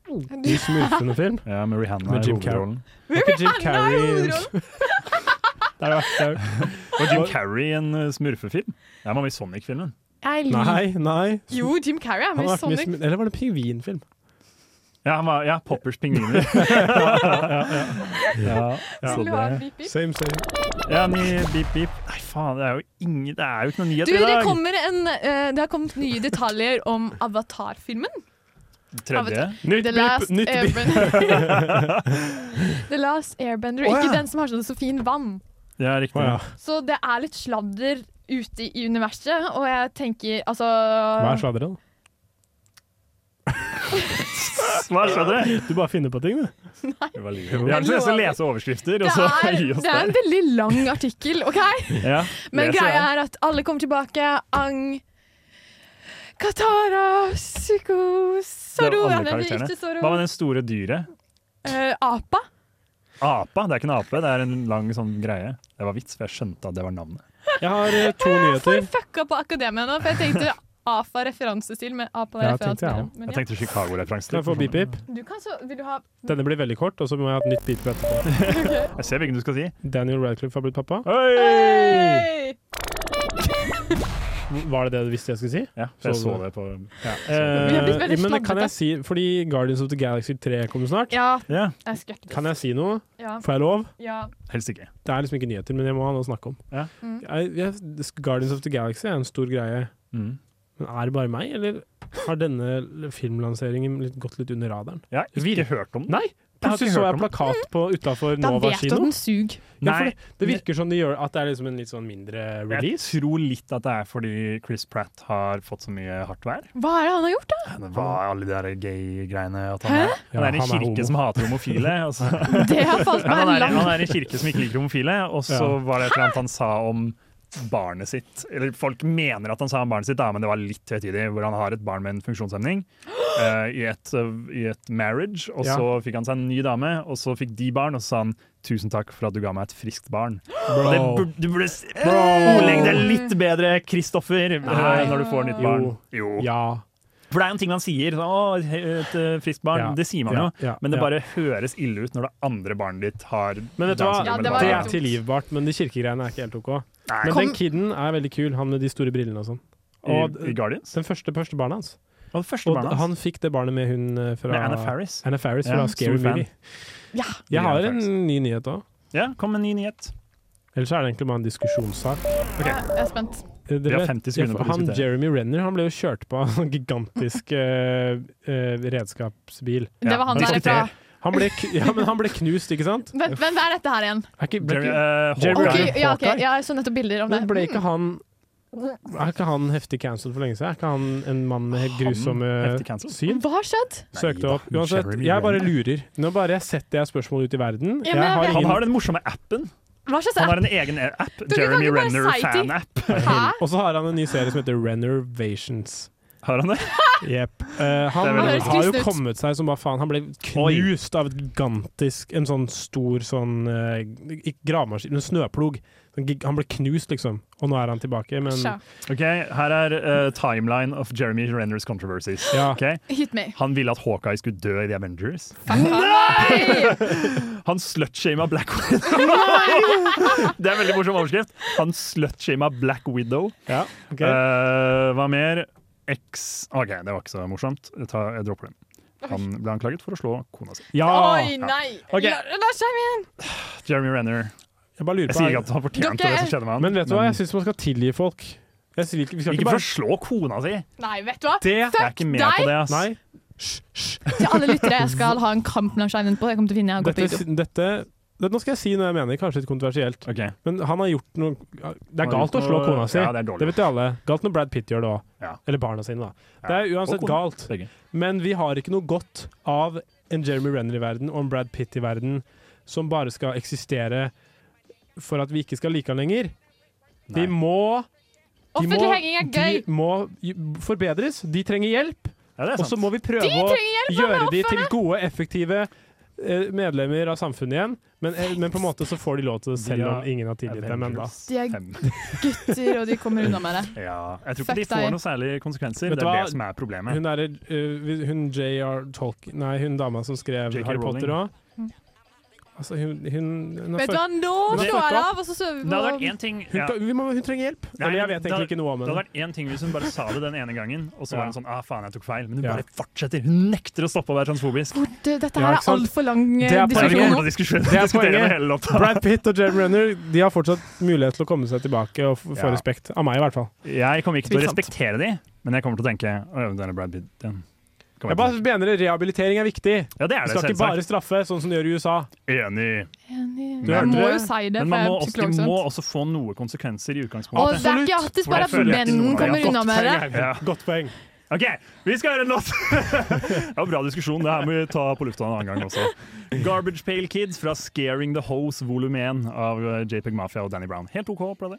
S6: Ny smurfende film.
S4: Ja, med Rihanna
S6: Med
S4: i
S6: Jim Carrey.
S4: hovedrollen.
S6: Er ikke Jim Carrey Det er jo
S4: Og Jim Carrey i en eh, smurfefilm. Ja, man vil Sonic-filmen.
S5: Jeg liker
S6: Nei, nei.
S5: Jo, Jim Carrey er
S6: Han
S5: med i
S6: har vært med i
S5: Sonic.
S6: sm- Eller var det en pingvinfilm?
S4: Ja, han var, ja Poppers pingviner. ja,
S6: Ja.
S4: så
S5: Vil du ha en
S4: det.
S5: beep, beep?
S6: Same, same.
S4: Ja, ny beep, beep. Nei, faen, det er jo, ingen, det er jo ikke noe nyhet
S5: Du,
S4: i dag.
S5: det, kommer en, eh, det har kommet nye detaljer om Avatar-filmen.
S4: Tredje.
S6: Nytt
S5: The
S6: bip,
S5: Last
S6: nytt bip.
S5: Airbender. The Last Airbender.
S6: Å,
S5: Ikke
S6: ja.
S5: den som har sånn så fin vann.
S4: Ja, riktig.
S6: Å, ja.
S5: Så det er litt sladder ute i universet, og jeg tenker altså
S6: Hva er sladderet, da?
S4: Hva skjedde?
S6: Du bare finner på ting, du.
S4: Det var livet. Vi har lyst til å lese overskrifter,
S5: Det
S4: og så
S5: er,
S4: gi oss
S5: det er en
S4: der.
S5: veldig lang artikkel, OK?
S4: Ja,
S5: Men
S4: leser
S5: greia
S4: jeg.
S5: er at alle kommer tilbake. Ang Katara, Psyko,
S4: Det
S5: Zoro
S4: var
S5: ja,
S4: alle
S5: men vi er
S4: karakterene.
S5: ikke Zoro.
S4: Hva med den store dyret?
S5: Eh, apa.
S4: Apa? Det er ikke en ape, det er en lang sånn greie. Det var vits, for jeg skjønte at det var navnet.
S6: Jeg har eh, to nyheter.
S5: Fucka på akademia nå, for jeg tenkte AFA referanse men APA
S6: Ja,
S5: referanse
S6: tenkte jeg
S5: til.
S6: også.
S5: Men
S4: Jeg tenkte Chicago-referanse.
S6: Kan jeg få bip-bip?
S5: Du kan så, vil du ha
S6: Denne blir veldig kort, og så må jeg ha et nytt bip etterpå.
S4: Jeg ser hvilken du skal si.
S6: Daniel Radcliffe har blitt pappa.
S4: Hei!
S6: Var det det du visste jeg skulle si?
S4: Ja, for jeg
S6: Så
S4: så
S6: du
S4: det på
S6: Ja.
S5: Vi har blitt
S6: Eh,
S5: veldig
S6: men kan
S5: sladdete.
S6: jeg si, fordi Guardians of the Galaxy 3 kommer snart,
S5: Ja,
S4: Ja,
S5: jeg er skeptisk.
S6: kan jeg si noe?
S5: Ja.
S6: Får jeg lov?
S5: ja.
S4: helst ikke.
S6: Det er liksom ikke nyheter, men jeg må ha noe å snakke om.
S4: Ja.
S5: Mm.
S6: Jeg, jeg, Guardians of the Galaxy er en stor greie,
S4: Mm.
S6: men er det bare meg, eller har denne filmlanseringen litt, gått litt under radaren?
S4: Jeg har ikke hørt om den.
S6: Nei!
S4: Jeg har ikke
S6: Plutselig så
S4: hørt
S6: jeg
S4: om
S6: plakat på utafor
S5: Da
S6: Nova
S5: vet du at
S6: kino.
S5: den suger.
S6: Ja, for
S4: Nei.
S6: det, det virker som de gjør at det er liksom en litt sånn mindre
S4: Jeg
S6: release.
S4: tror litt at det er fordi Chris Pratt har fått så mye hardt vær.
S5: Hva er det han har gjort, da?
S4: Det var alle de der gay-greiene. at Han er, han
S6: Ja,
S4: er i en
S6: han er homo.
S4: kirke som hater homofile. Og så,
S5: Det har falt
S4: Ja, han,
S5: meg
S4: er, i- han
S5: langt.
S4: er i en kirke som ikke liker homofile, og så
S6: Ja.
S4: var det et eller annet han sa om barnet sitt. Eller folk mener at han sa om barnet sitt, da, men det var litt høytidig. Hvor han har et barn med en funksjonshemning eh, i, et, eh, i et marriage, og
S6: Ja.
S4: så fikk han seg en ny dame, og så fikk de barn, og så sa han tusen takk for at du ga meg et friskt barn. Og det
S6: Bro.
S4: burde, du burde s- ordlegge deg litt bedre, Kristoffer, eh, når du får nytt barn.
S6: Jo. Ja.
S4: For det er jo en ting man sier. sånn, Å, et eh, friskt barn.
S6: Ja,
S4: Det sier man
S6: ja,
S4: jo.
S6: ja,
S4: men det
S6: ja.
S4: bare høres ille ut når det andre barnet ditt har
S6: Men vet du hva,
S4: Downs syndrome eller
S6: det,
S4: hva
S6: er tilgivbart, men de kirkegreiene er ikke helt OK. Men
S4: Kom-
S6: den kiden er veldig kul, han med de store brillene og sånn.
S4: I- i Guardians?
S6: Den første, første barnet hans.
S4: Og det første
S6: Og
S4: barnet hans.
S6: han fikk det barnet med hun eh, fra
S4: Med Anna Faris.
S6: Anna Faris
S4: Ja,
S6: fra Scary
S4: stor fan.
S6: Movie.
S5: Ja.
S6: Jeg har
S4: Anna
S6: en ny nyhet òg.
S4: Ja, kom med en ny nyhet.
S6: Ellers er det egentlig bare en diskusjonssak.
S5: Jeg er spent.
S6: Eh,
S4: Vi har 50 sekunder på å
S6: Han
S4: diskutere.
S6: Jeremy Renner han ble jo kjørt på av en gigantisk eh, eh, redskapsbil.
S5: Det var han
S6: Men
S5: der
S6: diskuter-
S5: fra-
S6: Han ble, k- ja, men han ble knust, ikke sant?
S5: Hvem, hvem er dette her igjen?
S6: Er ikke,
S4: Jeremy- eh,
S5: Ok,
S6: Jeremy Renner
S5: ja, ok,
S6: Hawkeye?
S5: Jeg så nettopp bilder om det.
S6: Men ble ikke han Er ikke han heftig cancelled for lenge siden? Er ikke han en mann med grusomme
S4: heftig cancelled?
S6: syn?
S5: Hva har skjedd?
S6: Søkte opp.
S4: Nei da,
S6: Uansett,
S4: Jeremy
S6: jeg bare
S4: Renner.
S6: lurer. Nå bare jeg setter jeg spørsmål ut i verden.
S5: Ja, men jeg
S6: jeg
S5: vet-
S6: har
S4: Han
S6: ingen
S4: har den morsomme appen.
S5: Hva slags
S4: Han har
S5: app?
S4: en egen e- app.
S5: kan
S4: Jeremy
S5: ikke bare
S4: Renner
S5: si ting.
S4: fan-app.
S6: Og så har han en ny serie som heter Renovations.
S4: Har han det?
S6: Jepp. Eh,
S4: Det er
S6: han
S5: bra.
S4: veldig
S6: har jo
S5: Han høres
S6: kommet seg som bare faen. Han ble knust av et gigantisk En sånn stor sånn eh, Ikke gravemaskin, men snøplog. Sånn gig- Han ble knust, liksom. Og nå er han tilbake, men
S5: Sja.
S4: Ok, Her er eh, timeline of Jeremy Renners controversies.
S6: Ja.
S4: Ok?
S5: Hit me.
S4: Han ville at Hawkeye skulle dø i The Avengers.
S5: Nei!
S4: Han slutshama Black Widow. det er en veldig morsom overskrift. Han slutshama Black Widow.
S6: Ja, ok.
S4: Eh, hva mer? X OK, det var ikke så morsomt. Jeg, tar, jeg dropper den. Han ble anklaget for å slå kona si.
S5: Oi, nei!
S4: Ok.
S5: La- La oss skjerme igjen!
S4: Jeremy Renner.
S6: Jeg bare lurer
S4: Eh, Jeg
S6: på
S4: sier ikke at han fortjente
S5: Dere-
S4: det som skjedde med han.
S6: Men vet du hva, jeg syns man skal tilgi folk. Jeg sier ikke, vi skal
S4: ikke
S6: ikke
S4: for
S6: bare
S4: å slå kona si!
S5: Nei, vet du hva?
S4: Det jeg er
S5: Fuck
S4: ikke med
S5: deg!
S4: på det, ass.
S6: Nei.
S5: Til alle lyttere, jeg skal ha en kamp mellom skjermen på. Jeg kommer til å finne jeg har gått på
S6: Dette,
S5: YouTube.
S6: dette, det, nå skal jeg si noe jeg mener, kanskje litt kontroversielt.
S4: Ok.
S6: Men han har gjort noe Det
S4: Han
S6: er
S4: har
S6: galt å
S4: gjort
S6: slå
S4: noe-
S6: kona si.
S4: Ja, det er dårlig.
S6: vet jo alle. Galt når Brad Pitt gjør det òg.
S4: Ja.
S6: Eller barna sine, da.
S4: Ja.
S6: Det er uansett
S4: Og kona.
S6: galt.
S4: Begge.
S6: Men vi har ikke noe godt av en Jeremy Renner i verden og en Brad Pitt i verden som bare skal eksistere for at vi ikke skal like han lenger. De må de må-
S5: Offentlig henging er gøy!
S6: De må j- forbedres. De trenger hjelp.
S4: Ja, det er
S6: Og så
S4: sant.
S6: må vi prøve
S5: De
S6: å
S5: trenger hjelp, hva med
S6: gjøre de til
S5: ofrene?
S6: gode, effektive eh, medlemmer av samfunnet igjen. Men, eh, men på en måte så får de lov til det,
S4: De
S6: selv
S4: har
S6: om ingen har tilgitt dem ennå.
S4: Avengers
S5: De er
S4: fem.
S5: gutter, og de kommer unna med det.
S4: Ja, jeg tror
S5: Fuck
S4: ikke de får
S5: deg.
S4: noen særlige konsekvenser.
S6: Vet
S4: Det
S6: du
S4: er
S6: hva?
S4: det som er problemet.
S6: Hun derre eh, hun J.R. Tolk... Nei, hun dama som skrev
S4: J.K.
S6: Harry Potter
S4: Rowling.
S6: òg. Altså, hun, hun, hun, har
S5: Vet du hva,
S6: fuck-
S5: nå
S6: Men det-
S5: slår jeg av, og så sover
S4: Det hadde
S5: vi
S4: vært
S5: på
S4: én ting
S6: hun,
S4: ja.
S6: kan- vi må, hun trenger hjelp.
S4: Nei,
S6: Eller jeg vet
S4: det
S6: egentlig
S4: hadde-
S6: ikke noe om
S4: Det hadde
S6: henne.
S4: vært én ting hvis hun bare sa det den ene gangen, og så var
S6: Ja.
S4: hun sånn ah, faen, jeg tok feil. Men hun
S6: Ja.
S4: bare fortsetter. Hun nekter å stoppe å være transfobisk.
S5: Hvor- det- Dette
S6: Ja,
S5: her
S6: ikke
S5: er
S6: sant?
S5: altfor lang eh,
S6: Det er
S4: Det er
S5: diskusjon
S4: ikke
S5: nå.
S4: ordentlig diskusjon.
S6: Det er
S4: Diskutere med
S6: poenget.
S4: hele låta.
S6: Brad Pitt og Jeremy Renner De har fortsatt mulighet til å komme seg tilbake og f- få
S4: Ja.
S6: respekt. Av meg, i hvert fall.
S4: Jeg kommer ikke til å
S5: Tvilsomt.
S4: respektere de, men jeg kommer til å tenke å, ja, den er Brad Pitt. Den. kommer
S6: Jeg bare mener rehabilitering er viktig.
S4: til å-" ja, det
S6: Vi
S4: er det,
S6: skal ikke bare
S4: selvsagt.
S6: straffe, sånn som de gjør i USA.
S4: Enig.
S5: Enig.
S4: Du
S5: Jeg
S4: hørte
S5: må
S4: det.
S5: jo si det,
S4: Men
S5: for
S4: man
S5: jeg
S4: må
S5: er
S4: også, de
S5: psykolog.
S4: må
S5: sant?
S4: også få noe konsekvenser
S5: Og
S4: i
S5: det
S4: utgangspunktet.
S5: er ikke alltid bare
S4: For jeg føler
S5: at
S4: at noen
S5: menn
S4: har
S5: kommer
S4: gått
S5: unna med det.
S4: Ja.
S6: Godt poeng.
S4: OK, vi skal høre en låt! det var bra diskusjon. Det her må vi ta på lufta en annen gang også. Garbage Pale Kids fra Scaring The Hose volum 1 av eh, JPEG Mafia og Danny Brown. Helt OK, brother.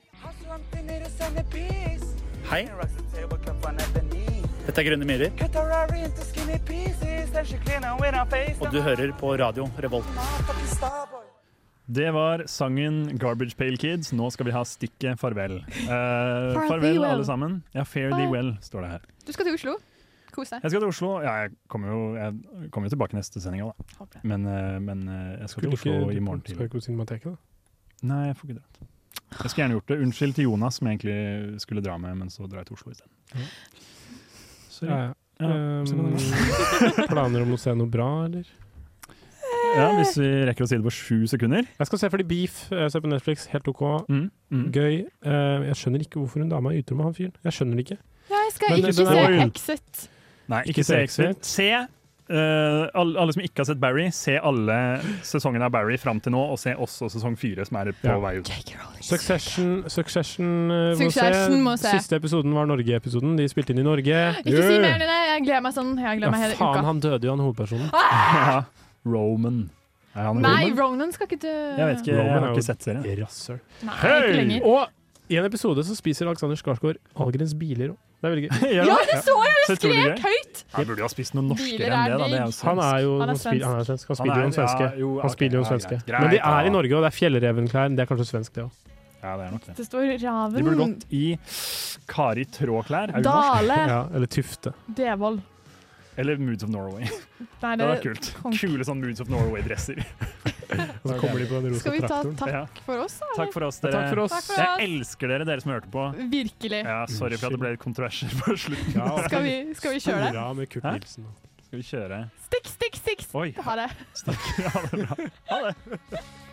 S18: Hei. Dette er Grønne myrer, og du hører på radio Revolt.
S4: Det var sangen Garbage Pale Kids. Nå skal vi ha stikket farvel. Eh,
S5: thee
S4: farvel,
S5: well.
S4: alle sammen. Ja, fare thee well, står det her.
S5: Du skal til Oslo. Kos deg.
S4: Jeg skal til Oslo. Ja, jeg kommer jo, jeg kommer jo tilbake neste sending òg, da.
S5: Håper
S4: Men, eh, men eh, jeg skal til Oslo i morgen tidlig.
S6: Skal ikke på Cinemateket, da?
S4: Nei, jeg får ikke dratt. Jeg skulle gjerne gjort det. Unnskyld til Jonas, som jeg egentlig skulle dra med, men så drar jeg til Oslo isteden. Sorry.
S6: Ja, ja.
S4: Ja, så kan det
S6: Um, planer om å se noe bra, eller?
S4: Ja, hvis vi rekker å si det på sju sekunder.
S6: Jeg skal se fordi Beef jeg ser på Netflix, helt OK.
S4: Mm, mm.
S6: Gøy. Eh, jeg skjønner ikke hvorfor hun dama er utro med han fyren. Jeg skjønner det ikke.
S5: Jeg skal
S6: Men
S5: ikke
S6: den er
S5: se
S6: jo-
S5: Exit.
S4: Nei, ikke se Exit. Se eh, alle, alle som ikke har sett Barry, se alle sesongene av Barry fram til nå, og se også sesong fire, som er på
S6: Ja.
S4: vei ut.
S6: Succession, Succession, eh, må,
S5: Succession
S6: se.
S5: må se.
S6: Siste episoden var Norge-episoden. De spilte inn i Norge.
S5: Ikke si mer enn det. Jeg gleder meg sånn. Jeg gleder meg
S6: Ja,
S5: hele
S6: faen,
S5: uka.
S6: han døde jo, han hovedpersonen.
S4: Ja. Roman. Er han
S5: Nei,
S4: Roman?
S5: Ronan skal ikke dø.
S4: Jeg vet ikke, jeg
S6: Roman
S4: har
S6: er jo
S4: ikke sett serien.
S6: Rasshøl.
S5: Nei, ikke lenger.
S6: Og i en episode så spiser Alexander Skarsgård Algrens biler òg. Det er veldig gøy.
S4: Gjør
S5: Ja,
S4: han?
S5: det så jeg!
S4: Så
S5: Jeg
S4: utrolig
S5: skrek
S4: gøy.
S5: høyt!
S4: Jeg burde jo ha spist noe norskere
S5: Biler
S4: enn
S5: er
S4: det, da. Det er jo
S5: digg.
S6: Han er jo
S5: Han er
S6: han spiller, han er
S5: svensk.
S6: svensk.
S4: Han
S6: Han spiller jo
S4: er-
S6: en svenske.
S4: ja, jo,
S6: han
S4: ok,
S6: spiller jo en
S4: ja,
S6: svenske.
S4: greit.
S6: Men de
S4: Greit, ja.
S6: er i Norge, og det er Fjellrevenklær. Det er kanskje svensk, det òg.
S4: Ja, det er nok
S5: Det
S4: det.
S5: står
S4: De burde
S5: Raven.
S4: gått i Kari Tråklær. Er hun norsk?
S5: Dale.
S4: Ja,
S6: Eller Tufte.
S5: Devold.
S4: Eller Moods of Norway.
S5: Nei,
S4: Det hadde vært
S5: det-
S4: kult. Kule sånn Moods of Norway-dresser.
S6: Og så kommer de på den rosa
S5: Skal vi ta
S6: traktoren.
S5: takk
S4: Ja.
S5: for oss, da? eller?
S4: Takk for oss,
S6: Ja,
S4: dere.
S6: takk for oss.
S5: Takk for oss.
S4: Jeg elsker dere, dere som hørte på.
S5: Virkelig.
S4: Ja, sorry for at det ble litt kontroverser på slutten.
S5: Skal vi- skal vi kjøre det? Hurra
S6: med Kurt Nilsen.
S4: Skal vi kjøre?
S5: Stikk, stikk, stikk!
S4: Oi.
S5: Ha det.
S4: Stakk. Ha det bra. Ha det.